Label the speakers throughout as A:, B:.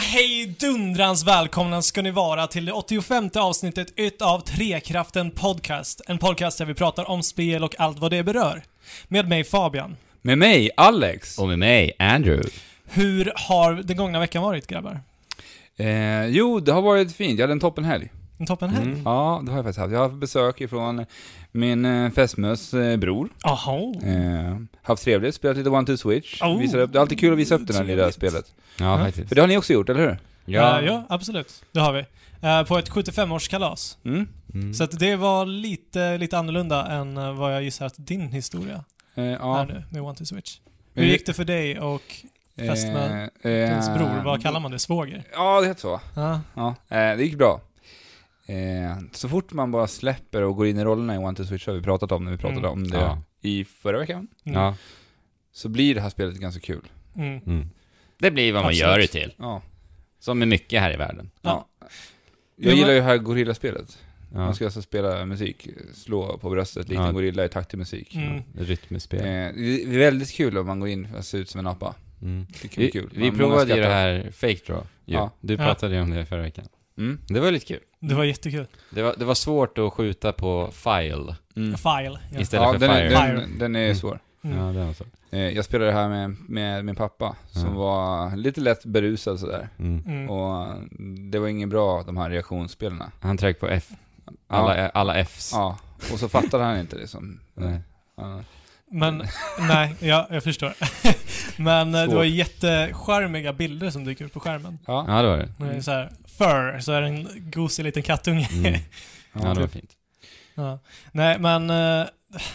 A: hej dundrans välkomna ska ni vara till det 85 avsnittet utav Trekraften Podcast. En podcast där vi pratar om spel och allt vad det berör. Med mig Fabian.
B: Med mig, Alex.
C: Och med mig, Andrew.
A: Hur har den gångna veckan varit grabbar?
B: Eh, jo, det har varit fint. Jag hade en toppenhelg.
A: En toppen här.
B: Ja, det har jag faktiskt haft. Jag har haft besök ifrån min eh, fästmös eh, bror.
A: Jaha.
B: Eh, haft trevligt, spelat lite One Two Switch.
A: Oh.
B: Visar upp, det är alltid kul att visa upp det här lilla
A: Trevligt.
B: spelet.
C: Ja,
B: För
C: faktiskt.
B: det har ni också gjort, eller hur?
A: Ja. Eh, ja, absolut. Det har vi. Eh, På ett 75-årskalas.
B: Mm.
C: Mm.
A: Så att det var lite, lite annorlunda än eh, vad jag gissar att din historia
B: Eh,
A: är
B: ja.
A: nu med One to Switch. Hur gick det för dig och
B: Eh,
A: fästmö,
B: eh,
A: dins bror? Vad kallar man det? Svåger?
B: Ja, det heter så.
A: Ja.
B: Ja, eh, det gick bra. Eh, så fort man bara släpper och går in i rollerna i One Two Switch har vi pratat om när vi pratade
A: Mm.
B: om det
C: Ja.
B: i förra veckan.
A: Mm.
C: Ja.
B: Så blir det här spelet ganska kul.
A: Mm.
C: Mm. Det blir vad man
A: Absolut.
C: gör det till.
B: Ja.
C: Som med mycket här i världen.
A: Ja.
B: Ja.
A: Jo,
B: Jag gillar
A: men-
B: ju det här gorillaspelet.
C: Ja.
B: Man ska alltså spela musik, slå på bröstet, likt
C: Ja.
B: en gorilla i takt till musik.
A: Mm.
C: Rytmespel.
B: Eh, det är väldigt kul om man går in och ser ut som en apa.
C: Mm.
B: Det kan bli
C: Vi,
B: kul.
C: vi
B: Man-
C: provade
B: många
C: ju det
B: skrattar.
C: här Fake Draw. ju.
B: Ja.
C: Du
A: Ja.
C: pratade ju om det förra veckan.
B: Mm.
C: Det var lite kul.
A: Det var jättekul.
C: Det var, det var svårt att skjuta på file
B: Mm.
A: File. Ja.
C: istället
B: Ja,
C: för
B: den,
C: fire.
B: är-
A: Fire.
B: den, den är
C: Mm.
B: svår.
A: Mm.
C: Ja, det var så.
B: Eh, jag spelade det här med, med min pappa, som
C: Mm.
B: var lite lätt berusad sådär.
C: Mm.
A: Mm.
B: Och det var inget bra, de här reaktionsspelarna.
C: Han tryckte på F. Alla, eh, alla Fs.
B: Ja, och så fattade han inte liksom.
C: Nej.
B: Ja.
A: Men, nej, ja, jag förstår. Men eh, det
B: Svårt.
A: var jätteskärmiga bilder som dyker upp på skärmen.
B: Ja.
C: Ja, det var det.
A: När det
B: Mm.
A: är så här, fur, så är det en gosig liten kattunge.
C: Mm. Ja, det var
B: typ.
C: fint.
A: Ja. Nej, men eh,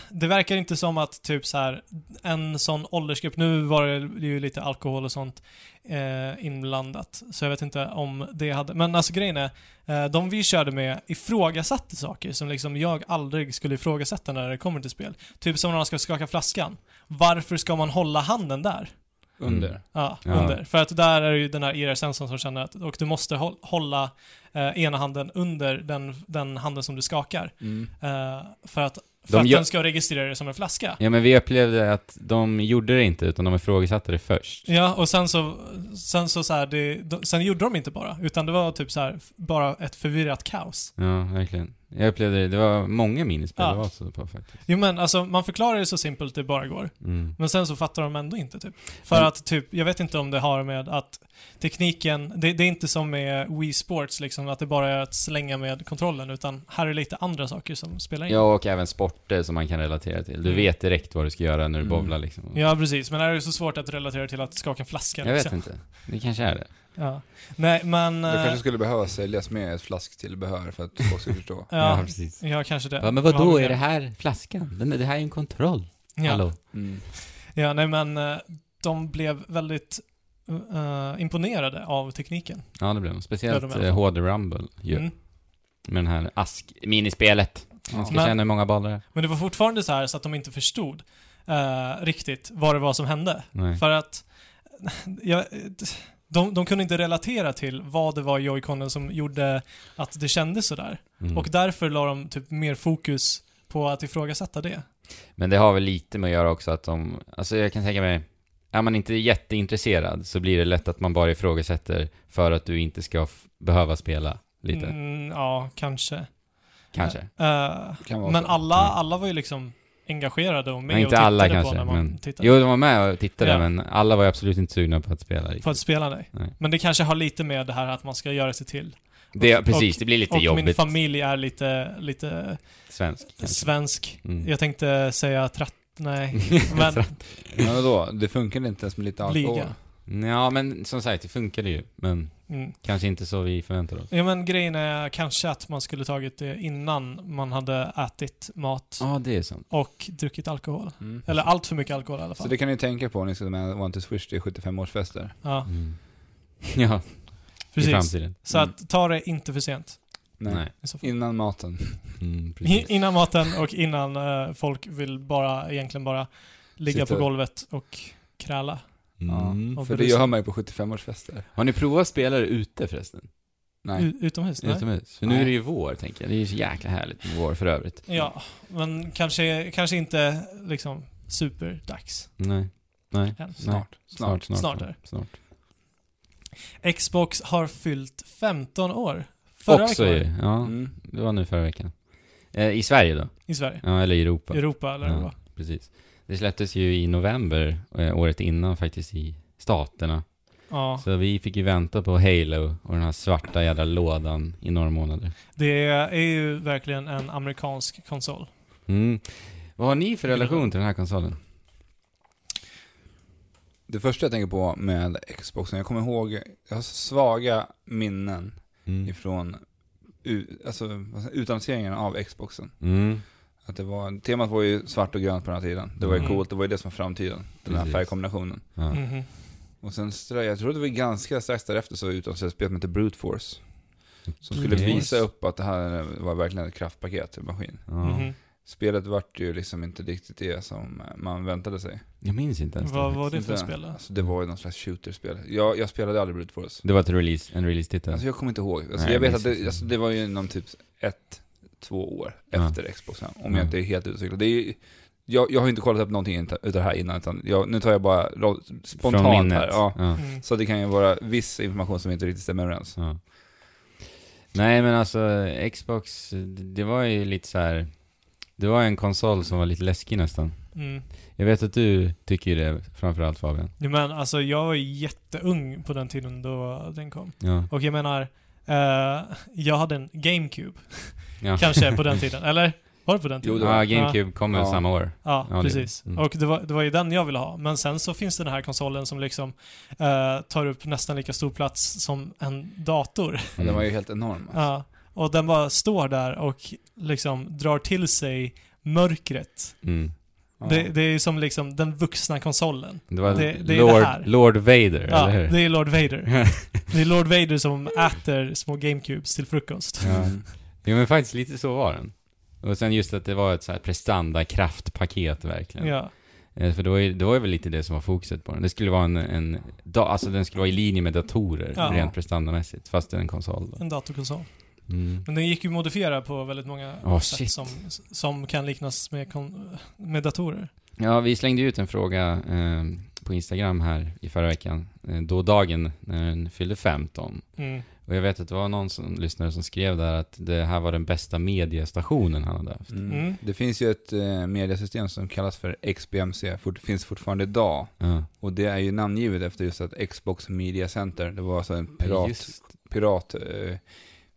A: det verkar inte som att typ så här en sån åldersgrupp, nu var det ju lite alkohol och sånt eh, inblandat, så jag vet inte om det hade, men alltså grejen är, eh, de vi körde med ifrågasatte saker som liksom jag aldrig skulle ifrågasätta när det kommer till spel. Typ som när man ska skaka flaskan. Varför ska man hålla handen där?
C: Mm.
B: Under.
A: Ja,
C: Ja.
A: under. För att där är det ju den här IR-sensorn som känner att, och du måste hå- hålla eh, ena handen under den, den handen som du skakar.
B: Mm.
A: Eh, för att, för
C: De
A: att
C: gör-
A: den ska registrera det som en flaska.
C: Ja, men vi upplevde att de gjorde det inte, utan de ifrågasatte det först.
A: Ja, och sen så, sen så, så här, det, de, sen gjorde de inte bara, utan det var typ så här, f- bara ett förvirrat kaos.
C: Ja, verkligen. Jag upplevde det. Det var många minispel
A: Ja.
C: det var så på faktiskt.
A: Jo men alltså, man förklarar det så simpelt det bara går,
C: Mm.
A: men sen så fattar de ändå inte typ. För
C: Men-
A: att typ, jag vet inte om det har med att tekniken, det, det är inte som med Wii Sports liksom, att det bara är att slänga med kontrollen, utan här är lite andra saker som spelar in.
C: Ja, och även sporter som man kan relatera till. Du vet direkt vad du ska göra när du
B: Mm.
C: bowlar liksom.
A: Mm. Ja, precis, men här är det så svårt att relatera till att skaka en flaska
C: Jag vet
A: liksom.
C: inte. Det kanske är det.
A: Ja. Nej, men...
B: Det
A: eh,
B: kanske skulle behöva säljas med ett flasktillbehör för att folk ska förstå.
A: ja,
C: precis.
A: Ja, kanske det.
C: Ja, men
A: Vad har
C: vadå,
A: vi
C: är det
A: mer?
C: här flaskan? Den, det här är en kontroll.
A: Ja,
C: Hallå?
B: Mm.
A: ja nej men eh, de blev väldigt eh, imponerade av tekniken.
C: Ja, det blev de.
A: Ja,
C: Speciellt
A: de är
C: eh, HD Rumble ju.
A: Mm.
C: Med den här ask-minispelet. Man ska
A: Men-
C: känna hur många bollar det är.
A: Men det var fortfarande så här så att de inte förstod eh, riktigt vad det var som hände.
C: Nej.
A: För att jag, de, de kunde inte relatera till vad det var i joyconen som gjorde att det kändes sådär.
C: Mm.
A: Och därför la de typ mer fokus på att ifrågasätta det.
C: Men det har väl lite med att göra också att de, alltså jag kan tänka mig, är man inte jätteintresserad så blir det lätt att man bara ifrågasätter för att du inte ska f- behöva spela lite,
A: Mm, ja, kanske.
C: kanske.
A: Eh,
B: Kan vara
A: men
B: så.
A: alla,
C: Mm.
A: alla var ju liksom engagerade och med
C: Men
A: och
C: inte
A: tittade
C: alla
A: på
C: kanske.
A: när man
C: Men,
A: tittade.
C: jo, de var med och tittade
A: Ja.
C: men alla var ju absolut inte sugna på att spela. riktigt.
A: För att spela nej.
C: Nej.
A: Men det kanske har lite med det här att man ska göra sig till.
C: Det,
A: och-
C: precis, det blir lite
A: och min
C: jobbigt.
A: familj är lite, lite
C: Svensk kanske.
A: svensk.
C: Mm.
A: Jag tänkte säga tratt... Nej. Men,
B: Men vadå, det funkar inte ens med lite alkohol.
A: Blyga.
C: Ja, men som sagt, det funkade ju. Men
A: mm.
C: kanske inte så vi förväntade oss.
A: ja, men grejen är kanske att man skulle tagit det innan man hade ätit mat
C: Ja, det är sant.
A: och druckit alkohol.
B: Mm.
A: Eller allt för mycket alkohol i alla
B: Så
A: fall.
B: det kan ni tänka på om ni ska med One to Switch till 75-årsfester.
A: Ja,
C: Mm. Ja, i
A: precis.
C: framtiden. Mm.
A: Så att ta det inte för sent.
B: Nej.
C: Nej.
A: i så fall.
B: Innan maten.
C: Mm, precis.
A: I- Innan maten och innan eh, folk vill bara, egentligen bara ligga
B: Sitta.
A: på golvet och kräla.
C: Mm.
A: Och
B: För det
A: berusa.
B: gör man ju på 75-årsfester.
C: Har ni provat att spela det ute förresten?
B: Nej.
A: U- Utomhus? Nej.
C: Utomhus? För nu är det ju vår, tänker jag. Det är ju så jäkla härligt med vår för övrigt.
A: Ja, men kanske, kanske inte liksom superdags.
C: Nej. Nej.
A: än.
C: Snart.
B: Snart.
C: Snart. Snart.
A: Snart är det.
C: snart.
A: Xbox har fyllt 15 år. Förra
C: Också
A: veckan
C: ju.
A: var det,
C: Ja,
B: Mm.
C: det var nu förra veckan. Eh, I Sverige då?
A: i Sverige.
C: Ja, eller i Europa.
A: Europa eller
C: Ja.
A: vad det var.
C: Precis. Det släpptes ju i november eh, året innan faktiskt i staterna.
A: Ja.
C: Så vi fick ju vänta på Halo och den här svarta jädra lådan i några månader.
A: Det är ju verkligen en amerikansk konsol.
C: Mm. Vad har ni för relation till den här konsolen?
B: Det första jag tänker på med Xboxen, jag kommer ihåg, jag har så svaga minnen
C: Mm.
B: ifrån u- alltså, vad säger- utannonseringen av Xboxen.
C: Mm.
B: Att det var, temat var ju svart och grönt på den här tiden. Det var ju
C: Mm.
B: coolt, det var ju det som var framtiden. Den här
C: Precis.
B: färgkombinationen.
C: Ja.
A: Mhm.
B: Och sen, strö- jag tror det var ganska strax därefter så utannonserades ett spel som hette Brute Force. Som skulle
C: Brute Force.
B: visa upp att det här var verkligen ett kraftpaket till maskin.
C: Ja.
A: Mhm.
B: Spelet vart ju liksom inte riktigt det som eh, man väntade sig.
C: Jag minns inte ens
A: Vad
C: det.
A: var det för
B: Inte-
A: spel då?
B: Alltså det var ju någon slags shooter-spel. Jag, jag spelade aldrig Brute Force.
C: Det var ett release, en release-titel.
B: Alltså jag kommer inte ihåg. Alltså
C: Nej,
B: jag vet
C: det
B: att
C: minns
B: det,
C: inte.
B: alltså det var ju någon typ ett, två år
C: Ja.
B: efter Xbox One, Om
C: Ja.
B: jag inte är helt ute och cyklar. Det är ju, jag, jag har inte kollat upp någonting inte- utav det här innan, utan jag, nu tar jag bara ro-
C: Från
B: spontant
C: minnet.
B: här. Ja.
C: Ja.
A: Mm.
B: Så det kan ju vara viss information som inte riktigt stämmer överens.
C: Ja. Nej men alltså Xbox, det det var ju lite så här. Det var en konsol som var lite läskig nästan.
A: Mm.
C: Jag vet att du tycker ju det framförallt Fabian.
A: Jo, Men alltså jag var ju jätteung på den tiden då den kom.
C: Ja.
A: Och jag menar, eh, jag hade en GameCube.
C: ja.
A: Kanske på den tiden, eller? Var det på den tiden?
B: Jo, det
C: Ja,
B: var-
C: GameCube kom väl
B: Ja.
C: samma år.
A: Ja,
C: Ja, det-
A: precis.
C: mm.
A: Och det var, det var ju den jag ville ha. Men sen så finns det den här konsolen som liksom eh, tar upp nästan lika stor plats som en dator.
B: Den var ju
C: Mm.
B: helt enorm. alltså.
A: Ja. Och den bara står där och liksom drar till sig mörkret.
C: Mm.
B: Ja.
A: Det, det är ju som liksom den vuxna konsolen.
C: Det var
A: Det- det är
C: Lord,
A: det här.
C: Lord Vader,
A: Ja,
C: eller hur?
A: det är Lord Vader. Det är Lord Vader som äter små GameCubes till frukost.
C: Ja.
B: Mm.
C: Jo men faktiskt lite så var den. Och sen just att det var ett så här prestanda-kraftpaket verkligen.
A: Ja.
C: Eh, För det var, ju, det var ju väl lite det som var fokuset på den. Det skulle vara en, en da, alltså den skulle vara i linje med datorer
A: Ja.
C: rent prestandamässigt, fast det är en konsol då.
A: En datorkonsol.
C: Mm.
A: Men den gick ju att modifiera på väldigt många
C: Åh,
A: sätt
C: shit.
A: som, som kan liknas med, kon- med datorer.
C: Ja, vi slängde ut en fråga eh, på Instagram här i förra veckan, eh, då dagen när den fyllde 15.
A: Mm.
C: Och jag vet att det var någon som, lyssnare som skrev där att det här var den bästa mediestationen han hade haft.
B: Mm.
A: Mm.
B: Det finns ju ett eh, mediasystem som kallas för XBMC, fort, finns fortfarande idag.
C: Ja.
B: Och det är ju namngivet efter just att Xbox Media Center, det var alltså en pirat,
C: Just.
B: pirat eh,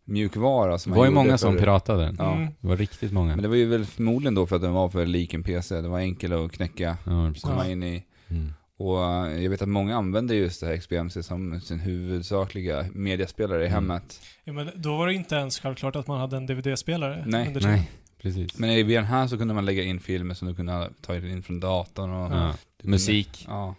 B: mjukvara som
C: Det
B: man
C: var ju
B: gjorde
C: många som
B: för-
C: piratade den.
B: Ja.
A: Mm.
C: Det var riktigt många.
B: Men det var ju väl förmodligen då för att den var för lik en PC. Den var enkel att knäcka,
C: Ja, precis.
B: komma
A: Ja.
B: in i.
C: Mm.
B: Och eh, jag vet att många använder just det här XBMC som sin huvudsakliga mediaspelare i
C: Mm.
B: hemmet.
A: Ja, men då var det inte ens självklart att man hade en DVD-spelare.
B: Nej.
A: under tiden.
C: Nej, precis.
B: Men i den här så kunde man lägga in filmer som du kunde ta in från datorn och...
C: ja.
B: du kunde-
C: Musik.
B: Ja.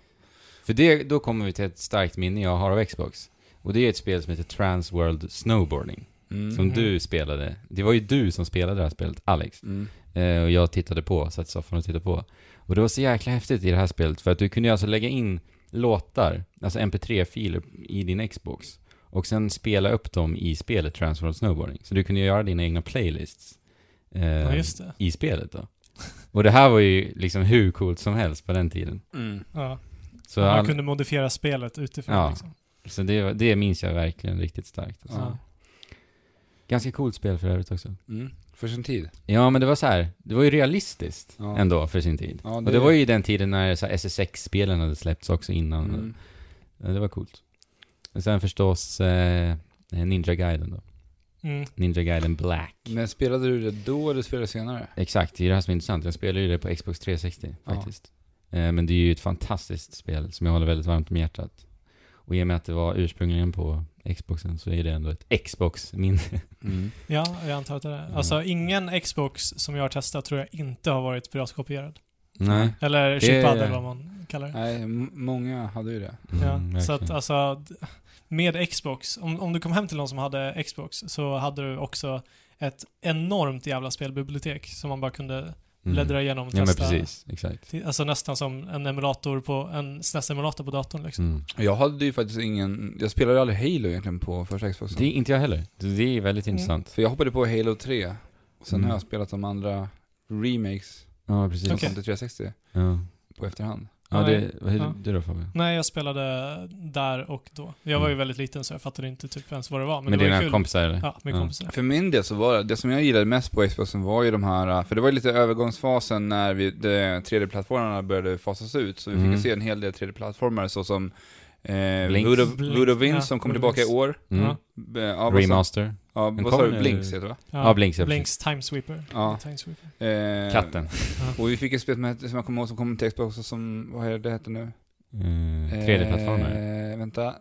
C: För det, då kommer vi till ett starkt minne jag har av Xbox. Och det är ett spel som heter Transworld Snowboarding.
B: Mm.
C: Som
A: Mhm.
C: du spelade. Det var ju du som spelade det här spelet, Alex.
B: Mm.
C: Eh, och jag tittade på, satt i soffan och tittade på. Och det var så jäkla häftigt i det här spelet för att du kunde ju alltså lägga in låtar, alltså mp3-filer i din Xbox. Och sen spela upp dem i spelet Transworld Snowboarding. Så du kunde ju göra dina egna playlists. Eh,
A: Ja, just det.
C: I spelet då. Och det här var ju liksom hur coolt som helst på den tiden.
B: Mm.
A: Ja.
C: Så,
A: man
C: all,
A: kunde modifiera spelet utifrån.
C: Ja.
A: Liksom.
C: så det, det minns jag verkligen riktigt starkt. Alltså.
B: Ja.
C: Ganska coolt spel för övrigt också.
B: Mm. För sin tid.
C: Ja, men det var så här, det var ju realistiskt
B: Ja.
C: ändå för sin tid.
B: Ja,
C: Och det var ju den tiden när så här SSX-spelen hade släppts också innan.
B: Mm.
C: Ja, Det var coolt. Och sen förstås eh, Ninja Gaiden då.
A: Mm.
C: Ninja Gaiden Black.
B: Men spelade du det då eller spelade du senare?
C: Exakt, det är det här som är intressant. Jag spelade ju det på Xbox 360
B: Ja.
C: faktiskt. Eh, men det är ju ett fantastiskt spel som jag håller väldigt varmt om hjärtat. Och i och med att det var ursprungligen på Xboxen så är det ändå ett Xbox-minne.
B: Mm.
A: ja, jag antar att det är det.
C: Mm.
A: Alltså, ingen Xbox som jag har testat tror jag inte har varit piratkopierad.
B: Nej.
A: Eller
C: Det-
A: chippad eller vad man kallar det.
B: Nej, m- många hade ju det.
C: Mm,
A: ja. Så att
C: verkligen.
A: alltså, d- med Xbox, om, om du kom hem till någon som hade Xbox så hade du också ett enormt jävla spelbibliotek som man bara kunde
C: Mm.
A: bläddra igenom och
C: Ja men
A: testa.
C: precis, exakt.
A: Till- Alltså nästan som en emulator på, en SNES-emulator på datorn liksom.
C: Mm.
B: Jag hade ju faktiskt ingen, jag spelade aldrig Halo egentligen på första Xboxen.
C: Det är inte jag heller. Det är väldigt
A: Mm.
C: intressant.
B: För jag hoppade på Halo 3, och sen
C: Mm.
B: har jag spelat de andra remakes
C: Ja, precis.
B: som
A: Okej.
B: kom till 360
C: Ja.
B: på efterhand.
C: Ja,
A: Nej.
C: det, vad är
A: Ja.
C: det då Fabian?
A: Nej, jag spelade där och då. Jag var ju väldigt liten så jag fattade inte typ ens vad det var. Men,
C: Med
A: det var ju
C: Mm. dina
A: kul.
C: kompisar eller?
A: Ja, med
C: Ja. Mm.
A: kompisar.
B: För min del så var det, det som jag gillade mest på Xboxen var ju de här, för det var ju lite övergångsfasen när vi, de 3D-plattformarna började fasas ut, så vi fick
C: Mm.
B: ju se en hel del 3D-plattformar såsom eh,
C: Blink.
B: Blood of,
A: Blink,
B: Blood of Wind
A: ja,
B: som kom
A: Blood of
B: tillbaka i
A: Winds.
B: år.
C: Mm.
A: Ja.
B: B- Ja, vad sa-
C: Remaster.
B: ja,
C: Den
B: vad sa
C: kom
B: du?
C: nu.
B: Blinks heter det va?
C: Ja, Blinks, ja,
A: Blinks Timesweeper.
B: Ja.
A: Timesweeper.
B: Eh,
C: Katten.
B: Och vi fick ett spel som, hette- som jag kommer ihåg som kom till Xbox och som, vad är det det hette nu?
C: Mm. 3D-plattformare.
B: Eh, vänta.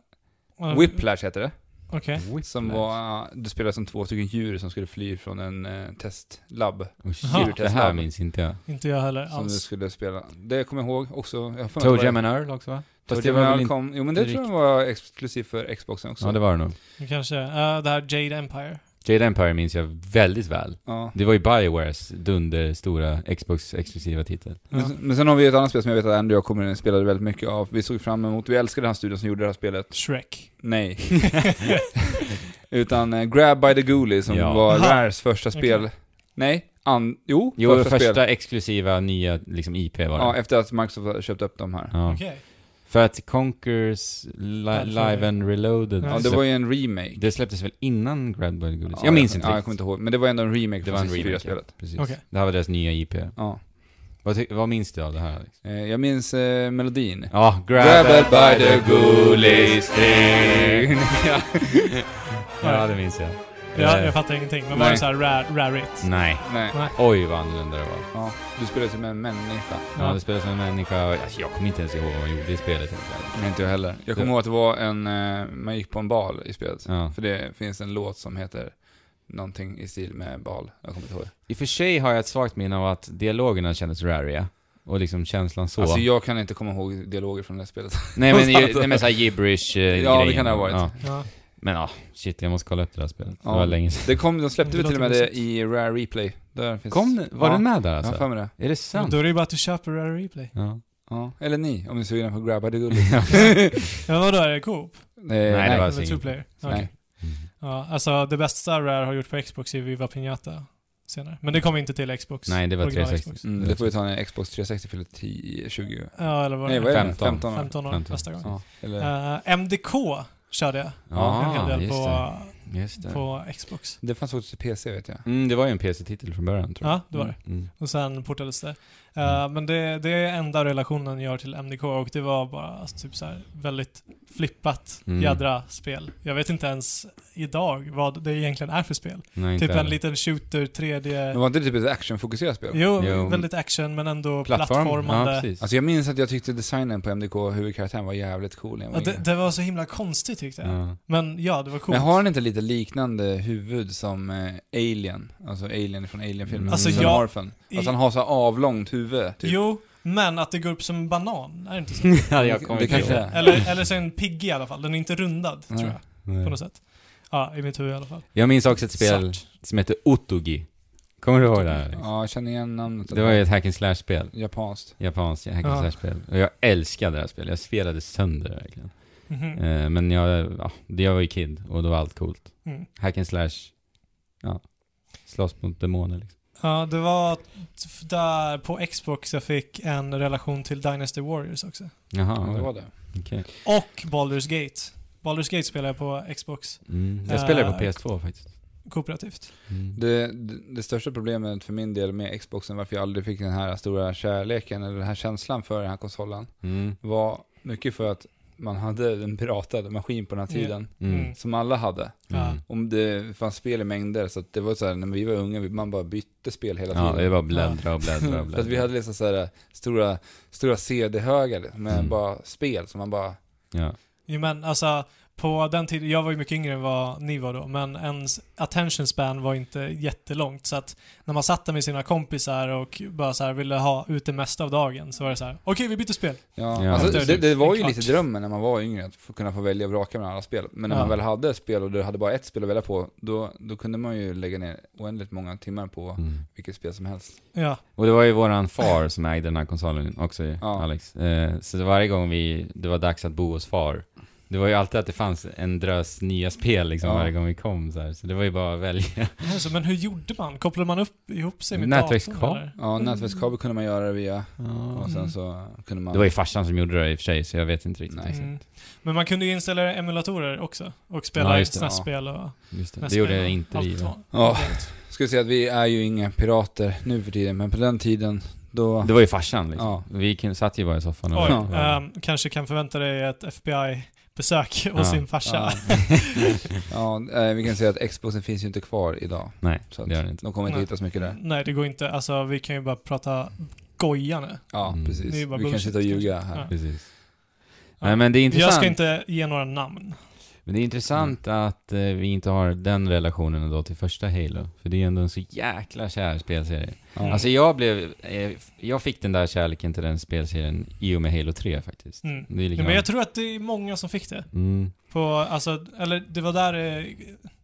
A: Ja,
B: Whiplash heter det.
A: Okej.
B: Som var, ja, du spelade som två stycken djur som skulle fly från en eh, testlabb.
C: Oh,
A: Jaha.
C: shit, det här minns inte jag.
A: Inte jag heller
B: Som du
A: alls.
B: skulle spela. Det kommer jag ihåg också. Jag har för mig att det var-
C: Toe Jam and Earl också va? Fast det
B: Toe
C: var
B: Jam
C: väl
B: and
C: inte...
B: kom, jo men det tror jag var exklusiv för Xboxen också.
C: Ja, det var det nog.
A: Nu kanske, eh, det här Jade Empire.
C: Jade Empire minns jag väldigt väl.
B: Ja.
C: Det var ju Biowares dunder stora Xbox-exklusiva titel.
A: Ja.
B: Men, men sen har vi ett annat spel som jag vet att Andrew och jag kommer spelade väldigt mycket av. Vi såg fram emot, vi älskade den här studion som gjorde det här spelet.
A: Shrek.
B: Nej. Utan eh, Grab by the Ghoulie som
C: Ja.
B: var
A: Aha.
B: Rares första spel. Nej, an, jo,
C: Jo,
B: första,
C: första,
B: spel.
C: exklusiva nya liksom IP var det.
B: Ja, efter att Microsoft köpte upp dem här.
C: Ja.
A: Okej.
C: För att Conquers li Live and Reloaded,
A: Ja,
B: Ja, det
C: släpp-
B: var ju en remake.
C: det släpptes väl innan Grab by the Goodies? jag minns inte
B: Ja, jag kommer
C: riktigt.
B: inte ihåg. Men det var ändå en remake
C: Det
B: från
C: var en remake,
B: 64-spelet.
C: ja. precis.
A: Okej.
C: Det här var deras nya IP.
B: Ja.
C: Vad, ty- vad minns du av det här? Alex?
B: Eh, Jag minns eh, melodin.
C: Ja,
B: Grabbed
C: Grab
B: by the Ghoulies thing. Ja.
C: Ja, det Mm. minns jag.
A: Jag,
C: Eh,
A: jag fattar ingenting. Men var
B: Nej.
A: det såhär ra- rarit?
C: Nej.
B: Nej.
C: Oj, vad annorlunda det var.
B: Ja, du spelar som en människa.
C: Ja,
A: Ja.
C: det spelades som en människa. och- Alltså, jag kommer inte ens ihåg vad man gjorde i spelet. helt ärligt.
B: Nej, inte jag heller. Jag kommer
C: Ja.
B: ihåg att det var en, eh, man gick på en bal i spelet.
C: Ja.
B: För det finns en låt som heter någonting i stil med bal. Jag kommer inte ihåg.
C: I och för sig har jag ett svagt minne av att dialogerna kändes rariga. Och liksom känslan så.
B: Alltså jag kan inte komma ihåg dialoger från det här spelet.
C: nej men, ju- nej men såhär gibberish
B: Alltså.
C: eh,
B: Ja, det
C: grejen.
B: kan det ha varit.
C: Ja.
A: Ja.
C: Men ja, shit jag måste kolla upp det här spelet.
B: Ja.
C: Det var länge sedan.
B: Det kom, de släppte
A: Det
B: väl till och med
A: låter
B: det i Rare Replay. Där finns...
C: Kom den- var
B: ja.
C: den med där
B: Jag
C: alltså?
B: har för mig det.
C: Är det
A: Men
C: sant?
A: Då är det ju bara att du köper Rare Replay.
C: Ja.
B: Ja. Eller ni, om ni är sugna på Grabba the Gully.
A: Ja, vadå? Är det Coop?
B: Nej,
C: det var-
A: Eller
C: alltså
A: two
C: ingen-
A: player?
B: Nej.
A: Okej. Ja, alltså det bästa Rare har gjort för Xbox är Viva Piñata senare. Men det kom inte till Xbox.
C: Nej, det var
A: original
C: 360.
A: Xbox.
B: Mm, det får vi ta när Xbox 360 fyller 10, 20.
A: Ja, eller vad
B: Nej, vad är det?
C: 15.
B: 15 år.
A: 15 år
C: 15.
A: nästa gång.
B: Ja, eller...
A: Eh, MDK körde jag en hel
C: Ja,
A: del
C: just
A: på,
C: det. Just det.
A: på Xbox.
B: Det fanns också till PC vet jag.
C: Mm, det var ju en PC-titel från början tror jag.
A: Ja, det var det.
C: Mm.
A: Och sen portades det. Eh,
C: Mm.
A: Men det, det är enda relationen jag har till MDK och det var bara alltså, typ så här väldigt flippat
C: Mm.
A: jädra spel. Jag vet inte ens idag vad det egentligen är för spel.
C: Nej, inte
A: Typ en
C: heller.
A: liten shooter, 3D...
B: Men var inte det typ ett actionfokuserat spel?
A: Jo,
C: Jo.
A: väldigt action men ändå
C: Ja,
A: plattformande.
C: precis.
B: Alltså jag minns att jag tyckte designen på MDK, huvudkaraktären, var jävligt cool när jag
A: Ja,
B: var
A: det,
B: yngre.
A: det var så himla konstigt tyckte jag.
C: ja.
A: Men ja, det var coolt.
B: Men har han inte lite liknande huvud som eh, Alien? Alltså Alien från Alien-filmen.
C: Mm. Alltså,
B: som
A: jag-
B: Orphan.
A: i-
B: Alltså han har så här avlångt huvud. Typ.
A: Jo, men att det går upp som en banan, är det inte så?
C: ja, jag kommer
B: Det
C: inte
B: kanske
C: ihåg.
B: är.
A: Eller, eller så en pigg i alla fall. Den är inte rundad,
B: Nej.
A: tror jag.
C: Nej.
A: På något sätt. Ja, i mitt huvud i alla fall.
C: Jag minns också ett spel
A: Svart.
C: som heter Otogi. Kommer du ihåg det här?
B: Ja, jag känner igen namnet.
C: liksom. Det var ju ett hack and slash-spel.
B: Japanskt.
C: Japanskt hack
A: Ja.
C: and slash-spel. Och jag älskade det här spelet. Jag spelade sönder det verkligen.
A: Mhm.
C: Eh, men jag, ja, det- jag var ju kid och då var allt coolt.
A: Mm.
C: Hack and slash, ja. Slåss mot demoner liksom.
A: Ja, det var t- där på Xbox jag fick en relation till Dynasty Warriors också.
B: Ja,
C: Jaha,
B: det var
C: okej.
B: det.
A: Och Baldur's Gate. Baldur's Gate spelade jag på Xbox
C: Mm. Jag
A: Eh,
C: spelade på PS2 faktiskt.
A: kooperativt.
C: Mm.
B: Det, det, det största problemet för min del med Xboxen, varför jag aldrig fick den här stora kärleken eller den här känslan för den här konsolen,
C: Mm.
B: var mycket för att man hade en piratad maskin på den här
A: Ja.
B: tiden.
C: Mm.
A: Mm.
B: Som alla hade.
A: Ja.
C: Mm.
B: Om det fanns spel i mängder, så att det var så här, när vi var unga, vi- man bara bytte spel hela
C: Ja,
B: tiden.
C: det var bläddra och bläddra och
B: För att vi
C: bläddra.
B: hade liksom så här, stora, stora CD-högar liksom, med
C: Mm.
B: bara spel som man bara...
C: Ja.
A: Jo, men alltså, på den tiden, jag var ju mycket yngre än vad ni var då, men ens attention span var inte jättelångt. Så att när man satt där med sina kompisar och bara så här ville ha ut det mesta av dagen så var det så här: okej vi byter spel.
B: Ja.
C: Ja.
B: Alltså, det, det var ju
A: En kvart.
B: lite drömmen när man var yngre, att få, kunna få välja och vraka mellan alla spel. Men när
A: Ja.
B: man väl hade ett spel och du hade bara ett spel att välja på, då, då kunde man ju lägga ner oändligt många timmar på
C: Mm.
B: vilket spel som helst.
A: Ja,
C: Och det var ju våran far som ägde den här konsolen också ju,
B: Ja.
C: Alex. Eh, så varje gång vi, det var dags att bo hos far, Det var ju alltid att det fanns en drös nya spel liksom
B: Ja.
C: varje gång vi kom så här. Så det var ju bara att välja.
A: Alltså, men hur gjorde man? Kopplade man upp, ihop sig med
C: Nätverkskabel.
A: datorn? eller?
B: Ja, nätverkskabel kunde man göra det via. Och sen så kunde man...
C: Det var ju farsan som gjorde det i och för sig, så jag vet inte riktigt.
B: Nej.
A: Mm. Men man kunde ju installera emulatorer också. Och spela
C: Ja,
A: ja,
C: just det,
A: SNES-spel och...
C: Just det. det
A: NES-spel
C: gjorde jag
A: och
C: inte vi.
A: allt
C: va?
A: vad-
B: Ja. Ska säga att vi är ju inga pirater nu för tiden, men på den tiden då...
C: Det var ju farsan liksom.
B: Ja.
C: Vi kunde- satt ju bara i soffan och...
A: Oj,
B: Ja.
A: ehm, kanske kan förvänta dig ett FBI-besök hos
C: Ja.
A: sin farsa.
B: Ja, eh, vi kan säga att Xboxen finns ju inte kvar idag.
C: Nej,
B: Så att
C: det gör det inte.
B: de kommer inte
A: Nej.
B: hitta så mycket där.
A: Nej, det går inte. Alltså, vi kan ju bara prata goja nu.
B: Ja,
C: Mm.
B: precis.
A: Det är
B: Vi
A: ju bara
B: kan
A: bullshit,
B: sitta och ljuga här.
A: kanske.
C: Precis.
A: Ja.
C: Nej men det är intressant.
A: Jag ska inte ge några namn.
C: Men det är intressant
B: Mm.
C: att eh, vi inte har den relationen ändå till första Halo. För det är ändå en så jäkla kär spelserie.
A: Mm.
C: Alltså jag blev... Eh, jag fick den där kärleken till den spelserien i och med Halo 3 faktiskt.
A: Mm.
C: Det är
A: Ja, men jag tror att det är många som fick det.
C: mm.
A: På, alltså, eller det var där eh,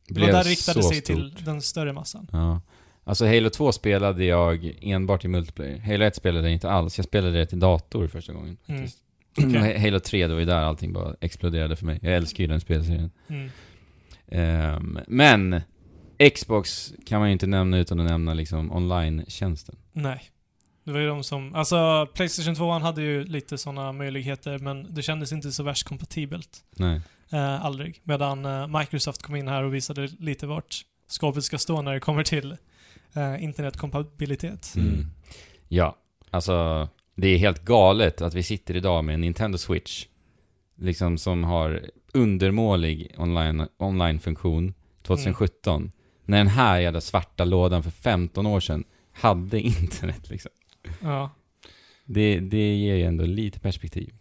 A: det var där det riktade
C: så
A: sig
C: stort.
A: till den större massan.
C: Ja. Alltså Halo 2 spelade jag enbart i multiplayer. Halo 1 spelade jag inte alls. Jag spelade det till dator första gången.
A: Mm.
C: faktiskt.
A: Okej.
C: Och Halo 3, det var ju där allting bara exploderade för mig. Jag älskar ju den spelserien.
A: Mm.
C: Ehm, men Xbox kan man ju inte nämna utan att nämna liksom online-tjänsten.
A: Nej. Det var ju de som, alltså Playstation 2 hade ju lite sådana möjligheter men det kändes inte så värst kompatibelt.
C: Nej.
A: Eh, aldrig. Medan eh, Microsoft kom in här och visade lite vart skåpet ska stå när det kommer till eh, internetkompatibilitet.
C: Mm. Ja, alltså det är helt galet att vi sitter idag med en Nintendo Switch. Liksom som har undermålig online, online-funktion 2017. När den här jävla svarta lådan för 15 år sedan hade internet liksom.
A: Ja.
C: Det, det ger ju ändå lite perspektiv.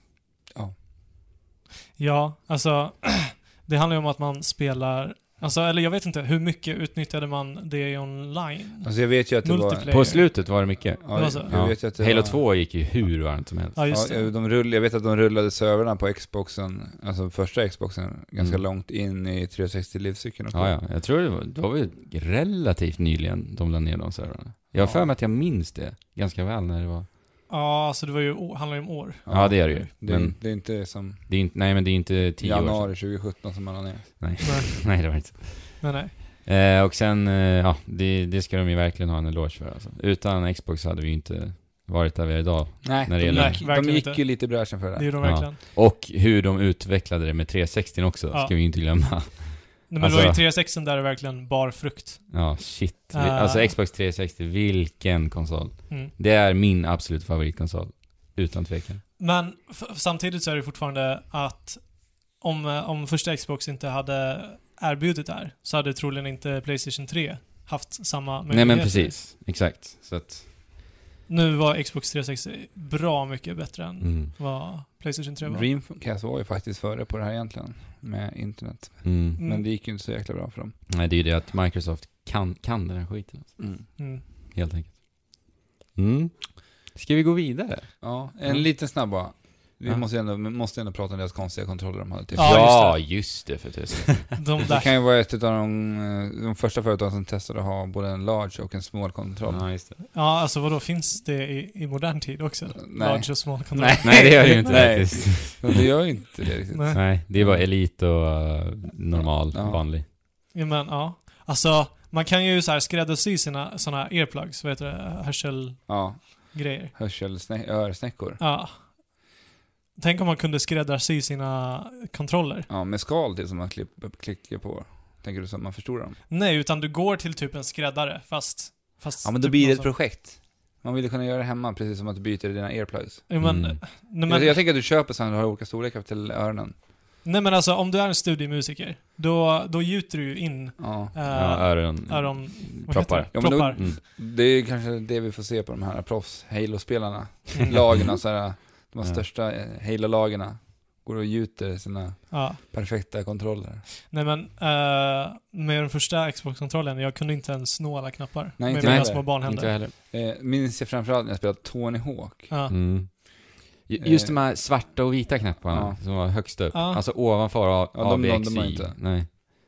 A: ja, alltså det handlar ju om att man spelar, alltså eller jag vet inte, hur mycket utnyttjade man det online?
B: Alltså jag vet ju att det var...
A: Multiplayer.
C: På slutet var det mycket.
B: Ja,
A: Det var så.
B: jag vet ju att det
C: Halo
B: var...
C: 2 gick ju hur varmt som helst.
A: Ja, just
B: Ja, eh,
A: det.
B: de rull, jag vet att de rullade servrarna på Xboxen, alltså första Xboxen, ganska
C: Mm.
B: långt in i 360-livscykeln också.
C: Ja, ja. Jag tror det var, det var ju relativt nyligen de la ner de servrarna. Jag har
B: Ja.
C: för mig att jag minns det ganska väl när det var.
A: Ja, alltså det var ju, å- handlar ju om år.
C: Ja, det gör det ju.
B: Det, är-
C: Men
B: det är inte som
C: det är inte, nej men det är inte tio år sedan.
B: januari 2017 som man har ner.
C: Nej.
A: Nej,
C: nej, det var inte.
A: nej, nej.
C: Eh, och sen, eh, ja, det, det ska de ju verkligen ha en eloge för alltså. Utan Xbox hade vi ju inte varit där vi är idag.
B: Nej,
C: När det
B: de,
C: gäller-
A: Nej,
B: gick, de
A: verkligen
B: gick
A: inte.
B: ju lite i bräschen för det
A: Det
B: där.
A: gjorde de
C: Ja.
A: verkligen.
C: Och hur de utvecklade det med 360 också,
A: Ja.
C: ska vi ju inte glömma.
A: Nej, men det var ju
C: Alltså-
A: 360 där det verkligen bar frukt.
C: Ja, shit. Vi,
A: Ah.
C: Alltså Xbox 360, vilken konsol.
A: Mm.
C: Det är min absolut favoritkonsol. Utan tvekan.
A: Men f- samtidigt så är det fortfarande att om, eh, om första Xbox inte hade erbjudit det här så hade troligen inte Playstation 3 haft samma
C: Nej
A: möjligheter.
C: men precis, exakt. Så att,
A: Nu var Xbox 360 bra mycket bättre än
C: mm.
A: vad Playstation 3 var.
B: Dreamcast var ju faktiskt före på det här egentligen, med internet.
C: Mm.
A: Mm.
B: Men det gick ju inte så jäkla bra för dem.
C: Nej det är ju det att Microsoft kan, kan den här skiten alltså,
A: Mm.
C: helt enkelt. Mm. Ska vi gå vidare?
B: Ja, en
C: Mm.
B: liten snabb bara. Vi
C: Ja.
B: måste, ju ändå, måste ju ändå prata om deras konstiga kontroller de hade till.
A: Ja,
C: ja just det, för tusan.
A: De
B: Det
A: där.
B: kan ju vara ett av de, eh, de första företagen som testade att ha både en large och en small kontroll.
C: ja, just det.
A: Ja, alltså vadå, finns det i, i modern tid också?
B: Nej.
A: Large och small kontroll.
B: Nej.
C: Nej det gör det ju inte
B: Nej.
C: faktiskt.
B: Men det gör ju inte det riktigt.
A: Nej.
C: Nej, det är bara elit och eh, normal,
B: Ja.
C: vanlig.
A: Ja, men ja. Alltså, man kan ju så här skräddarsy sina såna här earplugs, vad heter det, hörselgrejer.
B: Ja, hörselsnä- örsnäckor.
A: Ja. Tänk om man kunde skräddarsy sina kontroller.
B: Ja, med skal till som man klipp, klickar på. Tänker du så att man förstorar dem?
A: Nej, utan du går till typ en skräddare, fast... fast
B: Ja, men då
A: typ
B: blir det
A: någon
B: ett
A: som-
B: projekt. Man vill ju kunna göra det hemma, precis som att du byter dina earplugs.
A: Ja, men, eh,
C: Mm.
A: nej,
B: Jag,
A: men,
B: jag tänker att du köper sen och har olika storlekar till öronen.
A: nej men alltså, om du är en studiemusiker, då, då gjuter du ju in
B: Ja.
A: eh,
C: Ja, öron...
A: öron... vad heter
C: Proppar.
A: det?
B: Ja, men då-
A: Proppar.
C: Mm.
B: Det är ju kanske det vi får se på de här proffs-Halo-spelarna.
A: Mm.
B: Lagen, alltså här, de här
C: Ja.
B: största eh, Halo-lagarna. Går och gjuter sina
A: Ja.
B: perfekta kontroller.
A: Nej men, eh, med den första Xbox-kontrollen, jag kunde inte ens nå alla knappar.
B: Nej,
A: med
B: inte
A: mina
B: heller.
A: små
C: Inte jag
A: barnhänder.
C: heller.
B: Eh, minns jag framförallt när jag spelade Tony Hawk.
A: Ja.
C: Mm. Ju- Just
B: Eh.
C: de här svarta och vita knapparna som var högst upp.
A: Ja.
C: Alltså ovanför A,
B: Ja, de-
C: A B,
B: de-
C: X,
B: de var
C: Y.
B: inte.
C: Nej.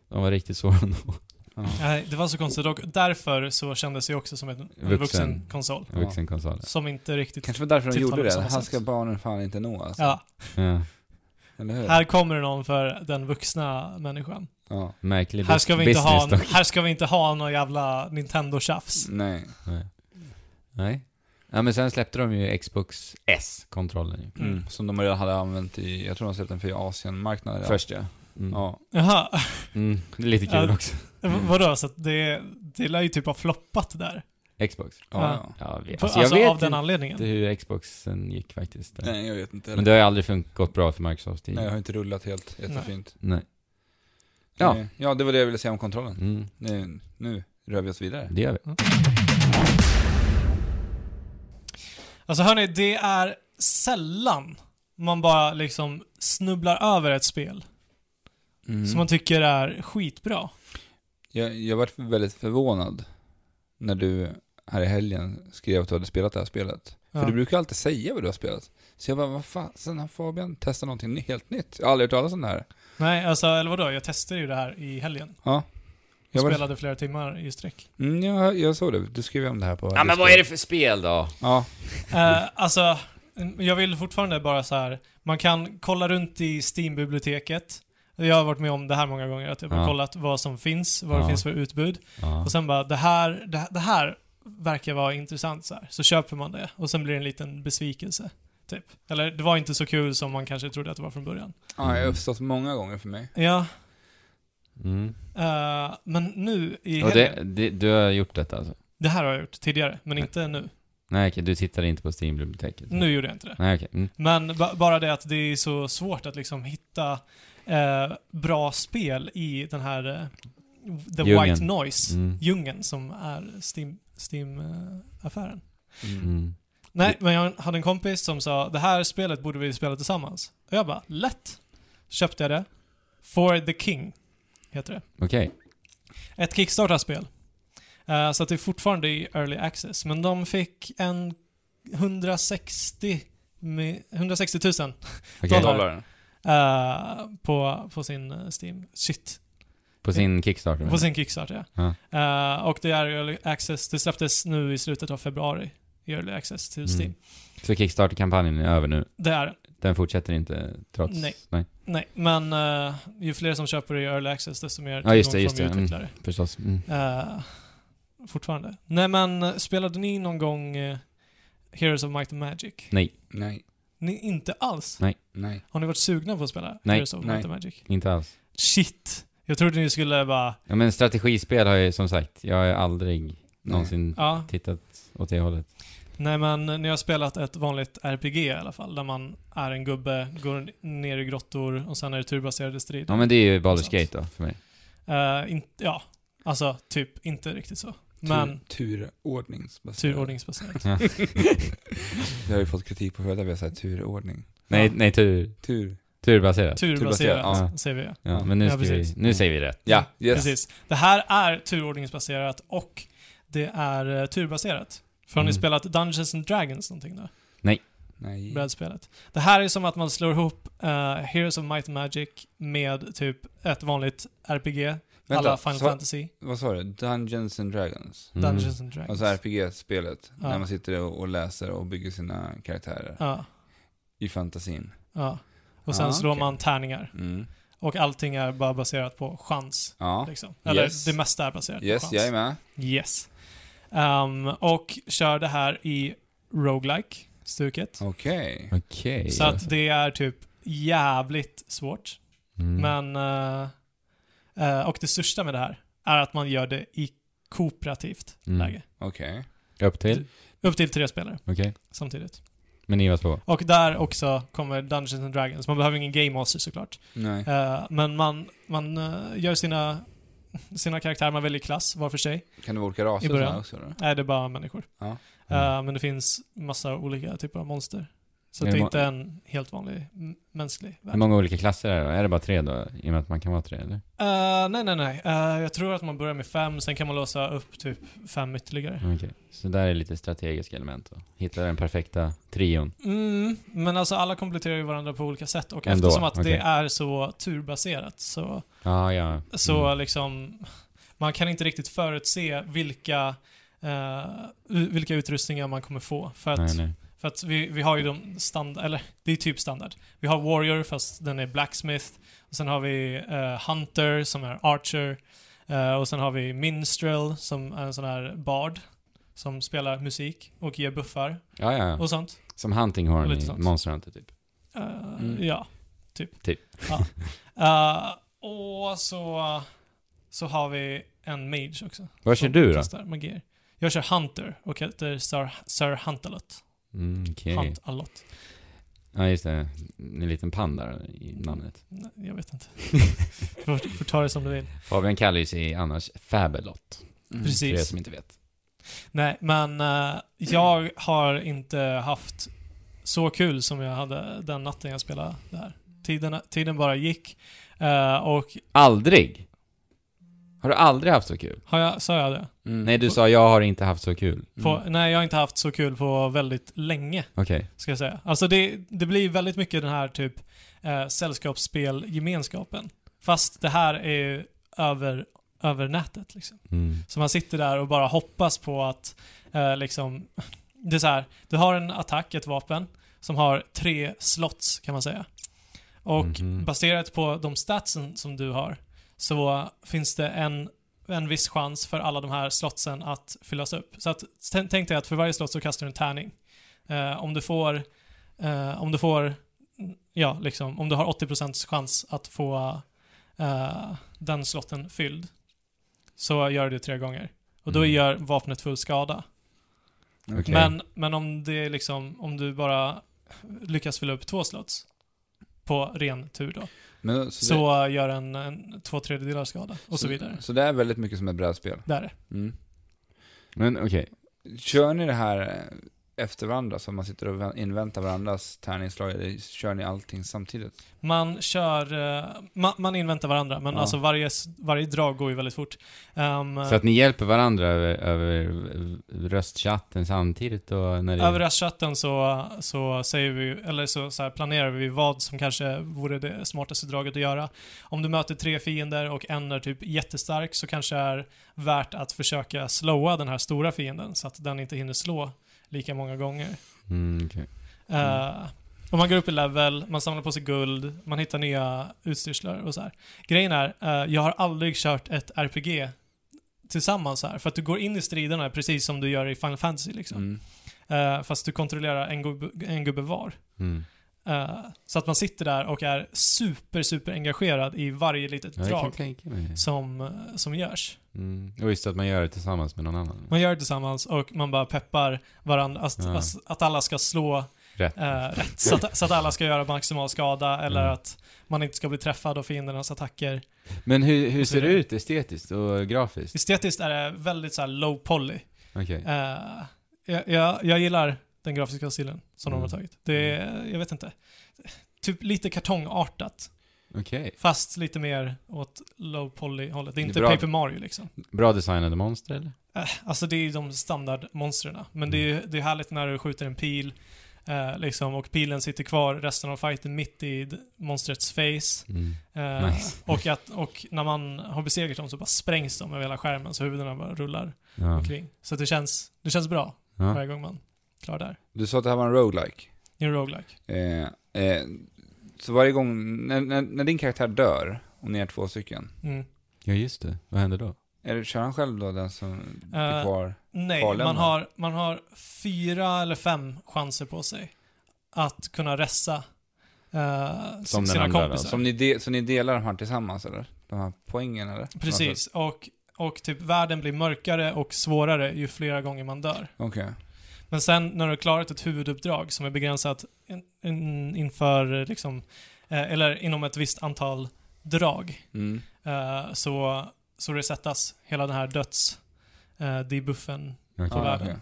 C: De var riktigt svåra att nå.
B: Ja.
A: Nej, det var så konstigt och därför så kändes jag också som en
C: Vuxen.
A: vuxen, konsol.
B: Ja.
C: Vuxenkonsol.
A: Som inte riktigt...
B: Kanske var därför de
A: Tilltalar
B: gjorde
A: på samma
B: det. Här
A: sätt.
B: ska barnen fan inte nå alltså.
A: Ja.
C: Ja.
B: Eller hur?
A: Här kommer det någon för den vuxna människan.
B: Ja.
C: Märklig
A: Här ska vi inte ha,
C: business
A: en,
C: dock.
A: här ska vi inte ha någon jävla Nintendo-tjafs.
B: Nej.
C: Nej. Ja, men sen släppte de ju Xbox S-kontrollen ju.
A: Mm.
B: Mm. Som de redan hade använt i, jag tror de släppte den för Asienmarknaden. redan.
C: Först ja. Mm.
B: Ja.
A: Jaha,
C: Mm. Det är lite kul
A: Ja.
C: också.
A: v- vadå? Så att det, det lär ju typ ha floppat där.
C: Xbox.
B: Ja,
A: Ja.
B: ja.
C: Ja, vi,
A: På,
C: alltså,
A: alltså,
C: jag vet
A: av den
C: inte
A: anledningen.
C: hur Xboxen gick faktiskt. Där.
B: Nej, jag vet inte.
C: Men det har ju aldrig funkat gått bra för Microsoft
B: Nej, jag
C: tidigare.
B: har inte rullat helt jättefint.
C: Nej. Ja.
B: Ja. ja, det var det jag ville säga om kontrollen.
C: Mm.
B: Nu, nu rör vi oss vidare.
C: Det gör vi.
A: Alltså hörni, det är sällan man bara liksom snubblar över ett spel
B: Mm.
A: som man tycker är skitbra.
B: Jag, jag var väldigt förvånad när du här i helgen skrev att du hade spelat det här spelet.
A: Ja.
B: För du brukar alltid säga vad du har spelat. Så jag bara, vad fan, sen har Fabian testat någonting ny- helt nytt. Jag har aldrig hört talas om det här.
A: Nej, alltså eller vadå? Jag testade ju det här i helgen.
B: Ja.
A: Jag
B: Jag var-
A: spelade flera timmar i sträck.
B: Mm, jag, jag såg det, du skrev om det här på...
C: Ja, men vad är det för spel då?
B: Ja,
A: Eh, alltså, jag vill fortfarande bara så här. man kan kolla runt i Steam-biblioteket. Jag har varit med om det här många gånger, att jag har
C: Ja.
A: kollat vad som finns, vad det
C: Ja.
A: finns för utbud.
C: Ja.
A: Och sen bara, det här, det, det här verkar vara intressant så här. Så köper man det och sen blir det en liten besvikelse. Typ. Eller det var inte så kul som man kanske trodde att det var från början.
B: ja jag har uppstått många gånger för mig.
A: Ja,
C: Mm.
A: eh, men nu i
C: Och
A: helgen,
C: det,
A: det...
C: det, du har gjort detta alltså?
A: här har jag gjort tidigare, men inte nu.
C: Nej, okej, du tittade inte på Steam-biblioteket?
A: Nu gjorde jag inte det.
C: Nej, okej. Mm.
A: Men ba- bara det att det är så svårt att liksom hitta eh, bra spel i den här eh, The
C: Djungeln.
A: White Noise,
C: Mm.
A: djungeln som är Steam-affären. Steam, eh, affären.
C: Mm.
A: Nej, men jag hade en kompis som sa det här spelet borde vi spela tillsammans. Och jag bara, lätt! Köpte jag det. For the King, heter det.
C: Okej.
A: Ett Kickstarter-spel. Eh, så att det är fortfarande i Early Access. Men de fick en 160, mi- 160 000
C: Okej.
A: Dollar. eh, på, på sin eh, Steam. Shit.
C: På sin Kickstarter?
A: På sin Kickstarter, ja.
C: Ja.
A: Eh, och det är Early Access. Det släpptes nu i slutet av februari. I Early Access till
C: Mm.
A: Steam.
C: Så Kickstarter-kampanjen är över nu?
A: Det är den.
C: Den fortsätter inte trots?
A: Nej. Nej, men eh, ju fler som köper det i early access desto mer
C: Ja, just det,
A: tillgång
C: just
A: får de
C: det. Mm.
A: utvecklare.
C: Förstås. Mm.
A: Eh, fortfarande. Nej men, eh, spelade ni någon gång eh, Heroes of Might and Magic?
C: Nej,
B: Nej,
A: Ni inte alls?
B: nej.
A: Har ni varit sugna på att spela
C: Nej.
A: Heroes of
B: Nej.
A: Might and Magic?
C: inte alls.
A: Shit! Jag trodde ni skulle bara,
C: Ja, men strategispel har jag ju som sagt, jag har aldrig någonsin
A: ja.
C: tittat åt det hållet.
A: Nej men, eh, ni har spelat ett vanligt RPG i alla fall, där man är en gubbe, går ner i grottor och sen är det turbaserade strider.
C: Ja, men det är ju
A: Sant.
C: Baldur's Gate då, för mig.
A: Eh, in, ja, alltså typ inte riktigt så. Men
B: Tur, turordningsbaserat.
A: turordningsbaserat.
B: Jag har ju fått kritik på förut att vi har sagt turordning.
C: Nej, nej tur,
B: Tur.
C: turbaserat.
A: Turbaserat,
B: Turbaserat,
A: säger vi. ja.
C: Ja, men nu,
A: Ja,
C: ska vi,
A: precis.
C: nu säger vi rätt.
B: Ja, yes.
A: Precis. Det här är turordningsbaserat och det är eh, turbaserat. För har ni
C: Mm.
A: spelat Dungeons and Dragons någonting då?
B: Nej.
A: Brädspelet. Det här är som att man slår ihop eh, Heroes of Might and Magic med typ ett vanligt RPG, alla Final
B: så,
A: Fantasy,
B: vad sa du? Dungeons and Dragons?
C: Mm.
A: Dungeons and Dragons.
B: Alltså RPG-spelet,
A: Ja.
B: när man sitter och, och läser och bygger sina karaktärer
A: Ja,
B: i fantasin.
A: ja. Och sen
B: Ah,
A: slår
B: okej.
A: man tärningar.
B: Mm.
A: Och allting är bara baserat på chans.
B: Ja.
A: Liksom. Eller
B: Yes.
A: det mesta är baserat på
B: Yes,
A: chans.
B: jag är med.
A: Yes. Ehm, och kör det här i roguelike stuket
B: Okej.
C: Okej.
A: Så att det är typ jävligt svårt.
C: Mm.
A: Men... eh, eh, och det största med det här är att man gör det i kooperativt
C: Mm.
A: läge.
B: Okej.
C: Upp till?
A: Upp till tre spelare
C: Okej.
A: samtidigt.
C: Men ni var två?
A: Och där också kommer Dungeons and Dragons. Man behöver ingen game master såklart.
B: Nej.
A: Eh, men man, man eh, gör sina, sina karaktärer, man väljer klass var för sig.
B: Kan det vara olika raser
A: I
B: och
A: början.
B: sådär också då?
A: Nej, det är bara människor.
B: Ja.
A: Eh, men det finns massa olika typer av monster. Så
C: Är
A: det är
C: det
A: inte en helt vanlig m- mänsklig värld.
C: Hur många olika klasser är det då? Är det bara tre då? I och med att man kan vara tre, eller?
A: Eh, nej, nej, nej. Eh, jag tror att man börjar med fem, sen kan man låsa upp typ fem ytterligare.
C: Okej. Så där är lite strategiska element då. Hitta den perfekta trion.
A: Mm, men alltså alla kompletterar ju varandra på olika sätt och
C: Ändå,
A: eftersom att det
C: okej.
A: är så turbaserat så,
C: Ah, ja,
A: så
C: Mm.
A: liksom, man kan inte riktigt förutse vilka, eh, u- vilka utrustningar man kommer få. För att,
C: Nej, nej.
A: för För att vi, vi har ju de standard, eller det är typ standard. Vi har Warrior fast den är Blacksmith. Och sen har vi eh, Hunter som är Archer. Eh, och sen har vi Minstrel som är en sån här bard. Som spelar musik och ger buffar
C: Ja, ja, ja.
A: och sånt.
C: Som hunting horn
A: Lite
C: i
A: sånt.
C: Monster Hunter typ.
A: Eh,
C: Mm.
A: Ja, typ.
C: Typ.
A: Ja. Eh, och så, så har vi en mage också.
C: Vad
A: som
C: kör du då?
A: testar Magier. Jag kör Hunter och heter Sir, Sir Huntalot.
C: Mm, okej.
A: Huntalot.
C: Ja, just det. En liten panda i namnet.
A: Nej, jag vet inte. du får, får ta det som du vill.
C: Fabian kallar ju sig annars Fabelot.
B: Mm.
C: För er
A: Precis.
C: som inte vet.
A: Nej, men eh, jag har inte haft så kul som jag hade den natten jag spelade det här. Tiden, tiden bara gick. eh, och
C: Aldrig! Har du aldrig haft så kul?
A: har jag, sa jag det?
B: Mm.
C: Nej, du sa jag har inte haft så kul.
A: På, Nej, jag har inte haft så kul på väldigt länge.
C: Okej.
A: ska jag säga. Alltså det, det blir väldigt mycket den här typ eh, sällskapsspelgemenskapen. Fast det här är ju över, över nätet liksom.
C: Mm.
A: Så man sitter där och bara hoppas på att eh, liksom, det är så här, du har en attack, ett vapen, som har tre slots kan man säga. Och
C: Mhm.
A: baserat på de statsen som du har så finns det en, en viss chans för alla de här slotsen att fyllas upp. Så att, tän- tänk dig att för varje slott så kastar du en tärning. Eh, om du får, eh, om du får, mm, ja liksom, om du har 80% chans att få eh, den slotten fylld så gör du det tre gånger. Och då
C: Mm.
A: gör vapnet full skada.
C: Okej.
A: Men, men om det är liksom, om du bara lyckas fylla upp två slots på ren tur då,
B: Men, så, det,
A: så gör en, en två tredjedelar skada och så vidare.
B: Så det är väldigt mycket som ett brädspel.
A: Där är det.
B: Mm.
C: Men okej.
B: Kör ni det här eh, efter varandra, så man sitter och vä- inväntar varandras tärningsslag, eller kör ni allting samtidigt?
A: Man kör, eh, ma, man inväntar varandra, men
B: Ja.
A: alltså varje, s- varje drag går ju väldigt fort. Ehm,
C: Så att ni hjälper varandra över, över röstchatten samtidigt och när det...
A: Över röstchatten så, så säger vi, eller så, så här planerar vi vad som kanske vore det smartaste draget att göra. Om du möter tre fiender och en är typ jättestark så kanske är värt att försöka slowa den här stora fienden så att den inte hinner slå lika många gånger.
C: Mm, okej.
A: Eh, och man går upp i level, man samlar på sig guld, man hittar nya utstyrslor och så här. Grejen är, eh, jag har aldrig kört ett RPG tillsammans så här, för att du går in i striderna precis som du gör i Final Fantasy liksom.
B: Mm.
A: Eh, fast du kontrollerar en gubbe, en gubbe var.
C: Mm.
A: Eh, så att man sitter där och är super, super engagerad i varje litet
C: Ja, jag kan
A: drag
C: tänka mig.
A: som, eh, som görs.
C: Mm. Och just att man gör det tillsammans med någon annan.
A: Man gör det tillsammans och man bara peppar varandra att,
C: Ja.
A: att, att alla ska slå
C: Rätt.
A: eh, rätt. Så att, så att alla ska göra maximal skada eller
C: Mm.
A: att man inte ska bli träffad av fiendernas attacker.
C: Men hur, hur
A: Och så
C: ser det
A: vidare.
C: ut estetiskt och grafiskt?
A: Estetiskt är det väldigt så här low poly.
C: Okej.
A: Eh, jag, jag, jag gillar den grafiska stilen som de
C: Mm.
A: har tagit. Det är, jag vet inte. Typ lite kartongartat.
C: Okej.
A: Fast lite mer åt low poly hållet. Det är
B: Det är
A: inte
B: bra.
A: Paper Mario liksom.
C: Bra designade monster eller?
A: Eh, Alltså det är ju de standardmonstren. Men det är, ju- det är härligt när du skjuter en pil eh, liksom, och pilen sitter kvar resten av fighten mitt i d- monstrets face.
C: Mm.
A: Eh,
C: Nice.
A: och, att, och när man har besegrat dem så bara sprängs de över hela skärmen så huvudena bara rullar
C: Ja.
A: omkring. Så att det känns, det känns bra
C: Ja.
A: varje gång man klarar det här.
B: Du sa att det här var en roguelike.
A: Det är en roguelike.
B: Eh, eh, så varje gång, när, när, när din karaktär dör, och ni är två stycken,
A: Mm.
C: ja, just det. Vad händer då?
B: är, det- kör han själv då den som blir
A: Eh,
B: kvar?
A: Nej,
B: Kvarlämna.
A: man har, man har fyra eller fem chanser på sig att kunna ressa eh,
C: Som den
A: sina
C: andra då,
A: kompisar.
C: alltså?
B: Som ni, de, så ni delar de här tillsammans eller? De här poängen eller?
A: Precis, och, och typ världen blir mörkare och svårare ju flera gånger man dör.
B: Okej.
A: Men sen när du har klarat ett huvuduppdrag som är begränsat in, in, inför eh, liksom, eh, eller inom ett visst antal drag
B: Mm.
A: eh, så, så resetas hela den här döds eh, debuffen.
C: Okej.
A: Ja.
B: Ja,
A: världen.
B: Ah, okej.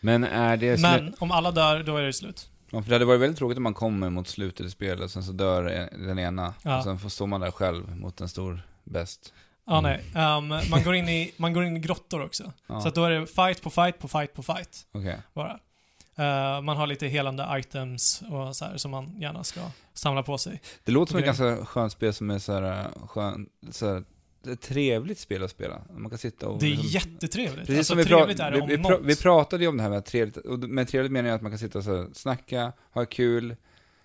C: Men är det...
A: Men om alla dör, då är det slut.
B: ja, för det hade varit väldigt tråkigt om man kommer mot slutet i spelet och sen så dör e- den ena
A: Ja.
B: och sen får står man där själv mot en stor bäst.
A: Ja,
C: Mm.
A: nej. Ehm, man, går in i, man går in i grottor också.
B: Ja,
A: Så att då är det fight på fight på fight på fight.
B: okej.
A: bara. Eh, man har lite helande items och så här som man gärna ska samla på sig.
B: Det låter som ett
A: Grej.
B: ganska skönt spel som är så här, eh, skön, så här ett trevligt spel att spela. Man kan sitta och...
A: Det är
B: liksom-
A: jättetrevligt.
B: Precis
A: Alltså,
B: som vi,
A: trevligt
B: pra-
A: är det om
B: vi, vi, pra-
A: något.
B: vi pratade ju om det här med trevligt, och med trevligt menar jag att man kan sitta och så här, snacka, ha kul,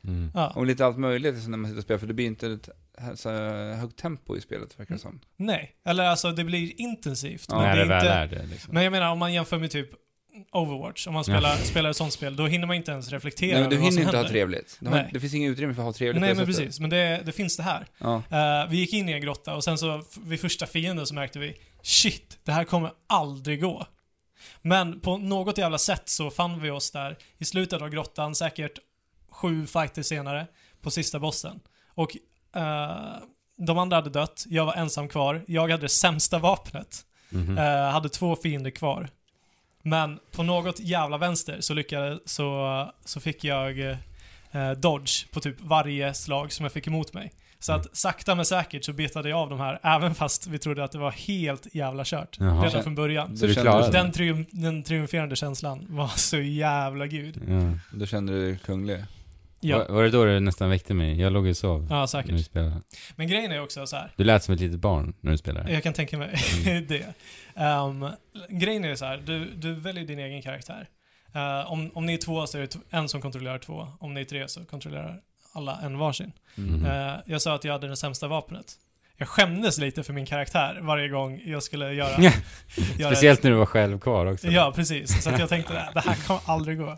C: Mm.
A: ja.
B: om lite allt möjligt liksom, när man sitter och spelar, för det blir inte ett hö- så här, högt tempo i spelet verkar det
A: Mm.
B: som.
A: Nej, eller alltså det blir intensivt.
B: Ja.
A: men
C: När
A: det
C: det
A: är
C: väl
A: inte,
C: är det liksom.
A: Men jag menar om man jämför med typ Overwatch, om man spelar, spelar ett sånt spel, då hinner man inte ens reflektera
B: Nej, men du
A: över vad
B: hinner
A: som
B: inte ha
A: händer.
B: trevligt. Du har,
A: Nej.
B: det finns ingen utrymme för att ha trevligt
A: Nej
B: på det
A: men
B: sättet.
A: precis, men det, det finns det här.
B: Ja.
A: Eh, vi gick in i en grotta och sen så f- vid första fienden så märkte vi shit, det här kommer aldrig gå. Men på något jävla sätt så fann vi oss där i slutet av grottan, säkert sju fighter senare, på sista bossen. Och eh, de andra hade dött, jag var ensam kvar, jag hade det sämsta vapnet,
C: Mhm.
A: eh, hade två fiender kvar. Men på något jävla vänster så lyckades, så, så fick jag eh, dodge på typ varje slag som jag fick emot mig. Så att sakta men säkert så betade jag av de här, även fast vi trodde att det var helt jävla kört.
C: Jaha.
A: Redan från början.
C: Så du
B: kände-
C: klarar
A: Den, trium- den triumferande känslan var så jävla gud.
C: Ja.
B: Då kände du dig kunglig.
A: Ja,
C: Var, var det då du nästan väckte mig? Jag låg ju och sov.
A: ja
C: När du,
A: säkert.
C: spelade.
A: Men grejen är också så här.
C: du lät som ett litet barn när du spelade.
A: Jag kan tänka mig det. Ehm, grejen är så här, du, du väljer din egen karaktär. Eh, om, om ni är två så är det t- en som kontrollerar två. Om ni är tre så kontrollerar alla en varsin.
C: Mhm.
A: Eh, jag sa att jag hade det sämsta vapnet. Jag skämdes lite för min karaktär varje gång jag skulle göra...
C: Ja.
A: göra
C: Speciellt när du var själv kvar också.
A: Ja, precis. Så att jag tänkte "Nej, det här kommer aldrig gå.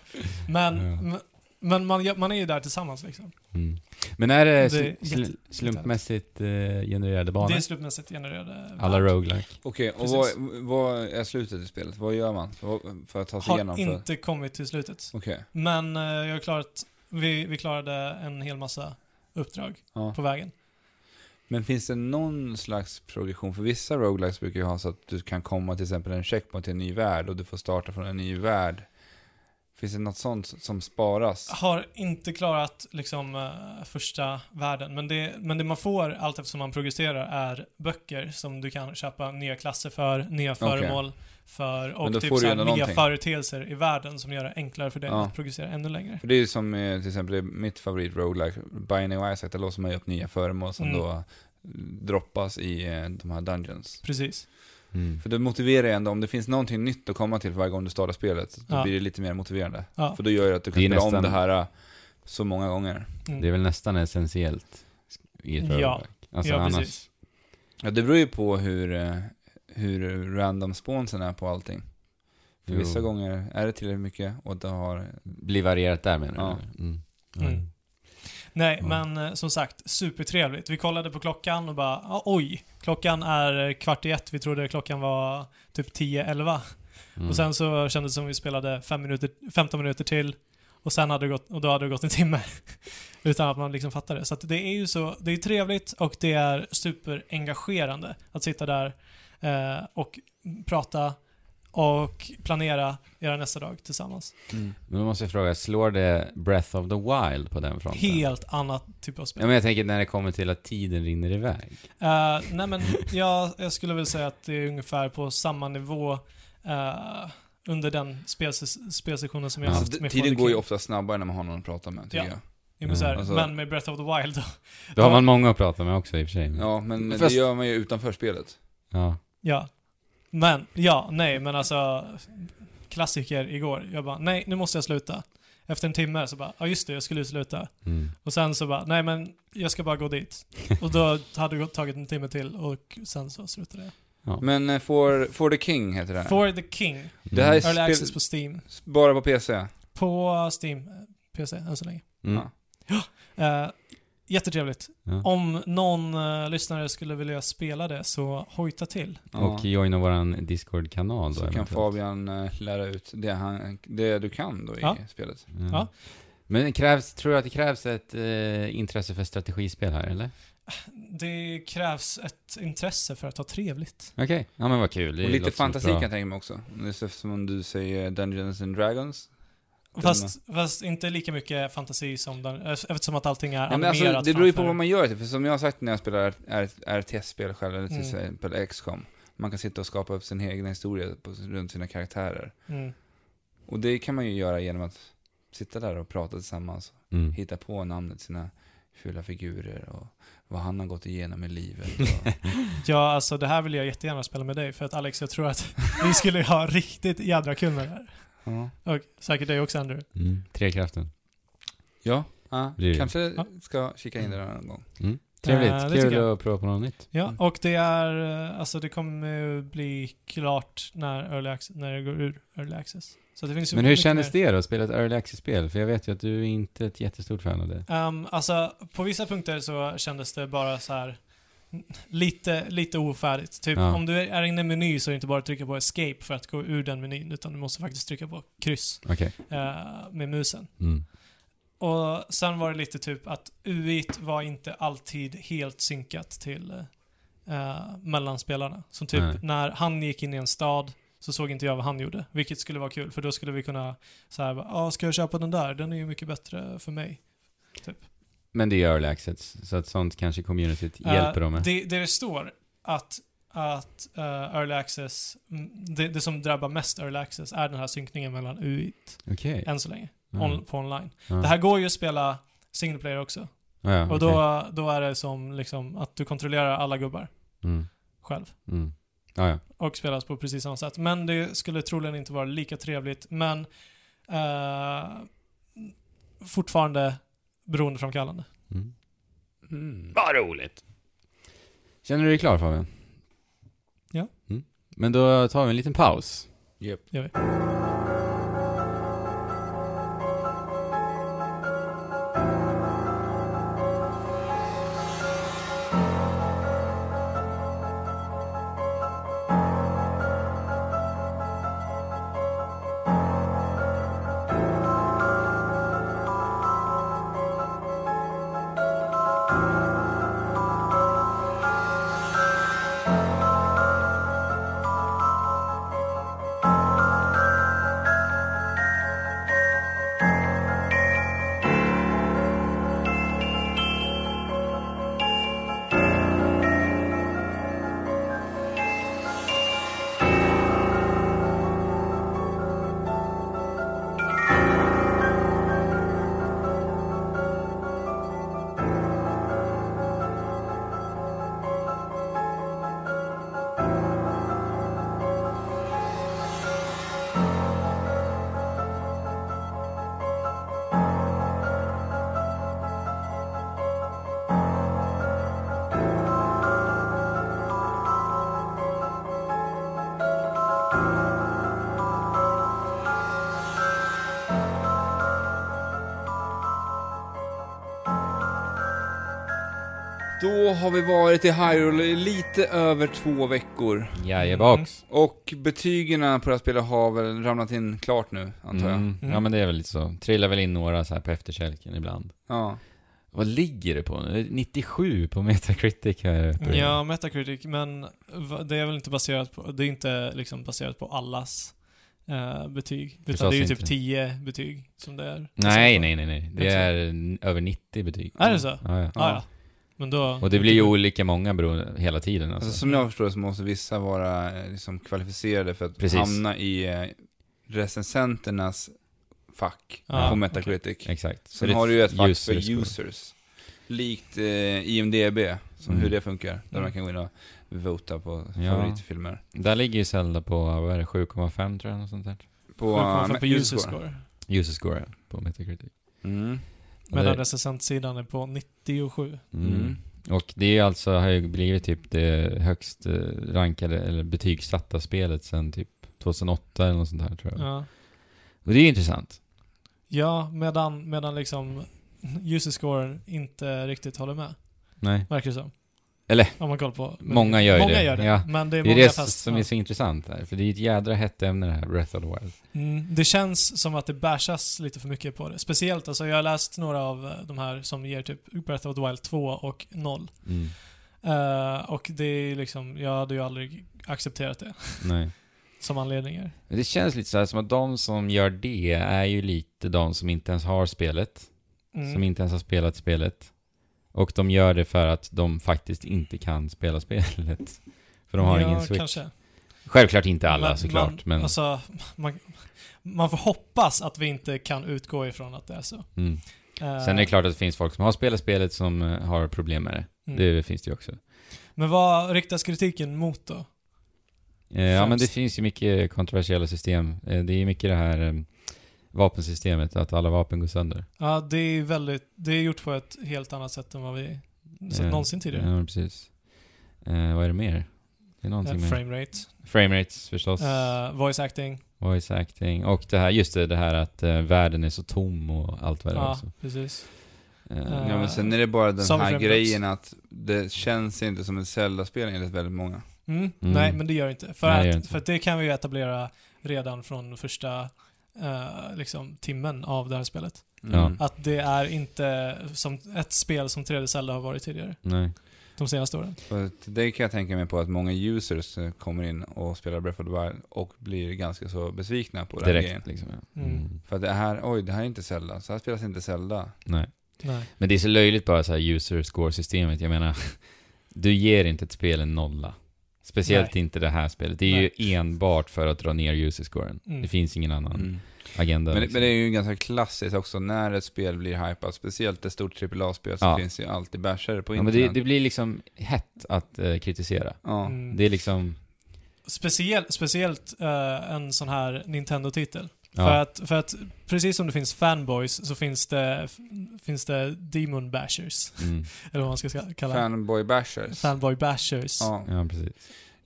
A: Men,
C: Ja.
A: men- men man, gör- man är ju där tillsammans liksom.
C: Mm. Men är det,
A: Det är
C: sl- sl-
A: jätte-
C: slumpmässigt eh, genererade banor?
A: Det är slumpmässigt genererade...
C: Alla roguelike.
B: Okej, och
A: Precis.
B: vad, vad är slutet i spelet? Vad gör man för, för att ta sig igenom?
A: har
B: för-
A: inte kommit till slutet.
B: Okej,
A: Men eh, jag har klarat, vi, vi klarade en hel massa uppdrag
B: ja.
A: på vägen.
B: Men finns det någon slags progression? För vissa roguelikes brukar ju ha så att du kan komma till exempel en checkpoint till en ny värld och du får starta från en ny värld. Finns det något sånt som sparas?
A: Har inte klarat liksom eh, första världen, men det, men det man får allt eftersom man progresserar är böcker som du kan köpa nya klasser för, nya föremål för
B: Men då
A: och typ
B: får du
A: så här,
B: ändå
A: nya
B: någonting.
A: företeelser i världen som gör det enklare för dig
B: Ja.
A: att progressera ännu längre.
B: För det är ju som eh, till exempel mitt favorit roguelike, Binding of Isaac, där låser man ju upp nya föremål som
A: Mm.
B: då eh, droppas i eh, de här dungeons.
A: Precis.
C: Mm.
B: För det motiverar ju ändå, om det finns någonting nytt att komma till varje gång du startar spelet, då
A: Ja.
B: blir det lite mer motiverande.
A: Ja.
B: För då gör det att du kan
C: Det är
B: spela om
C: nästan-
B: det här eh, så många gånger.
A: Mm.
C: Det är väl nästan essentiellt i ett
A: Ja.
C: roguelike. Alltså
A: Ja,
C: annars,
A: precis.
B: Ja, det beror ju på hur, eh, hur random sponsen är på allting. För
C: Jo.
B: vissa gånger är det tillräckligt mycket och det har...
C: blir varierat där menar du?
B: Ja.
C: Mm.
A: Mm. Nej,
C: Ja.
A: men eh, som sagt, supertrevligt. Vi kollade på klockan och bara, ah, oj, klockan är eh, kvart i ett. Vi trodde klockan var typ 10-11.
C: Mm.
A: Och sen så kändes det som vi spelade fem minuter, 15 minuter till och sen hade det gått, och då hade det gått en timme. Utan att man liksom fattade det. Så att det är ju så, det är trevligt och det är superengagerande att sitta där eh, och prata och planera era nästa dag tillsammans.
C: Men då måste jag fråga, slår det Breath of the Wild på den fronten?
A: Helt annat typ av spel.
C: Ja, men jag tänker när det kommer till att tiden rinner iväg.
A: Eh, nej men jag, jag skulle väl säga att det är ungefär på samma nivå eh, under den spelses- spelsessionen som jag
C: Ja,
A: haft
B: Alltså,
A: med
B: tiden
A: Fonder
B: går ju
A: King.
B: ofta snabbare när man har någon att prata med, tycker
A: Ja.
B: jag.
A: Jo, men så här,
B: Mm, alltså-
A: Men med Breath of the Wild då.
C: Då har
A: Ja.
C: man många att prata med också i och för sig. men-
B: Ja,
A: Mm.
B: men det
C: Fast-
B: gör man ju utanför spelet.
C: Ja.
A: Ja. Men, ja, nej, men alltså klassiker igår. Jag bara, nej, nu måste jag sluta. Efter en timme så bara, ja just det, jag skulle ju sluta.
C: Mm.
A: Och sen så bara, nej men jag ska bara gå dit. Och då hade det gått- tagit en timme till och sen så slutade jag.
B: Men eh, For, For the King heter det här.
A: For the King,
B: Det här
A: Early
B: är spel-
A: Access på Steam.
B: Bara på PC?
A: På Steam, eh, PC än så länge.
C: Mm.
B: Ja.
A: Eh, jättetrevligt.
C: Ja.
A: Om någon eh, lyssnare skulle vilja spela det så hojta till.
B: Ja.
C: Och joina våran Discord-kanal då.
B: Så kan
C: eventuellt.
B: Fabian eh, lära ut det, han, det du kan då i
A: Ja.
B: spelet.
C: Ja.
A: Ja.
C: Men krävs, tror du att det krävs ett eh, intresse för strategispel här, eller?
A: Det krävs ett intresse för att ha trevligt.
C: Okej, ja men vad kul. Det
B: Och lite
C: låter som ett
B: fantasi
C: bra-
B: kan jag tänka mig också. Det är som du säger Dungeons and Dragons.
A: Fast, fast inte lika mycket fantasi som den, eh, eftersom att allting är
B: Ja, men
A: animerat
B: alltså, det beror ju på
A: framför-
B: vad man gör. det till, För som jag har sagt när jag spelar R- R- RTS-spel själv, eller till
A: Mm.
B: exempel XCOM. Man kan sitta och skapa upp sin egen historia på, runt sina karaktärer.
A: Mm.
B: Och det kan man ju göra genom att sitta där och prata tillsammans.
C: Mm.
B: Hitta på namnet till sina fula figurer och vad han har gått igenom i livet. Och,
A: Ja, alltså det här vill jag jättegärna spela med dig för att Alex, jag tror att vi skulle ha riktigt jädra kul med det här.
B: ja.
A: Och säkert dig också Andrew.
C: Mm. Trekraften.
B: Ja, ja,
C: Blir det.
B: kanske
A: Ja.
B: ska kika in det där någon gång.
C: Mm.
A: Eh, det
C: Trevligt,
A: tycker
C: kul
A: jag.
C: att prova på något nytt.
A: Ja,
B: Mm.
A: och det är, eh, alltså det kommer ju bli klart när Early Access, när det går ur Early Access. Så det finns ju
C: Men hur
A: mycket
C: kändes
A: mer.
C: det då, att spela ett early access-spel? För jag vet ju att du är inte ett jättestort fan av det.
A: Ehm, alltså, på vissa punkter så kändes det bara så här n- lite, lite ofärdigt. Typ
C: Ja.
A: om du är inne i en meny så är det inte bara att trycka på escape för att gå ur den menyn, utan du måste faktiskt trycka på kryss
C: Okej.
A: eh, med musen.
C: Mm.
A: Och sen var det lite typ att UIT var inte alltid helt synkat till eh, mellanspelarna. Så typ
C: Nej.
A: när han gick in i en stad så såg inte jag vad han gjorde, vilket skulle vara kul för då skulle vi kunna såhär, ja ska jag köpa den där? Den är ju mycket bättre för mig. Typ.
C: Men det är early access, så att sånt kanske communityt
A: Eh,
C: hjälper dem med.
A: Det, det står att, att eh, early access, mm, det, det som drabbar mest early access är den här synkningen mellan UIT,
C: Okej.
A: än så länge,
C: Ja. Mm.
A: on, på online.
C: Ja.
A: Det här går ju att spela single player också.
C: Ja, ja,
A: Och
C: okej.
A: då, då är det som liksom att du kontrollerar alla gubbar
C: Mm.
A: själv.
C: Mm. Ja, ja.
A: Och spelas på precis samma sätt. Men det skulle troligen inte vara lika trevligt. Men eh, fortfarande beroendeframkallande.
C: Mm.
B: Mm.
C: Vad roligt! Känner du dig klar Fabian?
A: Ja.
C: Mm. Men då tar vi en liten paus.
B: Japp. Då har vi varit i Hyrule i lite över två veckor.
A: Mm.
C: Jajebox.
B: Och betygen på det här spelet har väl ramlat in klart nu, antar jag.
C: Mm. Ja men det är väl lite så. Trillar väl in några så här på efterkälken ibland.
B: Ja.
C: Vad ligger det på nu? 97 på Metacritic här uppe.
A: Ja, Metacritic, men va- det är väl inte baserat på, det är inte liksom baserat på allas eh, betyg. Utan
C: Förstås
A: det är ju typ
C: inte.
A: 10 betyg som det är. Liksom.
C: Nej, nej, nej, nej. Det
A: Jag
C: är n- över 90 betyg.
A: Är det så?
C: Ja, ja.
A: Ah, ja. Men då...
C: Och det blir ju olika många beroende hela tiden alltså.
B: Alltså, som jag förstår det så måste vissa vara eh, liksom, kvalificerade för att
C: Precis.
B: hamna i eh, recensenternas fack
A: Ja,
B: på Metacritic.
C: Exakt. Så
B: Sen
C: det
B: har du ju ett fack
C: user
B: för
C: score.
B: users. Likt eh, IMDB, som
C: Mm.
B: hur det funkar. Där
A: Mm.
B: man kan gå in och vota på
C: Ja.
B: favoritfilmer.
C: Där ligger ju Zelda på, vad är det, 7,5 tror jag, något sånt där.
B: På,
A: Wow, på
B: eh,
A: user
B: user
A: score.
C: User score ja, på Metacritic.
B: Mm.
C: Och
A: Medan
C: det-
A: recensentsidan är på 97.
C: Mm. Och det är alltså, har ju blivit typ det högst eh, rankade, eller betygsatta spelet sen typ 2008 eller något sånt här tror jag.
A: Ja.
C: Och det är ju intressant.
A: Ja, medan, medan liksom user-scoren inte riktigt håller med,
C: Nej.
A: verkar det som.
C: Eller,
A: Om man kollar på...
C: många gör ju
A: många
C: det.
A: Gör det.
C: Ja.
A: Men det är,
C: det är
A: många
C: det
A: fast...
C: som
A: ja.
C: är så intressant här, för det är ju ett jädra hett ämne det här, Breath of the Wild.
A: Mm, det känns som att det bashas lite för mycket på det. Speciellt, alltså jag har läst några av eh, de här som ger typ Breath of the Wild 2 och 0.
C: Mm.
A: Eh, och det är liksom, jag hade ju aldrig accepterat det
C: Nej.
A: som anledningar.
C: Men Det känns lite så här som att de som gör det är ju lite de som inte ens har spelet,
A: Mm.
C: som inte ens har spelat spelet. Och de gör det för att de faktiskt inte kan spela spelet. För de har
A: ja,
C: ingen switch.
A: kanske.
C: Självklart inte alla
A: Men man,
C: såklart, men...
A: Alltså, man, man får hoppas att vi inte kan utgå ifrån att det är så.
C: mm.
A: Eh,
C: Sen är det klart att det finns folk som har spelat spelet som eh, har problem med det.
A: mm.
C: Det finns det ju också.
A: Men vad riktas kritiken mot då?
C: Eh, Ja, men det
A: Främst.
C: finns ju mycket kontroversiella system. Eh, Det är ju mycket det här eh, vapensystemet, att alla vapen går sönder.
A: Ja, det är väldigt, det är gjort på ett helt annat sätt än vad vi sett
C: Eh,
A: någonsin tidigare.
C: Ja, men precis. Eh, vad är det mer? Det är någonting
A: Eh,
C: mer.
A: frame rate,
C: Frame rates förstås.
A: eh, voice acting.
C: Voice acting. Och det här, just det, det här att eh, världen är så tom och allt vad det är
A: Ja,
C: också.
A: precis.
C: Eh,
B: Ja, men sen är det bara den
A: Som
B: här
A: Frameworks.
B: grejen att det känns inte som en Zelda-spel enligt väldigt många.
A: Mm.
C: Mm.
A: Nej, men det gör inte. För,
C: Nej,
A: att,
C: det gör inte.
A: för att det kan vi ju etablera redan från första eh, liksom, timmen av det här spelet.
C: Ja.
B: Mm.
A: Att det är inte som ett spel som 3D Zelda har varit tidigare,
C: Nej.
A: de senaste åren.
B: Och det kan jag tänka mig på att många users eh, kommer in och spelar Breath of the Wild och blir ganska så besvikna på den här grejen.
C: Direkt liksom. Ja.
A: Mm.
C: Mm.
B: För att det här, oj, det här är inte Zelda. Så här spelas inte Zelda.
C: Nej.
A: Nej.
C: Men det är så löjligt bara så här user score-systemet. Jag menar, du ger inte ett spel en nolla. Speciellt inte det här spelet. Det är ju enbart för att dra ner user scoren.
A: Mm.
C: Det finns ingen annan
B: Mm.
C: agenda.
B: Men, det-
C: liksom.
B: men det är ju ganska klassiskt också när ett spel blir hypat. Speciellt ett stort AAA-spel så
C: Ja.
B: finns ju alltid bärsare på
C: ja, men det,
B: internet.
C: det blir liksom hett att eh, kritisera.
B: Ja.
A: Mm.
C: Det är liksom...
A: Speciell, speciellt eh, en sån här Nintendo-titel.
C: Ja.
A: För, att, för att precis som det finns fanboys så finns det, f- finns det demon bashers.
C: Mm.
A: Eller vad man ska ska kalla det.
B: Fanboy bashers.
A: Fanboy bashers.
B: ja.
C: Ja, precis.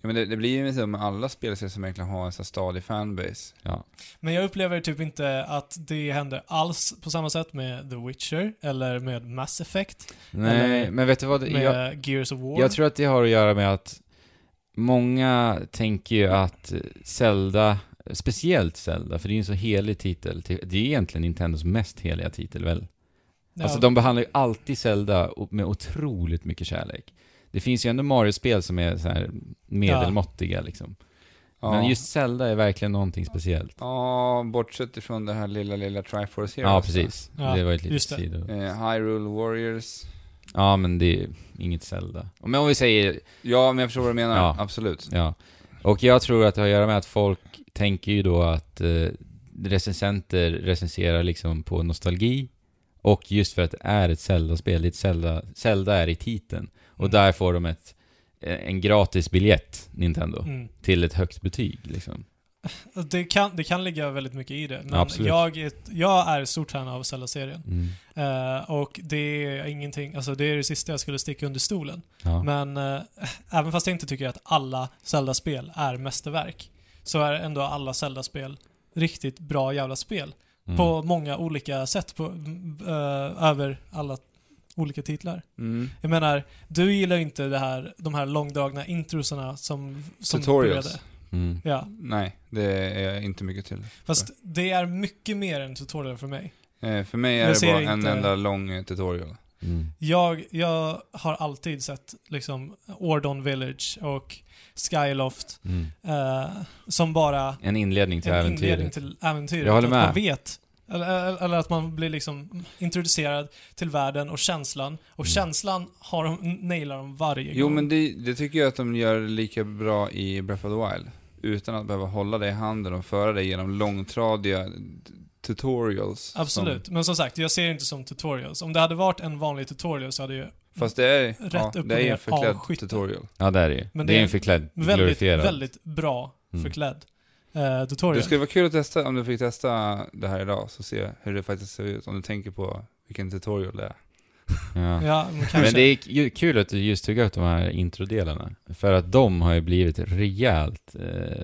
B: ja, men det, det blir ju så med alla spelserier som egentligen har en så här stadig fanbase.
C: Ja.
A: Men jag upplever typ inte att det händer alls på samma sätt med The Witcher eller med Mass Effect.
C: Nej, men vet du vad?
A: Med
C: Jag,
A: Gears of War.
C: Jag tror att det har att göra med att många tänker ju att Zelda, speciellt Zelda, för det är ju en så helig titel. Det är egentligen Nintendos mest heliga titel väl?
A: Ja.
C: Alltså de behandlar ju alltid Zelda o- med otroligt mycket kärlek. Det finns ju ändå Mario-spel som är så här medelmåttiga liksom.
B: Ja.
C: Men just Zelda är verkligen någonting speciellt.
B: Ja, bortsett ifrån det här lilla, lilla Triforce Heroes.
C: Ja, precis.
A: Ja,
C: det var ju ett litet
A: just det.
C: sido.
B: Eh, Hyrule Warriors.
C: Ja, men det är ju inget Zelda. Men om vi säger
B: Ja, men jag förstår vad du menar.
C: Ja.
B: Absolut.
C: Ja. Och jag tror att det har att göra med att folk tänker ju då att eh, recensenter recenserar liksom på nostalgi och just för att det är ett Zelda-spel, det är ett Zelda, Zelda är i titeln. Och
A: Mm.
C: där får de ett, eh, en gratis biljett, Nintendo,
A: Mm.
C: till ett högt betyg liksom.
A: Det, kan, det kan ligga väldigt mycket i det. Men
C: Absolut.
A: jag är, jag är stort fan av Zelda-serien.
C: Mm.
A: Eh, och det är ingenting, alltså det är det sista jag skulle sticka under stolen.
C: Ja.
A: Men eh, även fast jag inte tycker att alla Zelda-spel är mästerverk, så är ändå alla Zelda-spel riktigt bra jävla spel.
C: Mm.
A: På många olika sätt, på, mm, eh, över alla olika titlar.
B: Mm.
A: Jag menar, du gillar ju inte det här, de här långdragna introsarna som... som
B: Tutorials.
A: började.
C: Mm.
A: Ja,
B: Nej, det är jag inte mycket till.
A: fast det är mycket mer än tutorial för mig.
B: Eh, för mig är
A: Jag
B: det
A: ser
B: bara
A: inte-
B: en enda lång eh, tutorial.
C: Mm.
A: Jag, jag har alltid sett liksom Ordon Village och Skyloft
C: Mm.
A: eh, som bara
C: En inledning till
A: en inledning
C: äventyret.
A: till äventyret.
C: Jag håller
A: att
C: med.
A: man vet, eller, eller- eller att man blir liksom introducerad till världen och känslan. Och
C: Mm.
A: känslan har de, nailar de varje
B: Jo,
A: gång.
B: men det, det tycker jag att de gör lika bra i Breath of the Wild. Utan att behöva hålla dig i handen och föra dig genom långtradiga t- tutorials.
A: Absolut, men som sagt, jag ser det inte som tutorials. Om det hade varit en vanlig tutorial så hade ju
B: Som, fast det är,
A: Rätt
B: ja,
A: upp och
B: det är ju
A: ner,
B: en förklädd
A: avskytte.
B: tutorial.
C: Ja, där är det ju.
A: Men
C: Det
A: det
C: är
A: är
C: en förklädd,
A: väldigt,
C: glorifierad.
A: väldigt bra
C: Mm.
A: förklädd eh, tutorial.
B: Det skulle vara kul att testa, om du fick testa det här idag, så se hur det faktiskt ser ut. Om du tänker på vilken tutorial det är.
C: Ja.
A: Ja, men kanske.
C: Men det är ju kul att du just tog upp de här introdelarna. För att de har ju blivit rejält eh,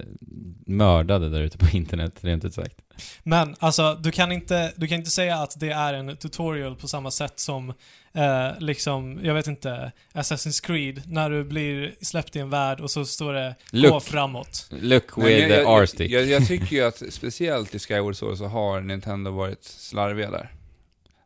C: mördade där ute på internet, rent ut sagt.
A: Men alltså, du kan, inte, du kan inte säga att det är en tutorial på samma sätt som, eh, liksom, jag vet inte, Assassin's Creed, när du blir släppt i en värld och så står det gå
C: Look,
A: framåt.
C: look
B: Nej, men
C: with
B: jag-
C: the
B: jag-
C: R-stick.
B: Jag, jag tycker ju att speciellt i Skyward Sword så har Nintendo varit slarviga där.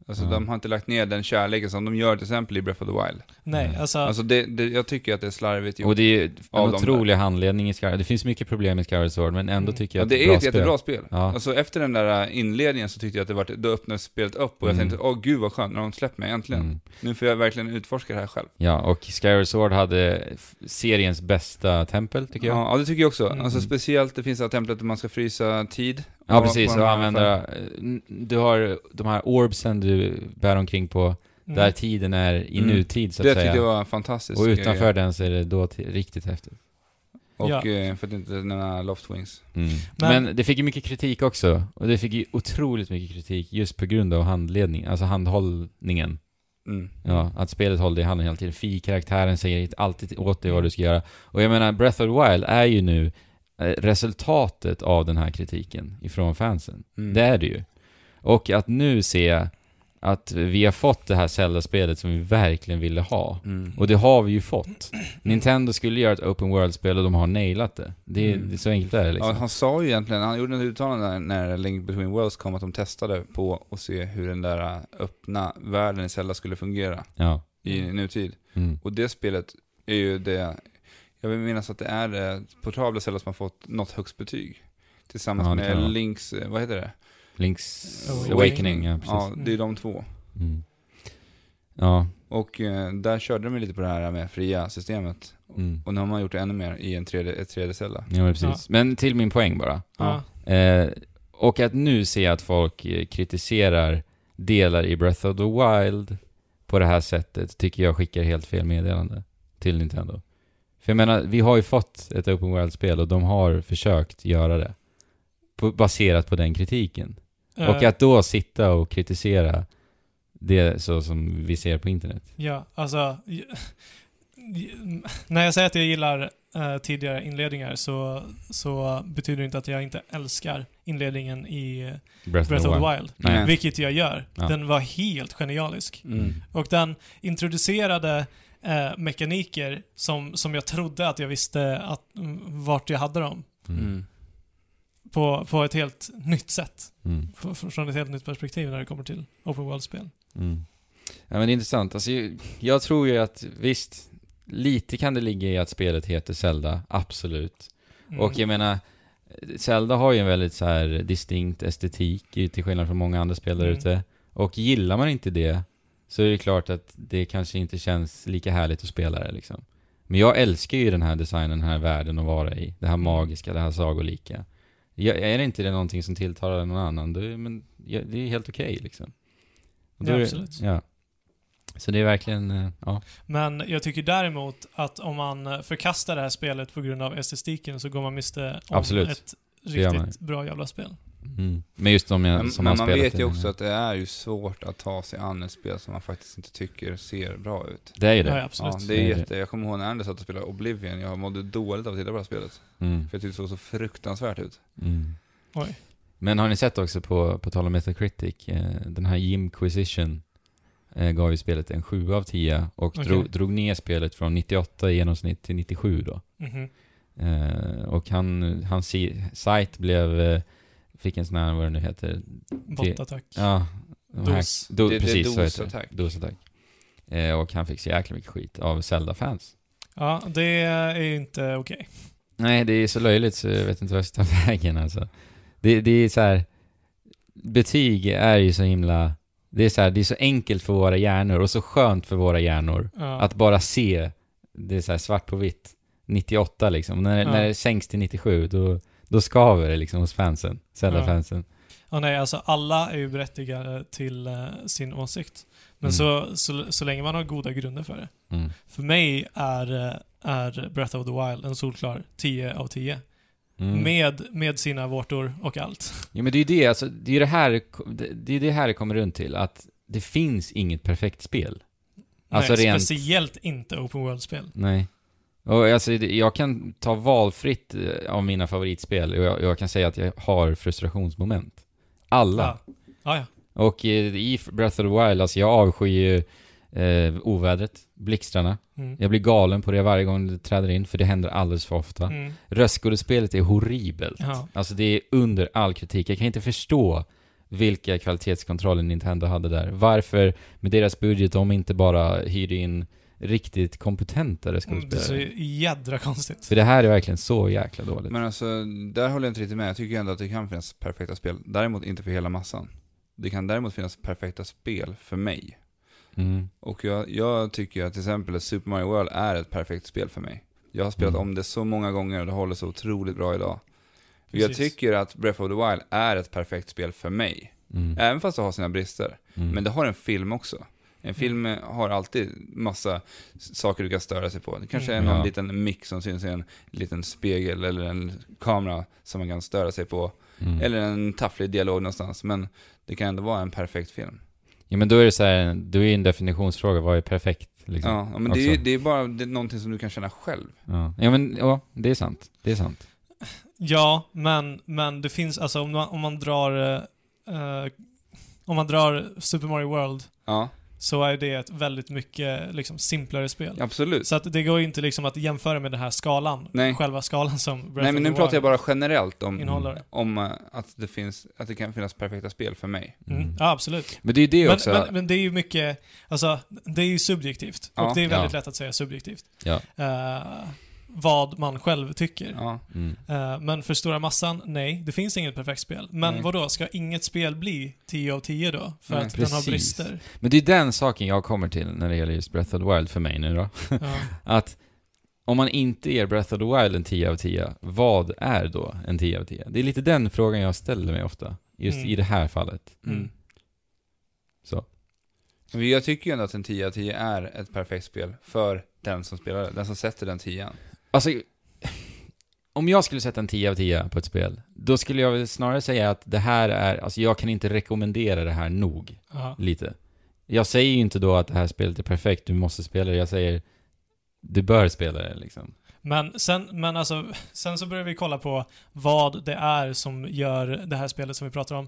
B: Alltså
C: Ja.
B: de har inte lagt ner den kärleken som de gör till exempel i Breath of the Wild.
A: Nej,
C: Mm.
A: alltså,
B: Alltså det, det, jag tycker att det är slarvigt
C: Och
B: gjort.
C: det är ju en
B: Av dem
C: otrolig handledning i Skyward. Det finns mycket problem i Skyward Sword, men ändå
A: Mm.
C: tycker
B: Ja,
C: jag att
B: det
C: bra
B: är ett
C: spel.
B: jättebra spel.
C: Ja.
B: Alltså efter den där inledningen så tyckte jag att det var, då öppnades spelet upp och jag
C: Mm.
B: tänkte, åh gud vad skönt, när de släppt mig äntligen.
C: Mm.
B: Nu får jag verkligen utforska det här själv.
C: Ja, och Skyward Sword hade f- seriens bästa tempel, tycker jag.
B: Ja, ja, det tycker jag också.
A: Mm.
B: Alltså speciellt, det finns det här templet där man ska frysa tid
C: Ja,
B: På-
C: precis.
B: på de
C: Och
B: här
C: använda... n- Du har de här orbsen du bär omkring på,
A: Mm.
C: där tiden är i
B: Mm.
C: nutid så att
B: Det tyckte
C: säga.
B: jag var en fantastisk
C: och
B: grej.
C: utanför den så är det då till, riktigt häftigt.
B: Och
A: Ja.
B: eh, för att inte nämna Loftwings.
A: Men-
C: Men, det fick ju mycket kritik också. Och det fick ju otroligt mycket kritik just på grund av handledning, alltså handhållningen.
B: Mm.
C: Ja, att spelet håller dig i handen hela tiden. Fi-karaktären säger alltid åt dig vad du ska göra. Och jag menar, Breath of the Wild är ju nu eh, resultatet av den här kritiken ifrån fansen.
B: Mm.
C: Det är det ju. Och att nu se att vi har fått det här Zelda-spelet som vi verkligen ville ha.
B: Mm.
C: Och det har vi ju fått. Nintendo skulle göra ett Open World-spel och de har nailat det. Det är,
B: Mm.
C: det är så enkelt är det
B: Ja,
C: liksom.
B: han sa ju egentligen, han gjorde ett uttalande när, när Link Between Worlds kom att de testade på att se hur den där äh, öppna världen i Zelda skulle fungera
C: Ja.
B: i nutid.
C: Mm.
B: Och det spelet är ju det, jag vill minnas att det är det portabla Zelda som har fått något högst betyg. Tillsammans
C: Ja, det kan det
B: med
C: vara.
B: Links, eh, vad heter det?
C: Link's
A: Awakening.
C: Awakening, ja precis.
B: Ja, det är de två.
C: Mm. Ja.
B: Och eh, där körde de ju lite på det här med fria systemet.
C: Mm.
B: Och nu har man gjort det ännu mer i en 3D, ett 3D-Zelda.
C: Ja, men precis. Men till min poäng bara.
A: Ja.
C: Eh, och att nu se att folk eh, kritiserar delar i Breath of the Wild på det här sättet tycker jag skickar helt fel meddelande till Nintendo. För jag menar, vi har ju fått ett Open World-spel och de har försökt göra det. På, baserat på den kritiken.
A: Eh,
C: Och att då sitta och kritisera det så som vi ser på internet.
A: Ja, alltså... j- j- När jag säger att jag gillar eh, tidigare inledningar så, så betyder det inte att jag inte älskar inledningen i
C: Breath,
A: Breath of the Wild.
C: Nej.
B: Nej.
A: Vilket jag gör.
C: Ja.
A: Den var helt genialisk.
B: Mm.
A: Och den introducerade eh, mekaniker som, som jag trodde att jag visste att, mm, vart jag hade dem.
C: Mm.
B: Mm.
A: På, på ett helt nytt sätt.
C: Mm.
A: F- f- Från ett helt nytt perspektiv när det kommer till open world-spel.
C: Mm. Ja men det är intressant. Alltså, ju- jag tror ju att visst, lite kan det ligga i att spelet heter Zelda, absolut.
A: Mm.
C: Och jag menar, Zelda har ju en väldigt så här distinkt estetik i- till skillnad från många andra spel där
A: Mm.
C: ute. Och gillar man inte det så är det klart att det kanske inte känns lika härligt att spela det liksom. Men jag älskar ju den här designen, den här världen att vara i. Det
B: Mm.
C: här magiska, det här sagolika. Jag, är det inte det någonting som tilltalar någon annan, då, är- men, ja, det är helt okej liksom. Och då
A: Ja,
C: är det-
A: absolut.
C: Ja. Så det är verkligen, eh, ja.
A: Men jag tycker däremot att om man eh, förkastar det här spelet på grund av estetiken så går man miste om
C: Absolut.
A: ett
C: gör man
A: riktigt bra jävla spel.
C: Mm. Men just de jag,
B: Men,
C: som
B: men
C: har
B: man
C: spelat
B: vet
C: i
B: ju
C: den här-
B: också att det är ju svårt att ta sig an ett spel som man faktiskt inte tycker ser bra ut.
C: Det är ju det.
A: Ja, ja,
B: Ja,
A: absolut.
B: det är
C: Det är
B: jätte, jag kommer ihåg när Anders satt och spelade Oblivion, jag mådde dåligt av att titta på det här spelet.
C: Mm.
B: För jag tyckte det såg så fruktansvärt ut.
C: Mm.
A: Oj.
C: Men har ni sett också på, på tal om Metacritic, eh, den här Jimquisition eh, gav ju spelet en 7 av 10 och
A: Okej.
C: drog, drog ner spelet från 98 i genomsnitt till 97 då.
A: Mhm.
C: Eh, och han, hans si- sajt blev, eh, fick en sån här, vad det nu heter,
A: Bottattack.
C: ja, de här-
A: Dos.
C: Do,
B: Det- det är
C: precis, så heter
B: dosattack.
C: det. Dosattack. Eh, och han fick så jäkla mycket skit av Zelda-fans.
A: Ja, det är inte okej.
C: Nej, det är så löjligt så jag vet inte vad jag ska ta vägen alltså. Det, det är så här, betyg är ju så himla, det är så här, det är så enkelt för våra hjärnor och så skönt för våra hjärnor
A: Ja.
C: att bara se, det är så här svart på vitt, 98 liksom. När,
A: Ja.
C: när det sänks till 97 då, då skaver det liksom hos fansen, Zelda-fansen.
A: Ja, nej, alltså alla är ju berättigade till eh, sin åsikt. Men
C: Mm.
A: så, så, så länge man har goda grunder för det.
C: Mm.
A: För mig är, eh, är Breath of the Wild en solklar 10 av 10.
C: Mm.
A: Med, med sina vårtor och allt.
C: Ja men det är ju det, alltså, det är ju det här det, det, är det här det kommer runt till, att det finns inget perfekt spel. Alltså
A: nej,
C: rent-
A: Speciellt inte open world-spel.
C: Nej. Och alltså, det- jag kan ta valfritt eh, av mina favoritspel och jag, jag kan säga att jag har frustrationsmoment. Alla.
A: Ja. Ja, ja.
C: Och eh, i Breath of the Wild, alltså jag avskyr ju eh, ovädret, blixtarna.
A: Mm.
C: Jag blir galen på det varje gång det träder in, för det händer alldeles för ofta.
A: Mm.
C: Röstskådespelet är horribelt.
A: Ja.
C: Alltså det är under all kritik. Jag kan inte förstå vilka kvalitetskontroller Nintendo hade där. Varför, med deras budget, de inte bara hyrde in riktigt kompetenta
A: Mm, Det är så
C: röstskådespelare.
A: jädra konstigt.
C: För det här är verkligen så jäkla dåligt.
B: Men alltså, där håller jag inte riktigt med. Jag tycker ändå att det kan finnas perfekta spel. Däremot inte för hela massan. Det kan däremot finnas perfekta spel för mig.
C: Mm.
B: Och jag, jag tycker att till exempel Super Mario World är ett perfekt spel för mig. Jag har spelat
C: Mm.
B: om det så många gånger och det håller så otroligt bra idag. Jag
A: Precis.
B: tycker att Breath of the Wild är ett perfekt spel för mig.
C: Mm.
B: Även fast det har sina brister.
C: Mm.
B: Men det har en film också. En film eh, har alltid massa s- saker du kan störa sig på. Det kanske är
C: Mm.
B: någon
C: Ja.
B: liten mick som syns i en liten spegel eller en kamera som man kan störa sig på.
C: Mm.
B: Eller en tafflig dialog någonstans. Men det kan ändå vara en perfekt film.
C: Ja men då är det så här, då är det en definitionsfråga, vad är perfekt? Liksom. Ja.
B: Ja, men det är, ju-
C: Också.
B: det är bara det är någonting som du kan känna själv.
C: Ja. men ja, det är sant. Det är sant.
A: Ja, men, men det finns, alltså om man, om man drar eh, eh, om man drar Super Mario World
B: Ja,
A: så är det ett väldigt mycket liksom, simplare spel.
B: absolut.
A: Så att det går ju inte liksom att jämföra med den här skalan,
B: Nej.
A: själva skalan som Breath
B: Nej,
A: of
B: men
A: the
B: nu pratar jag
A: Wild
B: bara generellt om,
A: innehåller.
B: om eh, att, det finns, att det kan finnas perfekta spel för mig.
A: Mm.
C: Mm.
A: Ja, absolut.
B: Men det är ju det
A: Men,
B: också.
A: men, men det är ju mycket, alltså det är ju subjektivt.
B: Ja.
A: och det är väldigt
C: Ja.
A: lätt att säga subjektivt.
C: Ja.
A: Eh, vad man själv tycker.
B: ja.
C: Mm.
A: Eh, men för stora massan, nej, det finns inget perfekt spel. Men
B: Nej.
A: vadå, ska inget spel bli 10 av 10 då? För
B: Nej.
A: att den har
C: Precis.
A: brister?
C: Men det är den saken jag kommer till när det gäller just Breath of the Wild för mig nu då.
A: Ja. Mm.
C: Att om man inte ger Breath of the Wild en 10 av 10, vad är då en 10 av 10? Det är lite den frågan jag ställer mig ofta. Just
A: Mm.
C: i det här fallet.
A: Mm.
C: Så.
B: Men Jag tycker ju ändå att en 10 av 10 är ett perfekt spel för den som spelar det, den som sätter den 10
C: Alltså, om jag skulle sätta en 10 av 10 på ett spel, då skulle jag väl snarare säga att det här är, alltså jag kan inte rekommendera det här nog.
A: Ja.
C: lite. Jag säger ju inte då att det här spelet är perfekt, du måste spela det. Jag säger, du bör spela det liksom.
A: Men, sen, men alltså, sen så börjar vi kolla på vad det är som gör det här spelet som vi pratar om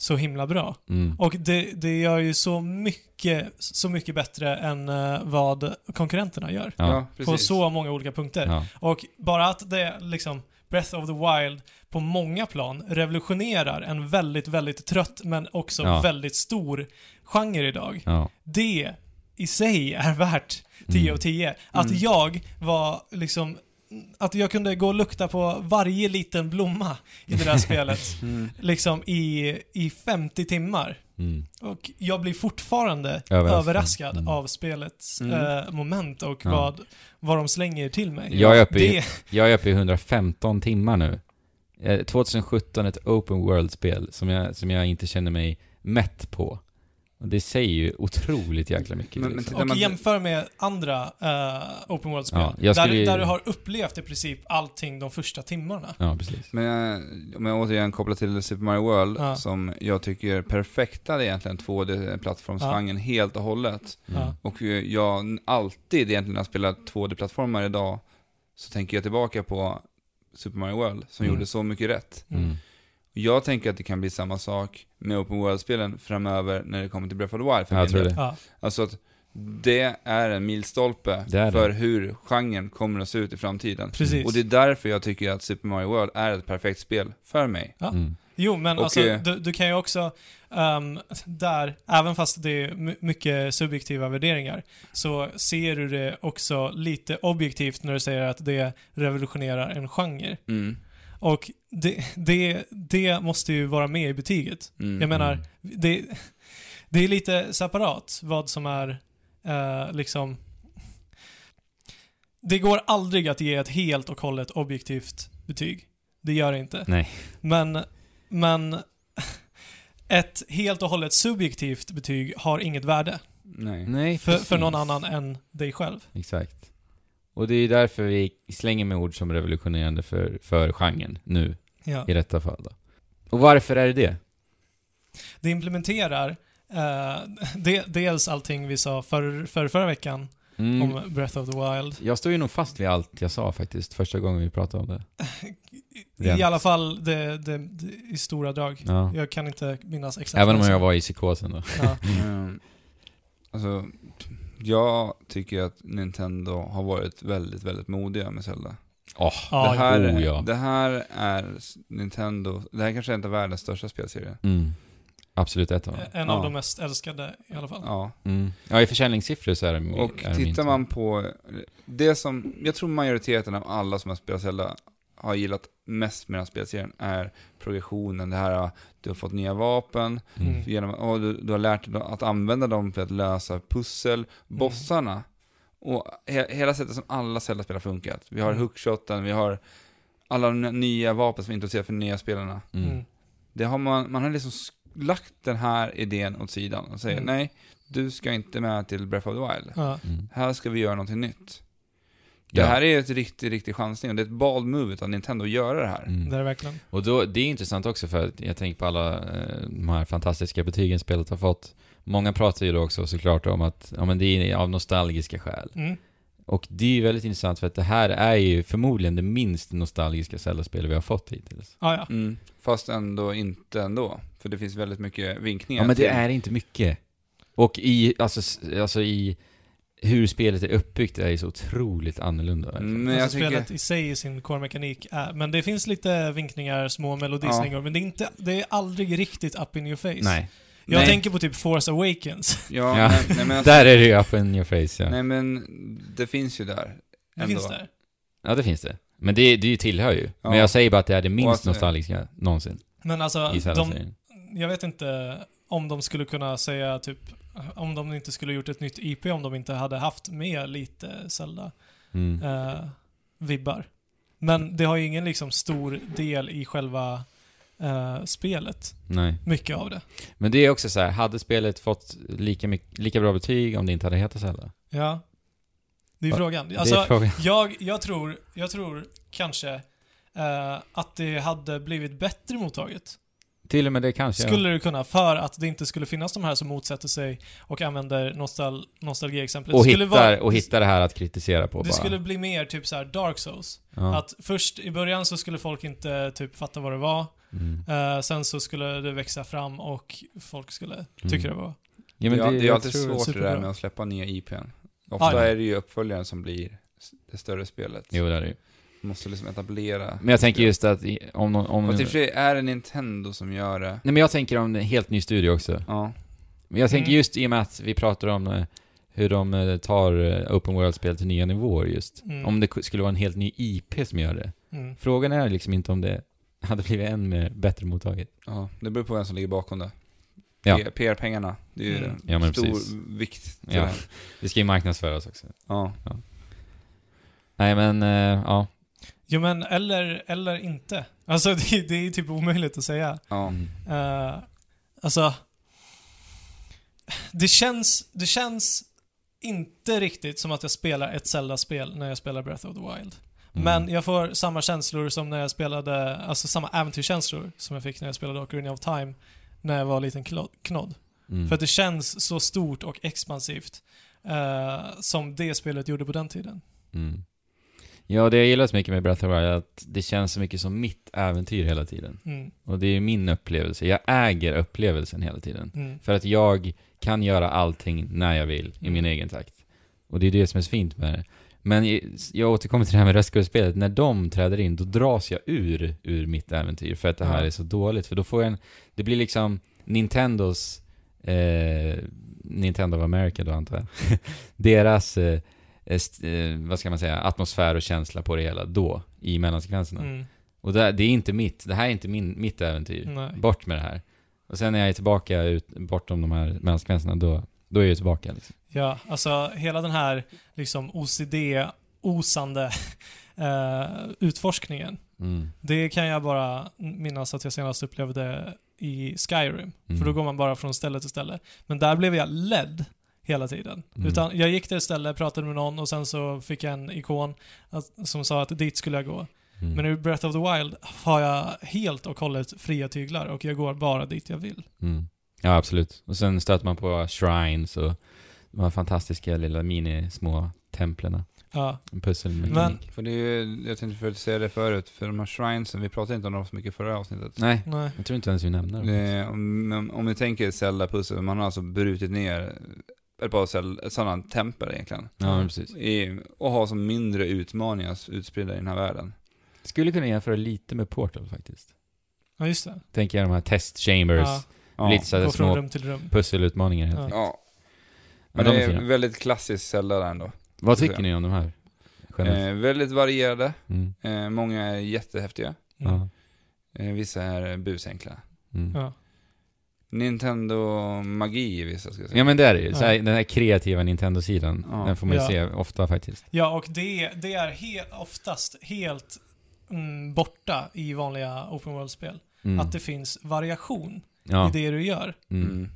A: så himla bra.
C: Mm.
A: Och det, det gör ju så mycket, så mycket bättre än eh, vad konkurrenterna gör.
C: Ja.
A: På så många olika punkter.
C: Ja.
A: Och bara att det liksom Breath of the Wild på många plan revolutionerar en väldigt, väldigt trött men också
C: Ja.
A: väldigt stor genre idag.
C: Ja. Mm.
A: Det i sig är värt 10 av 10. Att
B: Mm.
A: jag var liksom att jag kunde gå och lukta på varje liten blomma i det där spelet
B: Mm.
A: liksom i, i 50 timmar.
C: Mm.
A: Och jag blir fortfarande
C: Överraskad.
A: överraskad,
C: Mm.
A: av spelets
B: Mm.
A: eh, moment och
C: Ja.
A: vad, vad de slänger till mig.
C: Jag är uppe i-
A: det,
C: Jag är uppe i 115 timmar nu. Eh, 2017 ett open world-spel som jag, som jag inte känner mig mätt på. Och det säger ju otroligt jäkla mycket.
B: Men- men
C: liksom.
B: när
A: och
B: man-
A: jämför med andra eh, open
C: Ja,
A: world-spel.
C: jag
A: där,
C: skulle ju-
A: där du har upplevt i princip allting de första timmarna.
C: Ja, precis.
B: Men jag, om jag återigen kopplar till Super Mario World,
A: Ja.
B: som jag tycker perfektade egentligen 2D-plattformsgenren helt och hållet.
C: Mm.
A: Ja.
B: Och eh, jag alltid egentligen när jag spelar 2D-plattformar idag, så tänker jag tillbaka på Super Mario World, som
C: Mm.
B: gjorde så mycket rätt.
C: Mm.
B: Jag tänker att det kan bli samma sak med Open World-spelen framöver när det kommer till Breath of the Wild. för
C: Ja, jag
B: min
C: tror
B: del.
C: det.
A: Ja.
B: Alltså att det är en milstolpe
C: Det är det.
B: för hur genren kommer att se ut i framtiden.
A: Precis.
B: Och det är därför jag tycker att Super Mario World är ett perfekt spel för mig.
A: Ja.
C: Mm.
A: Jo, men
B: Och,
A: alltså,
B: eh,
A: du, du kan ju också ehm, där, även fast det är my- mycket subjektiva värderingar, så ser du det också lite objektivt när du säger att det revolutionerar en genre.
B: Mm.
A: Och det, det, det måste ju vara med i betyget.
B: Mm.
A: Jag menar,
C: Mm.
A: det, det är lite separat vad som är eh, liksom... Det går aldrig att ge ett helt och hållet objektivt betyg. Det gör det inte.
C: Nej.
A: Men, men ett helt och hållet subjektivt betyg har inget värde
B: Nej.
C: Nej,
A: för, för
C: precis.
A: någon annan än dig själv.
C: Exakt. Och det är därför vi slänger med ord som revolutionerande för, för genren nu,
A: Ja.
C: i detta fall då. Och varför är det det?
A: Det implementerar eh, de, dels allting vi sa för, för förra veckan
C: Mm.
A: om Breath of the Wild.
C: Jag står ju nog fast vid allt jag sa faktiskt, första gången vi pratade om det.
A: I-
C: Rent.
A: I alla fall det, det, det, i stora drag.
C: Ja.
A: Jag kan inte minnas exakt.
C: Även om
A: vad
C: jag
A: sa.
C: var i psykosen då.
A: Ja.
B: Mm. Alltså, jag tycker att Nintendo har varit väldigt, väldigt modiga med Zelda.
C: Åh,
A: Ja,
B: det, här,
C: oh, ja.
B: det här är Nintendo, det här kanske är en av världens största spelserie.
C: Mm. Absolut ett av dem.
A: En
B: Ja.
A: av de mest älskade i alla fall.
B: Ja.
C: Mm. Ja, i försäljningssiffror så är det min-
B: Och
C: är det min
B: tittar
C: tur.
B: man på det som, jag tror majoriteten av alla som har spelat Zelda har gillat mest med den här spelserien är progressionen. Det här, du har fått nya vapen,
C: Mm.
B: genom, och du, du har lärt dig att använda dem för att lösa pussel, bossarna. Och he, hela sättet som alla Zelda-spel har funkat. Vi har
A: Mm.
B: hookshoten, vi har alla n- nya vapen som introduceras för nya spelarna.
C: Mm.
A: Mm.
B: Det har man, man har liksom s- lagt den här idén åt sidan och säger
A: Mm.
B: nej, du ska inte med till Breath of the Wild.
A: Ja.
C: Mm.
B: Här ska vi göra någonting nytt.
C: Ja.
B: Det här är ett riktigt, riktigt chansning och det är ett bald move av Nintendo att göra det här.
C: Mm.
A: Det är det verkligen.
C: Och då, det är intressant också för att jag tänker på alla eh, de här fantastiska betygen spelet har fått. Många pratar ju då också såklart om att ja, men det är av nostalgiska skäl.
A: Mm.
C: Och det är ju väldigt intressant för att det här är ju förmodligen det minst nostalgiska Zelda-spel vi har fått hittills.
A: Ja, ja.
B: Mm. Fast ändå inte ändå. För det finns väldigt mycket vinkningar.
C: Ja men
B: till-
C: det är inte mycket. Och i, alltså, s- alltså i hur spelet är uppbyggt är ju så otroligt annorlunda. verkligen.
B: Men jag
A: alltså
B: tycker...
A: spelet i sig i sin core-mekanik är, men det finns lite vinkningar, små melodislingor, men det är, inte, det är aldrig riktigt up in your face.
C: Nej.
A: Jag
B: Nej.
A: tänker på typ Force Awakens.
B: Ja,
C: Ja.
B: Nej, nej, men alltså,
C: Där är det ju up in your face ja.
B: nej men det finns ju där.
A: Det
B: Ändå.
A: finns där.
C: Ja det finns det. Men det, det tillhör ju.
B: Ja.
C: Men jag säger bara att det är det
B: Och
C: minst
B: att-
C: nostalgiska någonsin
A: Men alltså,
C: i Zelda-serien.
A: de, jag vet inte om de skulle kunna säga typ, om de inte skulle gjort ett nytt IP om de inte hade haft med lite Zelda.
C: Mm.
A: eh, vibbar. Men det har ju ingen liksom stor del i själva eh, spelet.
C: Nej.
A: Mycket av det.
C: Men det är också så här, hade spelet fått lika, mycket, lika bra betyg om det inte hade hetat Zelda?
A: Ja. Det är
C: Va-
A: frågan.
C: det
A: Alltså,
C: är frågan.
A: jag, jag, tror, jag tror kanske eh, att det hade blivit bättre mottaget.
C: Till och med det kanske. ja.
A: Skulle det kunna, för att det inte skulle finnas de här som motsätter sig och använder nostal, nostalgiexemplet.
C: Och
A: Det skulle
C: hittar,
A: vara-
C: och hittar det här att kritisera på
A: Det
C: bara.
A: skulle bli mer typ så här Dark Souls.
C: ja.
A: Att först i början så skulle folk inte typ fatta vad det var.
C: Mm.
A: Eh, sen så skulle det växa fram och folk skulle tycka det var...
C: Ja, men
B: ja, det är
C: jag
B: alltid
C: tror-
B: svårt det där
A: superbra.
B: med att släppa nya IPn. Ofta
A: Ah, ja.
B: är det ju uppföljaren som blir s- det större spelet.
C: Jo, det är det ju.
B: Man måste liksom etablera.
C: Men jag tänker just att i- om någon... Om,
B: Fast i och typ- för
C: nej,
B: sig är det Nintendo som gör det.
C: men jag tänker om en helt ny studio också.
B: Ja.
C: Men jag tänker
A: Mm.
C: just i och med att vi pratar om eh, hur de eh, tar eh, open world-spel till nya nivåer just.
A: Mm.
C: Om det ku- skulle vara en helt ny IP som gör det.
A: Mm.
C: Frågan är liksom inte om det hade blivit än mer, bättre mottaget.
B: ja, det beror på vem som ligger bakom det.
C: Ja.
B: P- PR-pengarna, det är ju
A: Mm.
C: Ja, men
B: stor
C: precis.
B: vikt till
C: Ja.
B: det här.
C: Det ska ju marknadsföras också.
B: Ja.
C: Nej men, eh, ja.
A: Jo men, eller, eller inte. Alltså det, det är typ omöjligt att säga.
B: ja.
C: Mm.
A: Eh, alltså... Det känns, det känns inte riktigt som att jag spelar ett Zelda-spel när jag spelar Breath of the Wild.
C: Mm.
A: Men jag får samma känslor som när jag spelade, alltså samma äventyrskänslor som jag fick när jag spelade Ocarina of Time när jag var liten klo- knodd.
C: Mm.
A: För att det känns så stort och expansivt eh, som det spelet gjorde på den tiden.
C: Mm. Ja, det jag gillar så mycket med Breath of the Wild är att det känns så mycket som mitt äventyr hela tiden.
A: Mm,
C: Och det är min upplevelse. Jag äger upplevelsen hela tiden.
A: mm,
C: För att jag kan göra allting när jag vill, i min
A: Mm.
C: egen takt. Och det är det som är så fint med det. Men i- jag återkommer till det här med röstskådespelet. När de träder in, då dras jag ur, ur mitt äventyr. För att det här
A: Ja.
C: är så dåligt. För då får jag en... Det blir liksom Nintendos... Eh, Nintendo of America då, antar jag. Deras... Eh, est, eh, vad ska man säga? Atmosfär och känsla på det hela då, i mellansekvenserna.
A: mm,
C: Och det, det är inte mitt. Det här är inte min, mitt äventyr.
A: nej.
C: Bort med det här. Och sen när jag är tillbaka ut, bortom de här mellansekvenserna, då, då är jag tillbaka. Liksom.
A: Ja, alltså hela den här liksom OCD-osande eh, utforskningen.
C: Mm,
A: Det kan jag bara minnas att jag senast upplevde i Skyrim.
C: Mm.
A: För då går man bara från ställe till ställe. Men där blev jag ledd hela tiden.
C: Mm.
A: Utan jag gick till ett ställe, pratade med någon och sen så fick jag en ikon att, som sa att dit skulle jag gå.
C: Mm.
A: Men i Breath of the Wild har jag helt och hållet fria tyglar och jag går bara dit jag vill.
C: Mm. Ja, absolut. Och sen stöter man på shrines och de här fantastiska lilla mini-små templerna.
A: Ja,
C: Pusselmekanik.
A: Men-
B: För det är ju, jag tänkte för att säga det förut, för de här shrinesen, vi pratade inte om dem så mycket förra avsnittet.
C: Nej,
A: nej.
C: jag tror inte ens vi nämner dem.
B: Det, om, om- om ni tänker Zelda-pussel, man har alltså brutit ner ett par Zelda- sådana tempel egentligen.
C: Ja, men precis.
B: I, och har som mindre utmaningar utspridda i den här världen.
C: Skulle kunna jämföra lite med Portal faktiskt.
A: Ja, just det.
C: Tänker jag de här test chambers,
A: Ja,
B: Ja,
C: lite sådär
A: gå från
C: små
A: rum till rum.
C: pusselutmaningar helt
A: Ja.
C: enkelt.
B: ja.
C: Men
B: men
C: de
B: det
C: är
B: är
C: fina.
B: väldigt klassiskt Zelda där ändå.
C: Vad
B: Så
C: tycker
B: säga.
C: ni om de här? Generellt.
B: Eh, väldigt varierade,
C: Mm.
B: eh, många är jättehäftiga,
A: Mm.
C: Ja.
B: eh, vissa är busenkla.
C: Mm.
A: Ja.
B: Nintendo-magi i vissa ska jag säga.
C: Liksom. Ja men det är det ju. Så här,
A: Ja.
C: Den här kreativa Nintendo-sidan,
B: Ja.
C: den får man ju
A: Ja.
C: se ofta faktiskt.
A: Ja, och det, det är he, oftast helt mm, borta i vanliga open world-spel.
C: Mm.
A: Att det finns variation
C: ja.
A: i det du gör.
C: Mm.
B: Mm.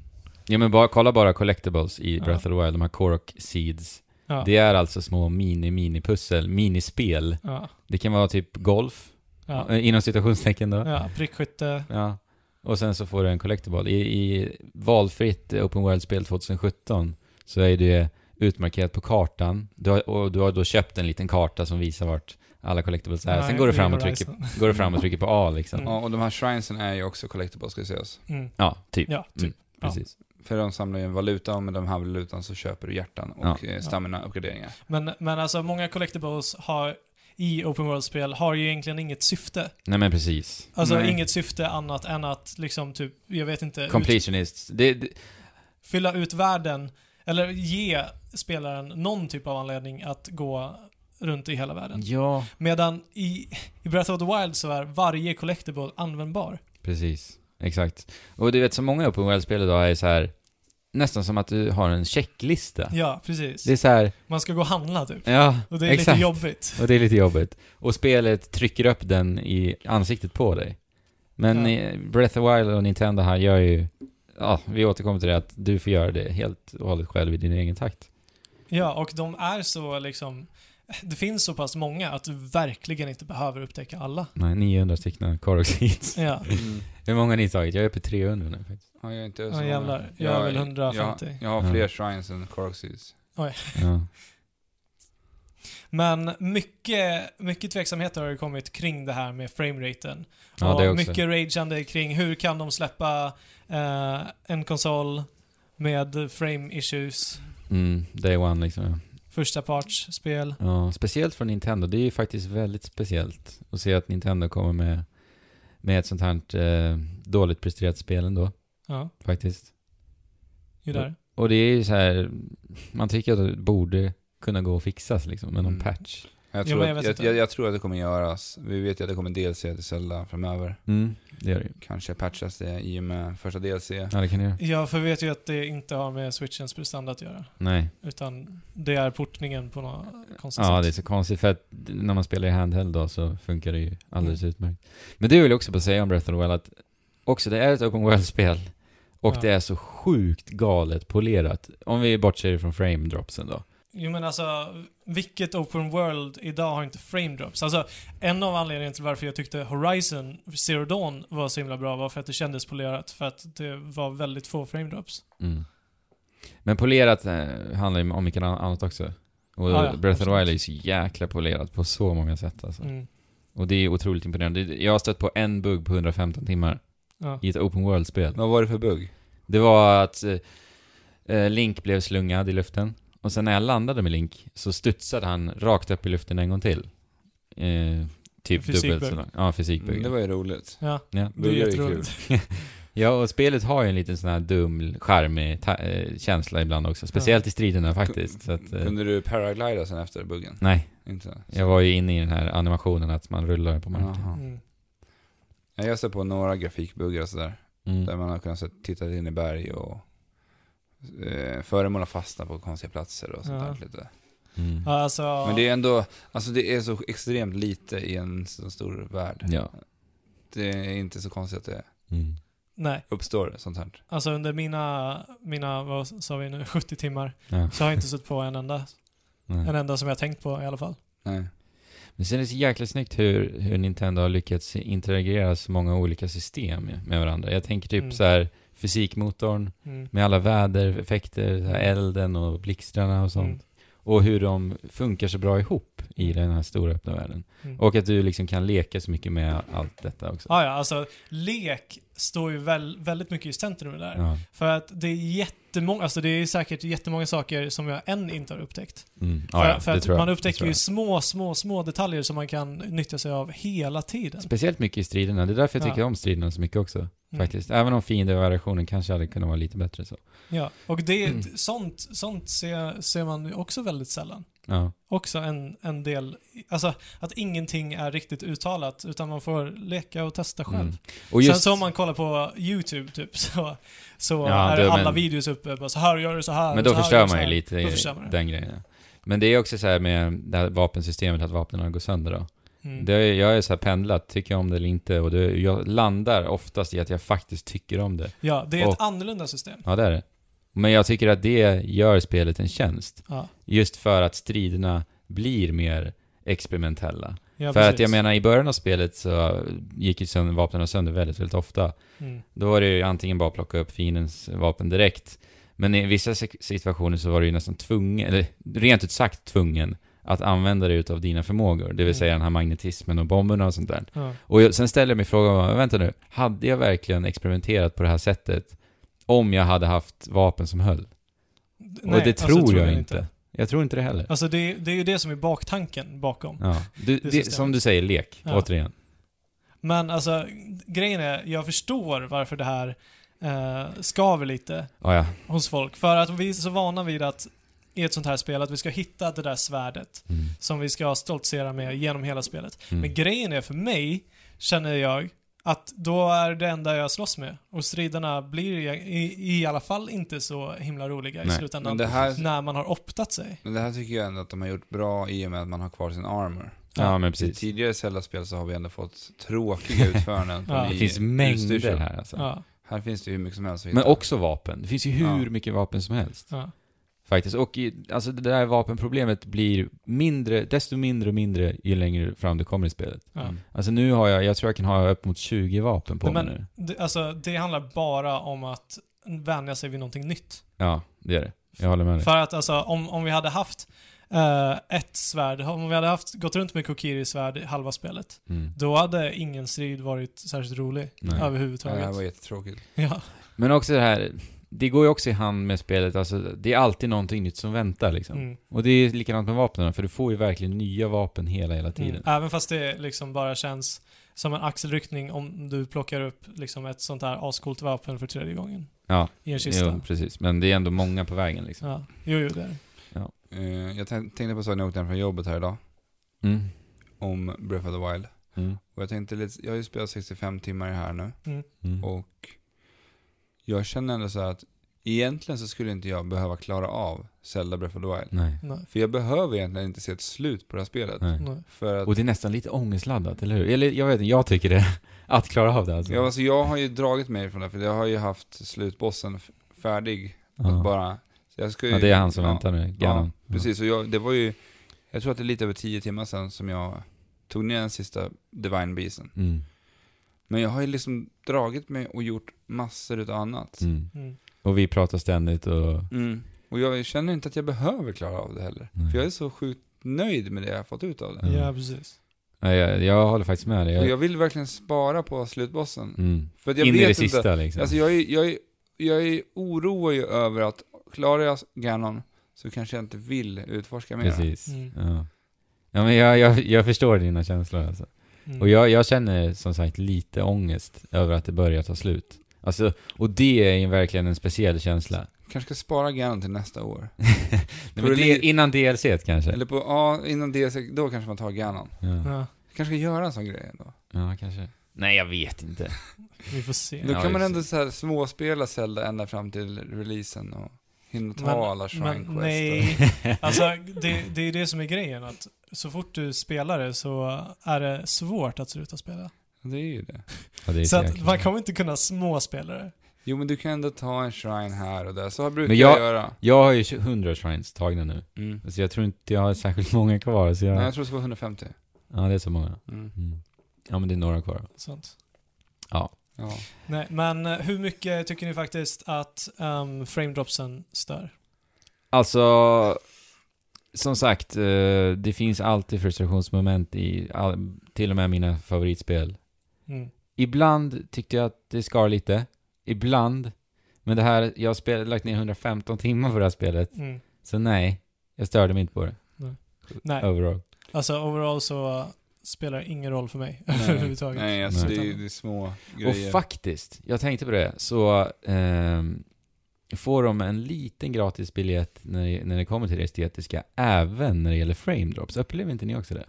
C: ja, men bara, kolla bara collectibles i
A: Ja.
C: Breath of the Wild, de här Korok Seeds.
A: Ja.
C: Det är alltså små mini-mini-pussel, minispel.
A: Ja.
C: Det kan vara typ golf,
A: Ja.
C: eh, inom citationstecken då.
A: Ja, prickskytte.
C: Ja. Och sen så får du en collectible. I, i valfritt Open World-spel 2017 så är det utmarkerat på kartan. Du har, och du har då köpt en liten karta som visar vart alla collectibles är. sen
A: Nej,
C: går du,
A: i
C: fram och
A: Horizon.
C: trycker, går du fram och trycker på A liksom.
A: Mm.
B: Ja, och de här shrinesen är ju också collectibles ska sägas.
A: Mm.
C: Ja, typ.
A: Ja, typ.
C: Mm,
A: Ja.
C: precis.
B: För de samlar ju en valuta och med den här valutan så köper du hjärtan och ja. stamina-uppgraderingar.
A: Men, men alltså många collectibles har i open world-spel har ju egentligen inget syfte.
C: Nej men precis.
A: Alltså
B: Nej.
A: inget syfte annat än att liksom typ, jag vet inte, ut,
C: Completionist. Det, det,
A: fylla ut världen eller ge spelaren någon typ av anledning att gå runt i hela världen.
C: ja,
A: Medan i, i Breath of the Wild så är varje collectible användbar.
C: precis. Exakt. Och du vet, så många Open World-spel idag är så här nästan som att du har en checklista.
A: Ja, precis.
C: Det är så här,
A: Man ska gå och handla typ.
C: ja,
A: Och det är
C: exakt.
A: lite jobbigt.
C: Och det är lite jobbigt. Och spelet trycker upp den i ansiktet på dig. Men
A: Ja.
C: eh, Breath of the Wild och Nintendo här gör ju... Ja, vi återkommer till det att du får göra det helt och hållet själv i din egen takt.
A: Ja, och de är så liksom, det finns så pass många att du verkligen inte behöver upptäcka alla.
C: Nej, 900 stycken Koroxids.
A: Ja,
C: Hur många har ni tagit? Jag är uppe i 300 nu faktiskt.
B: Mm. Ja, jag är inte så
A: ja
B: många.
A: jävlar. Jag är väl
B: jag,
A: 150.
B: jag har
C: Ja.
B: fler shrines än Coroxies.
C: Ja.
A: Men mycket, mycket tveksamheter har det kommit kring det här med frameraten.
C: Ja,
A: och
C: det också.
A: mycket rageande kring hur kan de släppa eh, en konsol med frame issues,
C: Mm, day one liksom. ja.
A: första parts spel.
C: Ja, speciellt från Nintendo. Det är ju faktiskt väldigt speciellt att se att Nintendo kommer med, med ett sånt här eh, dåligt presterat spel ändå,
A: Ja,
C: faktiskt.
A: ju där.
C: Och det är ju så här, man tycker att det borde kunna gå och fixas liksom med någon
B: Mm.
C: patch.
B: Jag
A: Jo,
B: tror,
A: men jag
B: att,
A: vet
B: jag,
A: inte.
B: jag, jag tror att det kommer göras. Vi vet ju att det kommer DLC till Zelda framöver.
C: Mm, det gör det ju.
B: Kanske patchas det i och med första DLC.
C: Ja, det kan det göra.
A: Ja, för vi vet ju att det inte har med switchens prestanda att göra.
C: Nej.
A: Utan det är portningen på något konstigt
C: Ja, det är
A: sätt.
C: så konstigt för att när man spelar i handheld då så funkar det ju alldeles
A: Mm.
C: utmärkt. Men det vill jag också bara säga om Breath of the Wild att också det är ett open world-spel och
A: Ja.
C: det är så sjukt galet polerat. Om vi bortser från frame dropsen då.
A: Jo men alltså, vilket open world idag har inte frame drops? Alltså, en av anledningarna till varför jag tyckte Horizon Zero Dawn var så himla bra var för att det kändes polerat, för att det var väldigt få frame drops.
C: Mm. Men polerat eh, handlar ju om mycket annat också. Och
A: Ja, ja,
C: Breath of the
A: absolut.
C: Wild är ju så jäkla polerat på så många sätt alltså.
A: Mm.
C: Och det är otroligt imponerande. Det- Jag har stött på en bugg på 115 timmar
A: Ja.
C: i ett open world-spel.
B: Vad var det för bugg?
C: Det var att eh, eh, Link blev slungad i luften. Och sen när jag landade med Link så studsade han rakt upp i luften en gång till. Eh, typ
A: Fysikbugg.
C: dubbelt så långt. Ja, fysikbugg.
B: Mm, det var ju roligt.
A: ja.
C: ja.
A: Det är
B: Buggar är
A: jätteroligt.
C: ja, och spelet har ju en liten sån här dum, charmig ta- eh, känsla ibland också. Speciellt i striderna faktiskt. Så att, eh,
B: Kunde du paraglida sen efter buggen?
C: nej,
B: Inte?
C: jag var ju inne i den här animationen att man rullar på marken.
B: Jaha.
A: Mm.
B: Ja, Jag har stött på några grafikbuggar och sådär. Där
C: Mm.
B: man har kunnat så, titta in i berg och eh, föremål har fastnat på konstiga platser och sånt
A: Ja.
B: där lite.
C: Mm.
A: Ja, alltså,
B: Men det är ändå, alltså det är så extremt lite i en så stor värld.
C: Ja.
B: Det är inte så konstigt att det
C: Mm.
A: Nej,
B: uppstår sånt här.
A: alltså under mina, mina, vad sa vi nu, 70 timmar
C: Ja.
A: så har jag inte sett på en enda,
C: Nej.
A: en enda som jag tänkt på i alla fall.
B: Nej.
C: Men sen är det så jäkla snyggt hur, hur Nintendo har lyckats interagera så många olika system med varandra. Jag tänker typ
A: Mm.
C: så här fysikmotorn
A: Mm.
C: med alla vädereffekter, så här elden och blixtarna och sånt.
A: Mm.
C: Och hur de funkar så bra ihop i den här stora öppna världen.
A: Mm.
C: Och att du liksom kan leka så mycket med allt detta också.
A: Ja, ja, alltså lek står ju väl, väldigt mycket i centrum där.
C: Ja.
A: För att det är jättemånga, alltså det är säkert jättemånga saker som jag än inte har upptäckt.
C: Mm.
A: för
C: Ja, ja,
A: för
C: det
A: att
C: tror jag.
A: man
C: Det
A: upptäcker
C: tror
A: ju
C: jag.
A: små, små, små detaljer som man kan nyttja sig av hela tiden.
C: Speciellt mycket i striderna. Det är därför jag
A: Ja.
C: tycker om striderna så mycket också.
A: Mm.
C: Faktiskt. Även om fiendevariationen kanske hade kunnat vara lite bättre så.
A: Ja, och det,
C: Mm.
A: sånt, sånt ser, ser man ju också väldigt sällan.
C: Ja.
A: Också en, en del, alltså att ingenting är riktigt uttalat utan man får leka och testa själv.
C: Mm. Och
A: Sen så om man kollar på YouTube typ så, så
C: Ja,
A: är
C: det-
A: alla
C: men-
A: videos uppe bara så här gör du så här.
C: Men
A: så
C: då
A: här
C: förstör
A: gör du så
C: man ju
A: här."
C: lite
A: Då
C: i
A: förstör man det.
C: den grejen. Men det är också så här med det här vapensystemet, att vapnen går sönder då.
A: Mm.
C: Det, är- jag är så här pendlat, tycker jag om det eller inte? Och det, jag landar oftast i att jag faktiskt tycker om det.
A: ja, det är ett
C: och-
A: annorlunda system.
C: Ja, det är det. Men jag tycker att det gör spelet en tjänst.
A: Ja,
C: Just för att striderna blir mer experimentella.
A: ja
C: för
A: precis.
C: att jag menar, i början av spelet så gick ju sönder, vapnen sönder väldigt, väldigt ofta.
A: Mm.
C: Då var det ju antingen bara att plocka upp fiendens vapen direkt. Men i vissa se- situationer så var du ju nästan tvungen, eller rent ut sagt tvungen, att använda dig utav dina förmågor. Det vill
A: Mm.
C: säga den här magnetismen och bomberna och sånt där.
A: Ja.
C: Och jag, sen ställer jag mig frågan, vänta nu, hade jag verkligen experimenterat på det här sättet om jag hade haft vapen som höll?
A: Nej,
C: och det
A: alltså,
C: tror jag
A: troligen
C: inte. Jag tror inte det heller.
A: Alltså det, det är ju det som är baktanken bakom.
C: Ja. Du,
A: Det är
C: det,
A: systemet.
C: som du säger, lek,
A: Ja.
C: återigen.
A: Men alltså, grejen är, jag förstår varför det här eh, skaver lite
C: Ja, Mm, ja.
A: hos folk. För att vi är så vana vid att i ett sånt här spel, att vi ska hitta det där svärdet
C: Mm.
A: som vi ska stoltsera med genom hela spelet. Men
C: Mm.
A: grejen är för mig, känner jag, att då är det enda jag slåss med. Och striderna blir i, i, i alla fall inte så himla roliga i
C: Nej,
A: slutändan.
B: Men det här,
A: När man har optat sig.
B: men det här tycker jag ändå att de har gjort bra i och med att man har kvar sin armor.
C: Ja, men
B: I
C: precis.
B: tidigare Zelda-spel så har vi ändå fått tråkiga utföranden. på
A: Ja.
B: ny
C: Det finns mängder
B: utstyrsel.
C: här alltså.
A: Ja,
B: Här finns det ju hur mycket som helst att
C: Men
B: hitta.
C: också vapen. Det finns ju hur
B: Ja.
C: mycket vapen som helst.
A: ja.
C: Faktiskt. Och i, alltså det där vapenproblemet blir mindre, desto mindre och mindre ju längre fram du kommer i spelet.
A: Ja.
B: Mm.
C: Alltså nu har jag, jag tror jag kan ha upp mot 20 vapen på
A: Nej,
C: mig
A: men-
C: nu.
A: Det, alltså, det handlar bara om att vänja sig vid någonting nytt.
C: Ja, det är det. Jag håller
B: Mm.
C: med dig.
A: För att alltså, om, om vi hade haft eh, ett svärd, om vi hade haft, gått runt med Kokiri-svärd i halva spelet,
C: Mm.
A: då hade ingen strid varit särskilt rolig
C: Nej.
B: Ja, det här
A: överhuvudtaget.
B: var jättetråkigt.
A: Ja,
C: Men också det här, det går ju också i hand med spelet, alltså det är alltid någonting nytt som väntar liksom.
A: mm.
C: Och det är likadant med vapnen, för du får ju verkligen nya vapen hela, hela tiden.
A: Mm. Även fast det liksom bara känns som en axelryckning om du plockar upp liksom ett sånt här ascoolt vapen för tredje gången.
C: Ja,
A: I en kista.
C: jo, precis. Men det är ändå många på vägen liksom.
A: Ja. Jo, jo, det är det.
B: Eh, jag tän- tänkte på en sak när jag åkte hem från jobbet här idag.
C: Mm.
B: Om Breath of the Wild.
C: Mm.
B: Och jag tänkte lite, jag har ju spelat 65 timmar i det här nu.
C: Mm.
B: Och jag känner ändå så här att egentligen så skulle inte jag behöva klara av Zelda Breath of the Wild.
C: Nej.
A: Nej.
B: För jag behöver egentligen inte se ett slut på det här spelet.
C: Nej.
A: Nej.
B: För att,
C: Och det är nästan lite ångestladdat, eller hur? Eller jag vet inte, jag tycker det. Att klara av det alltså.
B: jag, alltså, jag har ju dragit mig ifrån det, för jag har ju haft slutbossen f- färdig. Att
C: ja.
B: bara, så jag ska ju,
C: ja, det är han som
B: ja,
C: väntar nu,
B: Ja,
C: Ganon.
B: precis. Och jag, det var ju, jag tror att det är lite över 10 timmar sedan som jag tog ner den sista Divine Beasten.
C: Ja. Mm.
B: Men jag har ju liksom dragit mig och gjort massor utav annat.
C: Mm.
A: Mm.
C: Och vi pratar ständigt och...
B: Mm. Och jag känner inte att jag behöver klara av det heller.
C: Nej.
B: För jag är så sjukt nöjd med det jag har fått ut av det.
C: Mm.
A: Ja, precis.
C: Nej, jag, jag håller faktiskt med dig.
B: Och
C: Jag...
B: jag vill verkligen spara på slutbossen.
C: Mm.
B: För att jag
C: In i
B: vet
C: det
B: inte.
C: sista liksom.
B: Alltså jag, är, jag, är, jag är oroar ju över att klarar jag Ganon så kanske jag inte vill utforska mer.
C: Precis.
A: Mm.
C: Ja. ja, men jag, jag, jag förstår dina känslor alltså.
A: Mm.
C: Och jag, jag känner som sagt lite ångest över att det börjar ta slut. Alltså, och det är ju verkligen en speciell känsla.
B: Kanske ska spara Ganon till nästa år.
C: Mm. Nej, men det, innan DLC t kanske?
B: Eller på, ja, innan det, då kanske man tar Ganon.
C: Ja.
A: Ja,
B: Jag kanske ska göra en sån grej ändå.
C: ja, kanske. Nej, jag vet inte.
A: vi får se.
B: Då
C: Ja,
B: kan man
C: just
B: ändå så här småspela Zelda ända fram till releasen och hinna ta
A: Men-
B: alla shrine
A: Men
B: quests. och-
A: nej, alltså det, det är det som är grejen. Att så fort du spelar det så är det svårt att sluta spela.
B: Det är ju det.
C: Ja, det är
A: Så att
C: jäkla-
A: man kommer inte kunna småspela det.
B: Jo men du kan ändå ta en shrine här och där, så brukar
C: Men
B: jag,
C: jag-
B: göra. Mm.
C: Jag har ju 20 100 shrines tagna nu. Så jag tror inte jag har särskilt många kvar. Så jag...
B: Nej jag tror det ska vara 150.
C: Ja, det är så många.
B: Mm.
C: Mm. Ja, men det är några kvar.
A: Sånt.
C: Ja.
B: Ja.
A: Nej, men eh, hur mycket tycker ni faktiskt att um, framedropsen stör?
C: Alltså, som sagt, eh, det finns alltid frustrationsmoment i all, till och med mina favoritspel.
A: Mm.
C: Ibland tyckte jag att det skar lite. Ibland. Men det här, jag har spel, lagt ner 115 timmar på det här spelet.
A: Mm.
C: Så nej, jag störde mig inte på det.
A: Nej,
C: Overall.
A: alltså overall så spelar det ingen roll för mig
B: Nej.
A: överhuvudtaget.
B: Nej alltså
C: Nej.
B: Det, är, det är små
C: Och
B: grejer.
C: faktiskt, jag tänkte på det, så ehm, får de en liten gratis biljett när, det- när det kommer till det estetiska, även när det gäller frame drops. Upplever inte ni också det?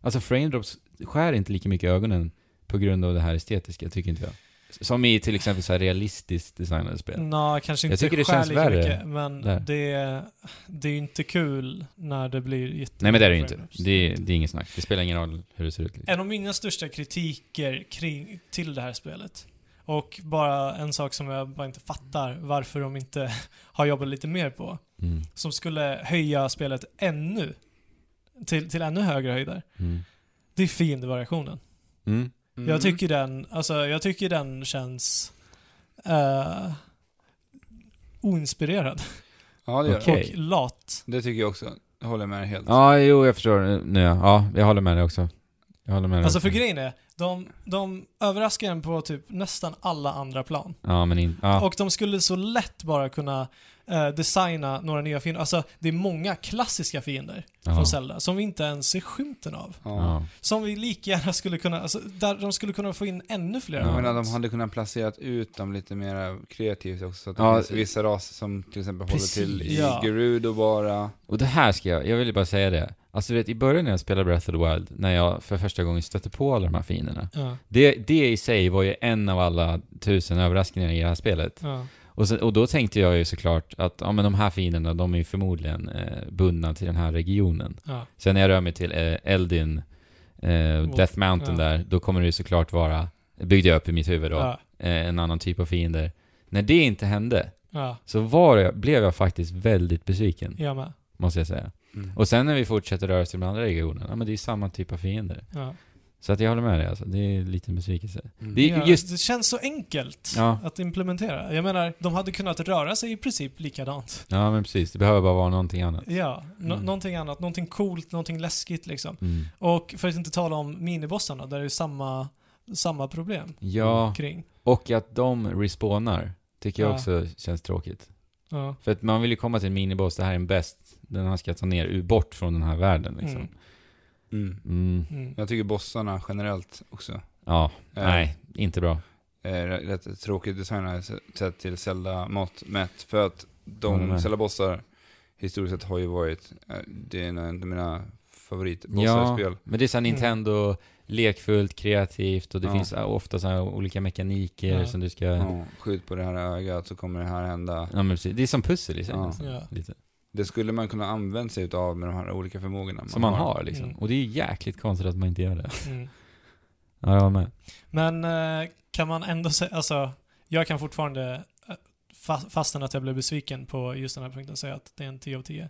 C: Alltså frame drops skär inte lika mycket i ögonen på grund av det här estetiska, tycker inte jag. Som i till exempel så här realistiskt designade spel.
A: Nå, kanske
C: Jag
A: inte
C: tycker det
A: skär
C: känns
A: lika
C: värre
A: mycket, men
C: där.
A: det, det är ju inte kul när det blir jättemycket
C: Nej men det är det ju inte.
A: frame-ups.
C: Det är, det är inget snack. Det spelar ingen roll hur det ser ut. Liksom.
A: En av mina största kritiker kring, till det här spelet. Och bara en sak som jag bara inte fattar varför de inte har jobbat lite mer på.
C: Mm.
A: Som skulle höja spelet ännu. Till, till ännu högre höjder.
C: Mm.
A: Det är fiendevariationen.
C: Mm.
A: Jag tycker den, alltså jag tycker den känns... eh, oinspirerad
B: Ja, det gör
C: Okej.
B: okay.
A: och lat.
B: det. Det tycker jag också. Jag håller med dig helt.
C: Ja, jo jag förstår nu ja. ja. jag håller med dig också. Jag håller med dig
A: Alltså
C: också.
A: för grejen är, de, de överraskar en på typ nästan alla andra plan.
C: Ja men in, ja.
A: Och de skulle så lätt bara kunna eh, designa några nya fiender. Alltså det är många klassiska fiender
C: ja.
A: från Zelda som vi inte ens ser skymten av.
B: Ja.
C: Ja.
A: Som vi lika gärna skulle kunna, alltså, där de skulle kunna få in ännu fler.
C: Ja.
B: Jag
A: av
B: menar,
A: dem.
B: de hade kunnat placerat ut dem lite mer kreativt också. Så att det
C: Ja,
B: finns vissa raser som till exempel
C: precis.
B: håller till i
A: Ja.
B: Gerudo bara.
C: Och det här ska jag, jag ville bara säga det. Alltså du vet i början när jag spelade Breath of the Wild, när jag för första gången stötte på alla de här fienderna.
A: Ja,
C: Det, det i sig var ju en av alla tusen överraskningar i det här spelet.
A: ja.
C: Och, sen, och då tänkte jag ju såklart att ja, men de här fienderna, de är ju förmodligen eh, bundna till den här regionen.
A: Ja.
C: Sen när jag rör mig till eh, Eldin, eh,
A: Mot-
C: Death Mountain
A: ja.
C: där, då kommer det ju såklart vara, byggde jag upp i mitt huvud då,
A: Ja.
C: eh, en annan typ av fiender. När det inte hände,
A: Ja.
C: så var jag, blev jag faktiskt väldigt besviken,
A: Jag med.
C: måste jag säga.
B: Mm.
C: Och sen när vi fortsätter röra oss till de andra regionerna, ja men det är samma typ av fiender.
A: Ja.
C: Så att jag håller med dig alltså, det är en liten besvikelse.
B: Mm.
C: Det är
A: Ja,
C: just
A: det känns så enkelt
C: Ja.
A: att implementera. Jag menar, de hade kunnat röra sig i princip likadant.
C: Ja, men precis. Det behöver bara vara någonting annat.
A: Ja, nå-
B: Mm.
A: någonting annat, någonting coolt, någonting läskigt liksom.
C: Mm.
A: Och för att inte tala om minibossarna, där det är samma, samma problem
C: Ja,
A: kring.
C: och att de respawnar tycker jag
A: Ja.
C: också känns tråkigt.
A: Ja.
C: För att man vill ju komma till en miniboss, det här är en bäst, den här ska jag ta ner, ur- bort från den här världen liksom.
A: Mm.
B: Mm.
C: Mm.
A: Mm.
B: Jag tycker bossarna generellt också. eh,
C: Ja, nej, inte bra.
B: Är Eh, rätt tråkigt designade sett till Zelda mått mätt. För att
C: Håller
B: de
C: med.
B: Zelda-bossar historiskt sett har ju varit, eh, det är en av mina favoritbossar i
C: Ja,
B: spel.
C: men det är såhär
A: Mm.
C: Nintendo, lekfullt, kreativt och det
B: Ja.
C: finns äh, ofta så här olika mekaniker
A: Ja.
C: som du ska... Ja.
B: Ja, skjut på det här ögat så kommer det här hända.
C: men precis. Det är som pussel i sig
B: Ja.
C: nästan.
A: Ja.
C: Lite.
B: Det skulle man kunna använda sig av med de här olika förmågorna.
C: Som man har liksom.
A: Mm.
C: Och det är ju jäkligt konstigt att man inte gör det.
A: Mm.
C: Ja, jag var med.
A: Men eh, kan man ändå säga, alltså, jag kan fortfarande, eh, fa- fastän att jag blev besviken på just den här punkten, säga att det är en 10 av 10. eh,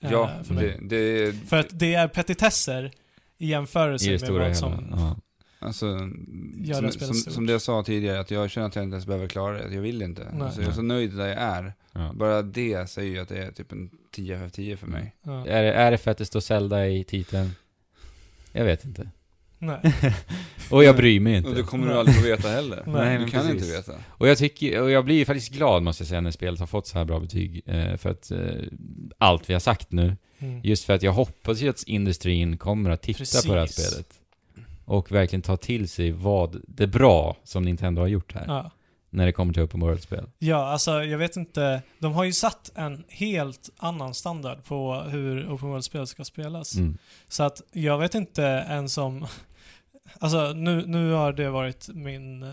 C: liksom.
B: Ja,
A: för, mig.
B: det, det är...
A: för att det är petitesser i jämförelse
C: I det
A: med
C: stora
A: vad
C: hela.
A: som...
C: Ja.
B: Alltså,
A: Gör
B: som,
A: det
B: som,
A: spelet stort.
B: som det jag sa tidigare, att jag känner att jag inte ens behöver klara det. Jag vill inte.
A: Nej.
B: Alltså, jag är så nöjd där jag är.
C: Ja.
B: Bara det säger ju att det är typ en 10 av 10
C: Mm.
B: för mig.
A: Ja.
C: Är det, är det för att det står Zelda i titeln? Jag vet inte.
A: Nej.
C: Och jag bryr mig
B: Och det
C: inte.
B: kommer du aldrig få veta heller.
A: Nej,
B: du
C: men
B: kan
C: precis.
B: inte veta.
C: Och jag, tycker, och jag blir ju faktiskt glad måste jag säga när spelet har fått så här bra betyg. eh, För att eh, allt vi har sagt nu.
A: Mm.
C: Just för att jag hoppas ju att industrin kommer att titta på det här
A: Precis.
C: spelet. Och verkligen ta till sig vad det bra som Nintendo har gjort här.
A: Ja.
C: När det kommer till Open World-spel.
A: ja, alltså jag vet inte. De har ju satt en helt annan standard på hur Open World-spel ska spelas.
C: Mm.
A: Så att jag vet inte ens om... Alltså nu, nu har det varit min uh,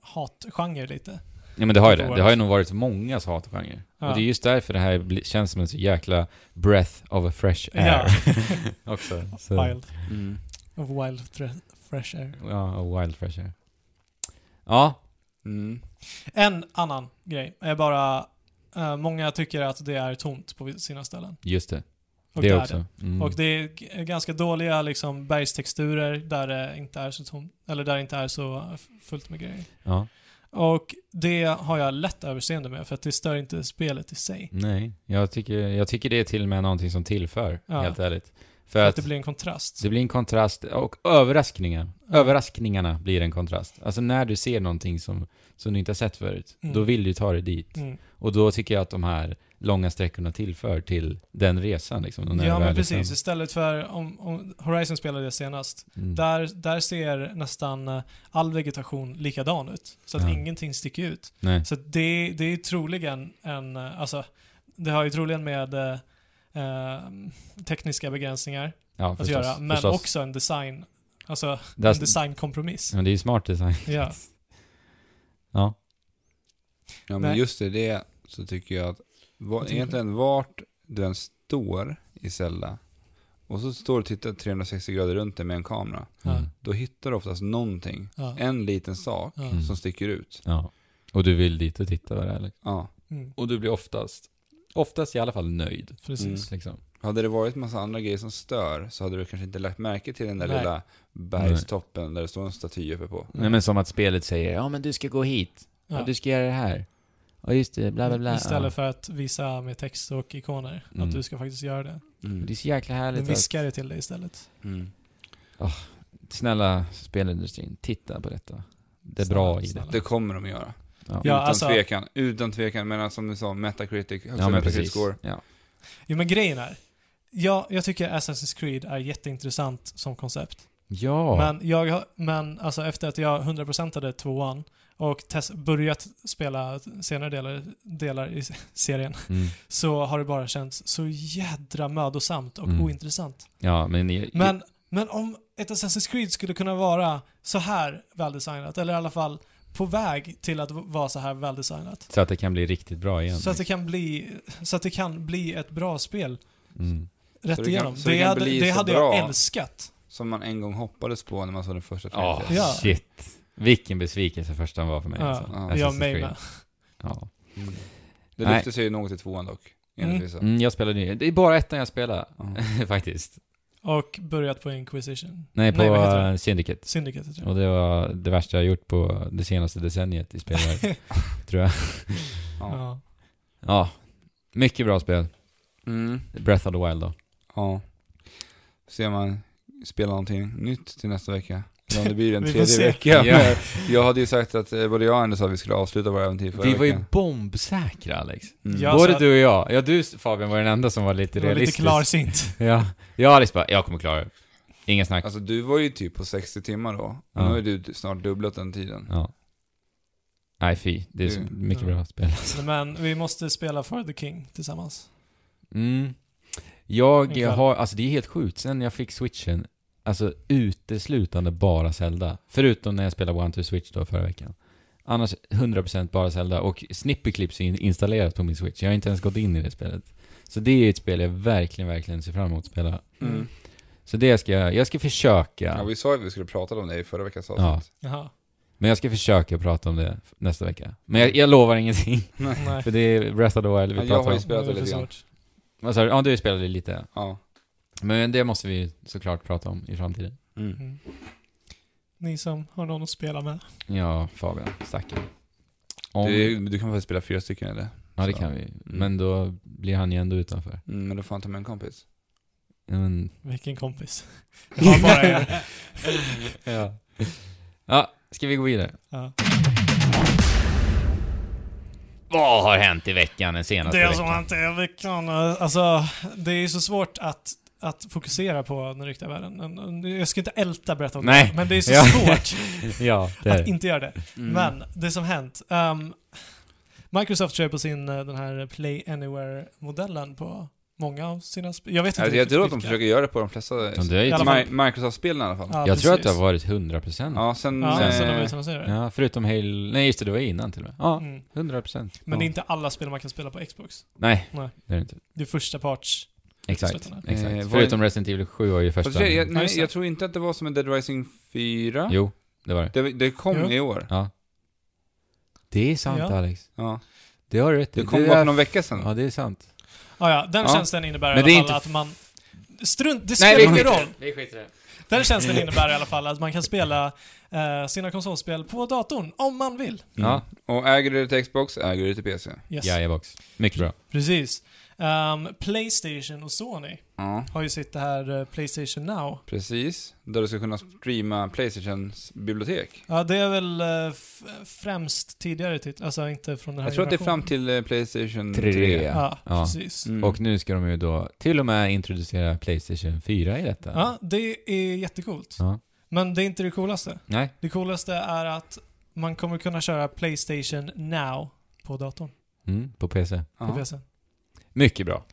A: hatgenre lite.
C: Ja men det har ju
A: Open
C: det. Det
A: World.
C: har ju nog varit många hatgenre.
A: Ja.
C: Och det är just därför det här bli- känns som en så jäkla breath of a fresh air. Också. Så.
A: Wild. Of wild thre- fresh air.
C: Ja, och Wild Fresh Air. Ja,
B: Mm.
A: En annan grej är bara... eh, många tycker att det är tomt på sina ställen.
C: just det.
A: Och
C: det
A: är
C: också. Mm.
A: det. Och det är g- ganska dåliga liksom, bergstexturer där det inte är så tomt, eller där det inte är så f- fullt med grejer.
C: Ja.
A: Och det har jag lätt överseende med för att det stör inte spelet i sig.
C: Nej, jag tycker, jag tycker det är till och med någonting som tillför,
A: Ja.
C: helt ärligt.
A: För att,
C: För att
A: det blir en kontrast.
C: det blir en kontrast och överraskningar. Överraskningarna blir en kontrast. Alltså när du ser någonting som, som du inte har sett förut,
A: Mm.
C: då vill du ta dig dit.
A: Mm.
C: Och då tycker jag att de här långa sträckorna tillför till den resan liksom. när
A: Ja
C: du väl
A: men
C: är
A: precis,
C: framme.
A: istället för om, om Horizon spelade det senast.
C: Mm.
A: Där, där ser nästan eh, all vegetation likadan ut. Så att
C: Ja.
A: ingenting sticker ut.
C: Nej.
A: Så att det, det är troligen en, eh, alltså det har ju troligen med eh, eh, tekniska begränsningar
C: Ja,
A: att
C: förstås,
A: göra, men
C: förstås.
A: också en design, alltså
C: Där-
A: en designkompromiss.
C: Men det är ju smart design.
A: Ja.
C: Ja.
B: Ja, men
A: Nej.
B: just i det så tycker jag att va-
A: Jag tycker-
B: egentligen vart du än står i Zelda och så står du och tittar 360 grader runt dig med en kamera,
A: Ja.
C: Mm.
B: då hittar du oftast någonting,
A: Ja.
B: en liten sak
A: Ja.
C: Mm.
B: som sticker ut.
C: ja. Och du vill dit och titta vad det är liksom.
B: Ja.
A: Mm.
C: Och du blir oftast, oftast i alla fall nöjd.
A: Precis.
C: Liksom.
B: Hade det varit massa andra grejer som stör så hade du kanske inte lagt märke till den där
A: Nej.
B: lilla bergstoppen där det står en staty uppe på.
C: Nej men som att spelet säger, ja men du ska gå hit, ja.
A: Ja.
C: du ska göra det här. Ja just det, bla bla bla.
A: Istället
C: ja.
A: för att visa med text och ikoner
C: Mm.
A: att du ska faktiskt göra det.
B: Mm.
C: Det är så jäkla
A: Den
C: härligt
A: viskar det till dig istället.
B: Mm.
C: att, snälla spelindustrin, titta på detta. Det är
A: Snälla,
C: bra i
A: snälla.
C: det.
B: Det kommer de göra.
C: Ja.
A: Ja.
B: utan
A: alltså-
B: tvekan. Utan tvekan. Men alltså, som du sa, Metacritic, högsta
C: Ja, men
B: precis.
C: precis.
B: score.
C: Ja.
A: Jo men grejen är, jag, jag tycker Assassin's Creed är jätteintressant som koncept.
C: ja.
A: Men, jag, har- men alltså efter att jag 100%ade tvåan och test, börjat spela senare delar, delar i serien
C: Mm.
A: så har det bara känts så jädra mödosamt och
C: Mm.
A: ointressant.
C: Ja, men... i-
A: Men, men om ett Assassin's Creed skulle kunna vara så här väldesignat, eller i alla fall på väg till att v- vara så här väldesignat.
C: Så att det kan bli riktigt bra igen.
A: Så att, det kan bli, så att det kan bli ett bra spel
C: Mm.
A: rätt
B: det kan-
A: igenom.
B: så det
A: det
B: kan
A: hade,
B: bli
A: det
B: så
A: hade
B: bra.
A: jag älskat.
B: Som man en gång hoppades på när man såg den första
C: Ja,
B: trailern.
A: Ja.
C: shit. Vilken besvikelse första var för mig.
A: Ja.
C: Alltså.
B: Ja.
C: Assassin's
A: jag mig
C: Creed.
A: med.
C: Ja.
B: Mm. Det
C: Nej.
B: lyfte sig ju något i tvåan dock, enligt
A: Mm.
B: vissa.
C: Mm, jag spelade ju... Det är bara ettan jag spelar,
B: Ja.
C: faktiskt.
A: Och börjat på Inquisition.
C: Nej, på
A: vad heter det?
C: eh, Syndicate.
A: Syndicate heter det.
C: Och det var det värsta jag gjort på det senaste decenniet i spelvärlden.
B: Ja.
A: Ja.
C: ja. Mycket bra spel.
B: Mm.
C: Breath of the Wild då.
B: ja. Ser man spela någonting nytt till nästa vecka. Eller om det blir en
A: Vi får
B: tredje
A: se.
B: vecka.
C: Ja.
B: Jag hade ju sagt att, eh, både jag och Anders sa att vi skulle avsluta våra äventyr förra
C: Vi var ju
B: veckan.
C: bombsäkra Alex.
B: Mm.
A: Ja.
C: Både
A: så-
C: du och jag. Ja, du Fabian var den enda som var lite
A: Det var lite
C: realistisk.
A: klarsint.
C: Ja. Jag Alex bara, jag kommer klara det. Inga snack.
B: Alltså du var ju typ på 60 timmar då. Och
C: Ja.
B: nu har ju du snart dubblat den tiden.
C: Ja. Nej, fy. Det är så
B: Mm.
C: mycket
A: Ja.
C: bra spel alltså.
A: Men vi måste spela For the King tillsammans.
C: Mm. Jag
A: Ikväll.
C: har, alltså det är helt sjukt, sen jag fick switchen, alltså uteslutande bara Zelda. Förutom när jag spelade One to Switch då förra veckan. Annars 100% bara Zelda och Snippy Clips är in- installerat på min switch. Jag har inte ens gått in i det spelet. Så det är ett spel jag verkligen, verkligen ser fram emot att spela.
B: Mm.
C: Så det ska jag, jag ska försöka.
B: Ja, vi sa ju att vi skulle prata om det i förra veckans avsnitt.
C: Ja.
A: Jaha.
C: Men jag ska försöka prata om det f- nästa vecka. Men jag, jag lovar ingenting.
A: Nej.
C: För det är Breath of the Wild vi
B: Ja, jag
C: pratar
B: har ju
C: om.
B: spelat
A: Det är för
B: lite grann.
A: svårt.
C: Vad sa du? Ja, du spelade lite.
B: Ja.
C: Men det måste vi såklart prata om i framtiden.
B: Mm.
A: Mm. Ni som har någon att spela med.
C: Ja, Fabian. Stackarn. Om...
B: Du, du kan väl spela fyra stycken eller?
C: Ja, det
B: så.
C: kan vi. Men då blir han ju ändå utanför.
B: Mm, men då får han ta med en kompis.
C: Ja, Men...
A: Vilken kompis. Jag har bara er.
C: ja. ja, ska vi gå vidare?
A: Ja.
C: Vad har hänt i veckan den senaste
A: Det som inte är veckan. Alltså, det är ju så svårt att, att fokusera på den riktiga världen. Men, eh, Jag ska inte älta berätta om
C: Nej.
A: det, men det är så
C: Ja.
A: svårt
C: ja, det är
A: alltså- att
C: det.
A: inte göra det.
B: Mm.
A: Men det som hänt. ehm, Microsoft kör på sin, eh, den här Play Anywhere-modellen på många av sina spel. Jag vet inte
B: Alltså, jag
A: riktigt
B: tror att de
A: vilka.
B: försöker göra det på de flesta
C: Ja, det är ju
A: I alla
C: typ-
A: fall.
B: Mi- Microsoft-spelen i alla fall. Ja,
A: Ja,
C: jag tror att det
A: precis.
C: har varit 100%. Ja,
B: sen...
A: Ja, sen de
B: eh,
A: utannonserade det.
C: ja förutom Hail... Nej, just det, det var innan till och med. Ja,
A: Mm.
C: 100%.
A: Men
C: ja.
A: det är inte alla spel man kan spela på Xbox.
C: Nej,
A: Nej.
C: det är det inte.
A: Det är första parts.
C: Exakt.
A: Uteslutande.
C: Exakt.
B: Eh, vad-
C: Förutom Resident Evil 7 var ju första...
B: fast Alltså, jag, jag,
A: Ja,
B: nej,
A: just det.
B: jag tror inte att det var som en Dead Rising 4.
C: Jo, det var det.
B: Det, det kom
A: Jo.
B: i år.
C: Ja. Det är sant
A: Ja.
C: Alex.
B: Ja.
C: Det har du rätt i.
B: Det kom
C: är-
B: bara för någon vecka sedan.
C: Ja, det är sant.
A: Ah, ja, den
B: Ja.
A: tjänsten innebär
B: Men
A: i
B: det är
A: alla fall
B: inte-
A: att man... Strunt, det
C: Nej,
A: spelar
C: vi
A: ingen roll.
C: Vi skiter i det.
A: Den tjänsten innebär i alla fall att man kan spela eh, sina konsolspel på datorn om man vill.
B: Mm.
C: Ja.
B: Och äger du det till Xbox, äger du det till PC.
A: Yes.
C: Ja, jag box. Mycket bra.
A: Precis. Ehm, Playstation och Sony
B: Ja,
A: har ju sitt det här eh, Playstation Now.
B: precis. Där du ska kunna streama Playstations bibliotek.
A: Ja, det är väl eh, f- främst tidigare titlar, alltså inte från den här
B: Jag tror att det är fram
A: generationen.
B: till eh, Playstation 3.
C: Tre.
A: Ja,
C: Ja.
A: precis.
B: Mm.
C: Och nu ska de ju då till och med introducera Playstation 4 i detta.
A: Ja, det är jättecoolt.
C: Ja.
A: Men det är inte det coolaste.
C: Nej.
A: Det coolaste är att man kommer kunna köra Playstation Now på datorn,
C: Mm, på PC.
A: på
B: Ja.
A: PC.
C: Mycket bra.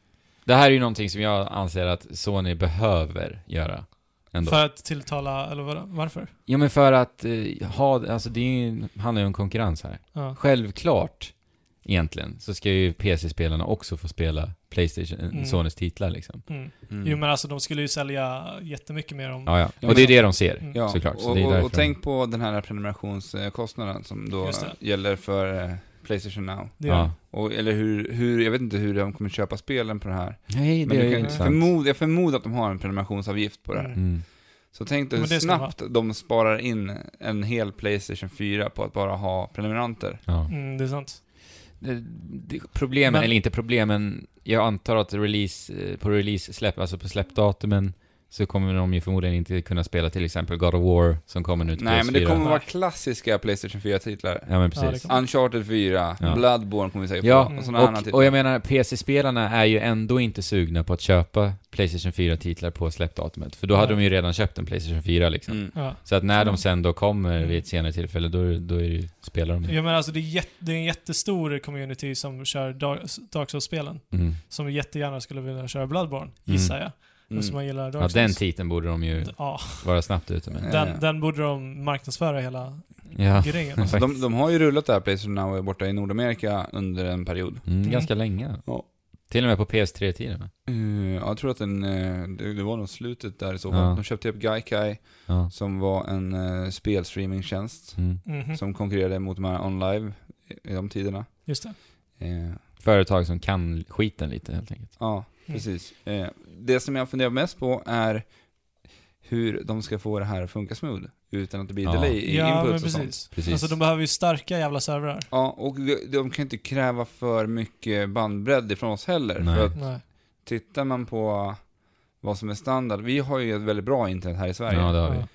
C: Det här är ju någonting som jag anser att Sony behöver göra. Ändå.
A: För att tilltala, eller vad, varför?
C: Jo men för att eh, ha, alltså det är ju, handlar ju om konkurrens här.
A: Ja.
C: Självklart, egentligen, så ska ju PC-spelarna också få spela Playstation, eh,
A: Mm.
C: Sonys titlar liksom.
A: Mm.
B: Mm.
A: Jo men alltså de skulle ju sälja jättemycket mer om...
C: Ja, ja.
B: Ja,
C: Och det är
B: men-
C: det de ser.
A: Mm.
B: Ja,
C: såklart. Så
B: och,
C: det är
B: och,
C: därför
B: och
C: de-
B: tänk på den här prenumerationskostnaden som då
A: Just det.
B: gäller för eh, Playstation Now.
A: Det
C: Ja.
B: Och, eller hur, hur, jag vet inte hur de kommer köpa spelen på det här.
C: Nej,
B: Men du
C: det är ju
B: kan,
C: intressant.
B: förmod, jag förmodar att de har en prenumerationsavgift på det här.
A: Mm.
C: Mm.
B: Så tänk dig
A: Men
B: hur
A: det ska de ha.
B: snabbt de sparar in en hel Playstation 4 på att bara ha prenumeranter.
C: Ja.
A: Mm, det är sant.
C: Det- det- Problemen,
A: Men-
C: eller inte problemen, jag antar att release, eh, på release släpp, alltså på släppdatumen så kommer de ju förmodligen inte kunna spela till exempel God of War som kommer nu till
B: Nej,
C: PS4.
B: men det kommer
A: Nej.
B: vara klassiska Playstation 4-titlar.
C: Ja, men
A: Ja, det
C: precis.
A: kommer-
B: Uncharted 4,
C: Ja.
B: Bloodborne kommer vi säkert
C: Ja,
B: få.
A: Mm.
B: Och sådana andra
C: och,
B: titlar.
C: och jag menar, PC-spelarna är ju ändå inte sugna på att köpa Playstation 4-titlar på släppdatumet. För då hade
A: Nej.
C: de ju redan köpt en Playstation 4 liksom.
B: mm.
A: Ja.
C: Så att när
A: Mm.
C: de sen då kommer
A: Mm.
C: vid ett senare tillfälle, då, då är det ju, spelar
B: Mm.
C: de ju.
A: Jag menar alltså det är, jätte, det är en jättestor community som kör Dark, Dark Souls-spelen.
C: Mm.
A: Som jättegärna skulle vilja köra Bloodborne, gissar jag.
B: Mm.
A: Och som man gillar Dark
C: Ja,
A: Souls.
C: den titeln borde de ju
A: Ja,
C: vara snabbt ute med.
A: den,
B: Eh.
A: den borde de marknadsföra hela
C: Ja.
A: grejen.
C: Alltså,
B: De, de har ju rullat det här Playstation Now borta i Nordamerika under en period.
C: Mm,
A: Mm.
C: ganska länge.
B: Ja.
C: Till och med på PS3-tiden va?
B: Eh, ja, jag tror att den, eh, det, det var nog slutet där i så fall.
C: Ja.
B: De köpte upp Gaikai,
C: Ja.
B: som var en eh, spelstreamingtjänst
C: Mm.
A: Mhm,
B: som konkurrerade mot de här OnLive i, i de tiderna.
A: Just det.
B: Eh,
C: Företag som kan skiten lite helt enkelt.
B: Ja,
A: Mm.
B: precis. Eh, det som jag funderar mest på är hur de ska få det här att funka smooth utan att det blir
C: Ja.
B: delay i
A: Ja, men
B: inputs och sånt.
A: precis.
C: Precis.
A: Alltså de behöver ju starka jävla servrar.
B: Ja, och de, de kan inte kräva för mycket bandbredd ifrån oss heller.
C: Nej.
B: För att
A: Nej.
B: tittar man på vad som är standard, vi har ju ett väldigt bra internet här i Sverige.
C: Ja, det har vi.
A: Ja.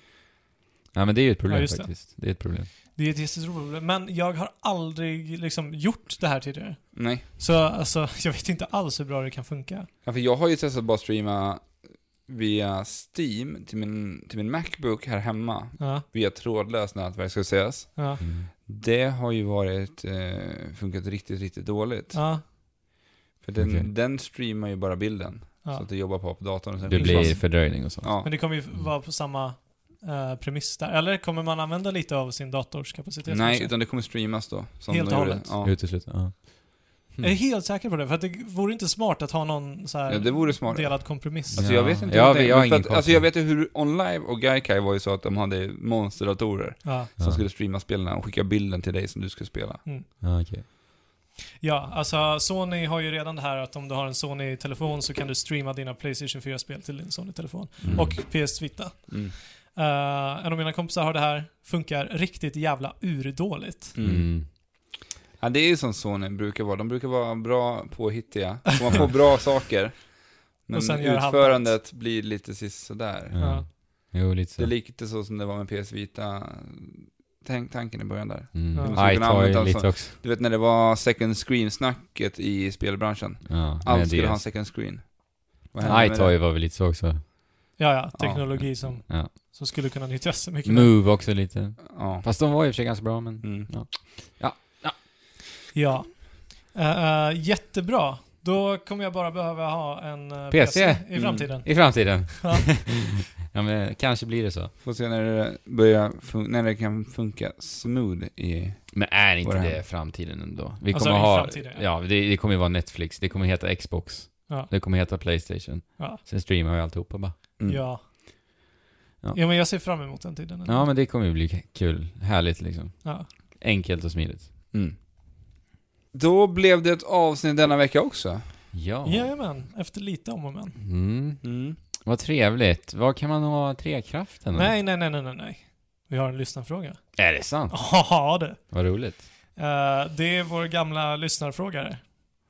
C: Ja, men det är ju ett problem
A: Ja, just det.
C: faktiskt. Det är ett problem.
A: Det är ett jättestort problem. Men jag har aldrig liksom gjort det här tidigare.
B: Nej,
A: Så alltså, jag vet inte alls hur bra det kan funka.
B: ja, för jag har ju testat bara streama via Steam till min, till min Macbook här hemma,
A: Ja,
B: via trådlöst nätverk ska sägas.
A: ja,
C: Mm.
B: Det har ju varit, eh, funkat riktigt, riktigt dåligt.
A: ja.
B: För den,
C: Okej.
B: den streamar ju bara bilden, så
A: ja.
B: att det jobbar på, på datorn. och sen
C: Det blir
B: försvinner.
C: fördröjning och sånt.
B: Ja.
A: Men det kommer ju vara på samma eh, premiss där. Eller kommer man använda lite av sin dators kapacitet?
B: Nej,
A: kanske?
B: utan det kommer streamas då. som
A: Helt
B: de
A: och
B: gjorde.
A: hållet.
B: Ja.
C: Uteslutet. Ja.
A: Jag är helt säker på det, för att det vore inte smart att ha någon så här
B: Ja, det vore smart.
A: delad kompromiss.
B: Alltså
C: Ja.
B: jag vet inte
C: Ja,
B: hur det
C: vi
B: är,
C: har
B: men för
C: ingen
B: att,
C: koll
B: Alltså
C: på
B: jag
C: det.
B: vet ju hur OnLive och Gaikai var ju så att de hade monsterdatorer
A: Ja.
C: Ja.
B: som skulle streama spelen och skicka bilden till dig som du skulle spela.
C: Ja, okej.
A: ja, alltså Sony har ju redan det här att om du har en Sony-telefon så kan du streama dina Playstation 4-spel till din Sony-telefon.
C: Mm.
A: Och PS Vita.
B: Mm.
A: Eh, en av mina kompisar har det här, funkar riktigt jävla urdåligt.
B: Mm.
C: Mm.
B: Ja, det är ju som Sony brukar vara. De brukar vara bra påhittiga. Så man får bra saker. Men
A: Och sen gör halvdant. Mm.
B: utförandet blir lite sådär.
C: Ja.
A: Ja.
C: Jo, lite så.
B: Det är lite så som det var med PS Vita. Tänk tanken i början där.
C: Mm.
A: Ja.
B: Man skulle kunna använda
C: iToy lite
B: sån-
C: också.
B: Du vet när det var second screen-snacket i spelbranschen.
C: Ja,
B: Allt
C: men
B: skulle
C: det-
B: ha en second screen. Vad hände med
C: iToy
B: det?
C: var väl lite så också.
A: Ja, ja, teknologi Som,
C: Ja.
A: som skulle kunna nyttjas så mycket.
C: Move också lite.
B: Ja.
C: Fast de var i och för sig ganska bra, men...
B: Mm.
A: Ja. Eh, eh, jättebra. Då kommer jag bara behöva ha en eh,
C: PC.
A: i framtiden.
C: I framtiden.
A: Ja.
C: ja, men kanske blir det så.
B: Får se när det börjar fun- när det kan funka smooth i...
C: Men är
B: Vad
C: inte
B: det
C: det
B: här?
C: framtiden ändå? Vi
A: Alltså,
C: kommer
A: i
C: ha...
A: framtiden, ja.
C: ja, det, det kommer ju vara Netflix, det kommer heta Xbox,
A: Ja.
C: det kommer heta Playstation.
A: Ja.
C: Sen streamar vi alltihopa bara.
B: Mm.
A: Ja.
C: Ja.
A: ja. men jag ser fram emot den tiden.
C: Ja, men det kommer ju bli k- kul. Härligt liksom.
A: Ja.
C: Enkelt och smidigt.
B: Mm. Då blev det ett avsnitt denna vecka också.
C: Ja.
A: Jajamän, efter lite om och men.
C: Mm.
B: Mm.
C: Vad trevligt. Vad kan man ha trekraften? av?
A: Nej, nej, nej, nej, nej, nej. Vi har en lyssnarfråga.
C: Är det sant?
A: Ja, det.
C: Vad roligt.
A: Eh, det är vår gamla lyssnarfrågare.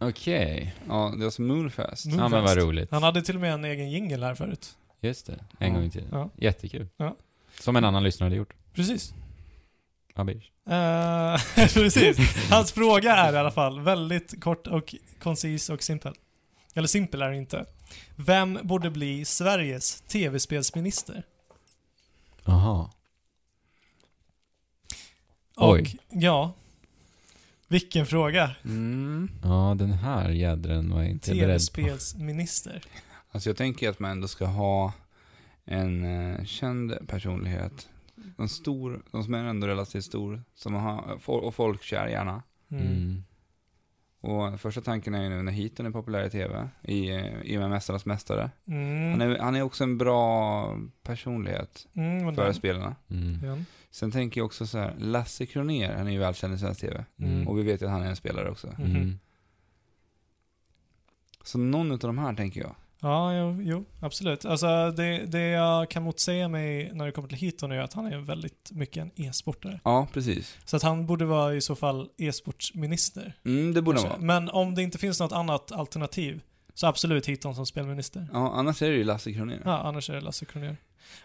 C: Okej.
B: Ja, det var som Moonfest.
A: Mm.
C: Ja, men vad roligt.
A: Han hade till och med en egen jingle här förut.
C: Just det. En
B: Ja.
C: gång i tiden.
A: Ja.
C: Jättekul.
A: Ja.
C: Som en annan lyssnare hade gjort.
A: Precis.
C: Abish.
A: Eh, precis. Hans fråga är i alla fall väldigt kort och koncis och simpel. Eller simpel är den inte. Vem borde bli Sveriges tv-spelsminister?
C: Aha. Oj.
A: Och ja, vilken fråga.
B: Mm.
C: Ja, den här jädren var jag inte beredd på.
A: Tv-spelsminister.
B: Alltså jag tänker att man ändå ska ha en eh, känd personlighet. En stor, de som är ändå relativt stor, som har, fol- och folk kär gärna.
A: Mm.
C: Mm.
B: Och första tanken är ju nu när Heaton är populär i tv, i, eh, i och med Mästarnas Mästare.
A: Mm.
B: Han, är, han är också en bra personlighet
A: Mm, vad
B: för
A: den-
B: spelarna.
C: Mm.
A: den.
B: Sen tänker jag också så här, Lasse Kronér, han är ju välkänd i svensk tv.
A: Mm.
B: Och vi vet ju att han är en spelare också.
A: Mhm.
C: Mm.
B: Så någon av de här tänker jag.
A: Ja, jo, jo absolut. Alltså, det, det jag kan motsäga mig när det kommer till Heaton är att han är väldigt mycket en e-sportare.
B: Ja, precis.
A: Så att han borde vara i så fall e-sportsminister.
B: Mm, det borde han vara.
A: Men om det inte finns något annat alternativ så absolut Heaton som spelminister.
B: Ja, annars är det ju Lasse Kronér.
A: Ja, annars är det Lasse Kronér.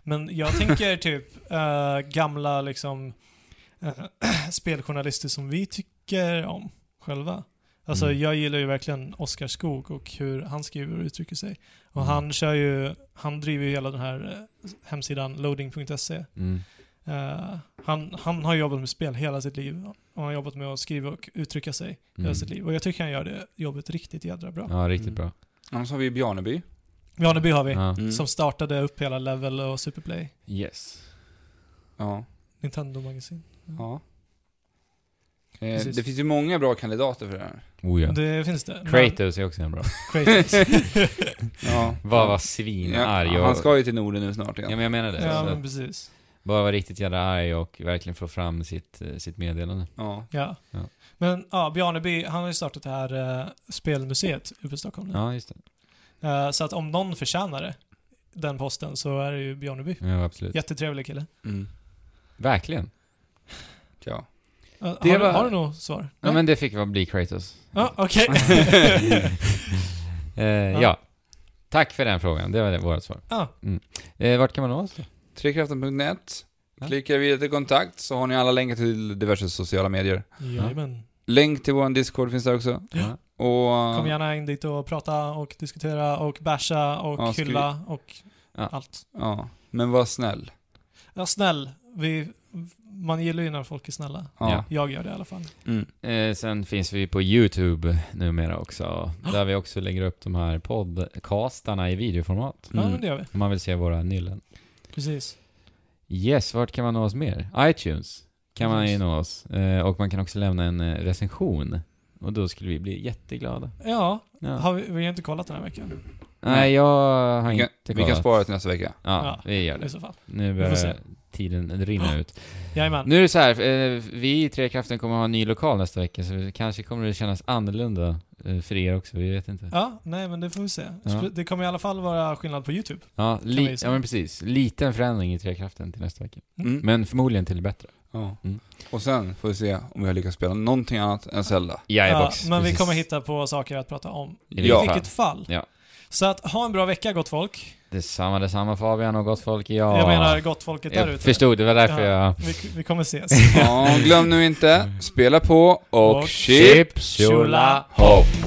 A: Men jag tänker typ eh, gamla liksom eh, speljournalister som vi tycker om själva. Alltså
C: Mm.
A: jag gillar ju verkligen Oskar Skog och hur han skriver och uttrycker sig. Och
C: Mm.
A: han kör ju, han driver ju hela den här eh, hemsidan loading.se.
C: Mm.
A: Eh, han, han har jobbat med spel hela sitt liv. Och han har jobbat med att skriva och uttrycka sig hela sitt liv. Och jag tycker han gör det jobbet riktigt jädra bra.
C: mm. Ja, riktigt
B: Mm.
C: bra.
B: Annars har vi Bjarneby.
A: Janeby har vi,
C: Ja.
B: Mm.
A: som startade upp hela Level och Superplay.
C: Yes.
B: Ja.
A: Nintendo-magasin.
C: Mm.
B: ja. Eh,
A: Precis.
B: det finns ju många bra kandidater för det här.
C: Oh, ja.
A: Det finns det. men-
C: Kratos är också en bra.
A: Kratos.
B: Ja.
C: Bara var svinarg
B: ja,
C: och...
B: han ska ju till Norden nu snart
C: Ja,
B: igen.
C: men jag menar det.
A: ja,
C: så
A: men
C: att
A: precis.
C: bara vara riktigt jävla arg och verkligen få fram sitt, eh, sitt meddelande.
B: Ja.
A: Ja.
C: Ja.
A: Men ja, Bjarneby, han har ju startat det här eh, spelmuseet uppe i Stockholm nu.
C: Ja, just det.
A: Eh, så att om någon förtjänar det, den posten, så är det ju Bjarneby.
C: Ja, absolut.
A: Jättetrevlig kille.
B: Mm.
C: Verkligen.
B: ja.
A: Eh,
C: Det
A: har, du-
C: var-
A: har du något svar?
C: Ja, men det fick vara bli Kratos.
A: Ja, okej.
C: Eh, ja. Tack för den frågan. Det var det, vårt svar.
A: Ja.
C: Mm. Eh, vart kan man nå oss då?
B: Trekraften.net.
C: Ja.
B: Klicka vidare till kontakt så har ni alla länkar till diverse sociala medier.
A: Jajamän.
B: Länk till vår Discord finns där också.
C: Ja.
B: Och...
A: Kom gärna in dit och prata och diskutera och basha och
B: Ja, skulle-
A: hylla och
C: Ja.
A: allt.
B: Ja. Men var snäll.
A: Ja, snäll. Vi, man gillar ju när folk är snälla.
B: Ja.
A: Jag gör det i alla fall.
B: Mm.
C: Eh, sen finns vi på YouTube numera också. Där vi också lägger upp de här podcastarna i videoformat.
A: Ja,
B: Mm.
A: men det gör vi.
C: Om man vill se våra nyllen.
A: Precis.
C: Yes, vart kan man nå oss mer? iTunes kan man ju
A: Precis.
C: nå oss. Eh, och man kan också lämna en eh, recension. Och då skulle vi bli jätteglada.
A: Ja,
C: Ja.
A: Har vi, vi har inte kollat den här veckan.
C: Nej, jag har
B: Vi,
C: inte
B: kan, vi kan spara till nästa vecka.
C: Ja,
A: Ja.
C: vi gör det.
A: I så fall.
C: Nu
A: Vi får se.
C: börjar tiden rinna ut.
A: Jajamän.
C: Nu är det så här, eh, vi i Trekraften kommer ha en ny lokal nästa vecka, så det kanske kommer det kännas annorlunda eh, för er också, vi vet inte.
A: Ja, nej men det får vi se.
C: Ja.
A: Sp- Det kommer i alla fall vara skillnad på YouTube.
C: Ja,
A: vi
C: li-
A: ju säga.
C: ja men precis. Liten förändring i Trekraften till nästa vecka.
B: Mm.
C: Men förmodligen till det bättre.
B: Ja.
C: Mm.
B: Och sen får vi se om vi har lyckats spela någonting annat än Zelda.
A: Ja,
C: Jajebox.
A: men vi
C: precis.
A: kommer hitta på saker att prata om.
C: I
A: I
B: Ja.
A: vilket fall.
C: Ja.
A: Så att ha en bra vecka gott folk.
C: Detsamma, detsamma Fabian och gott folk. Ja.
A: Jag menar gott folket där
C: jag
A: ute.
C: förstod, det var därför
A: Ja.
C: jag...
A: Vi, vi kommer ses.
B: Ja, glöm nu inte, spela på och,
A: Och
B: chip,
C: Chip,
A: Chula,
C: hopp.
B: hopp.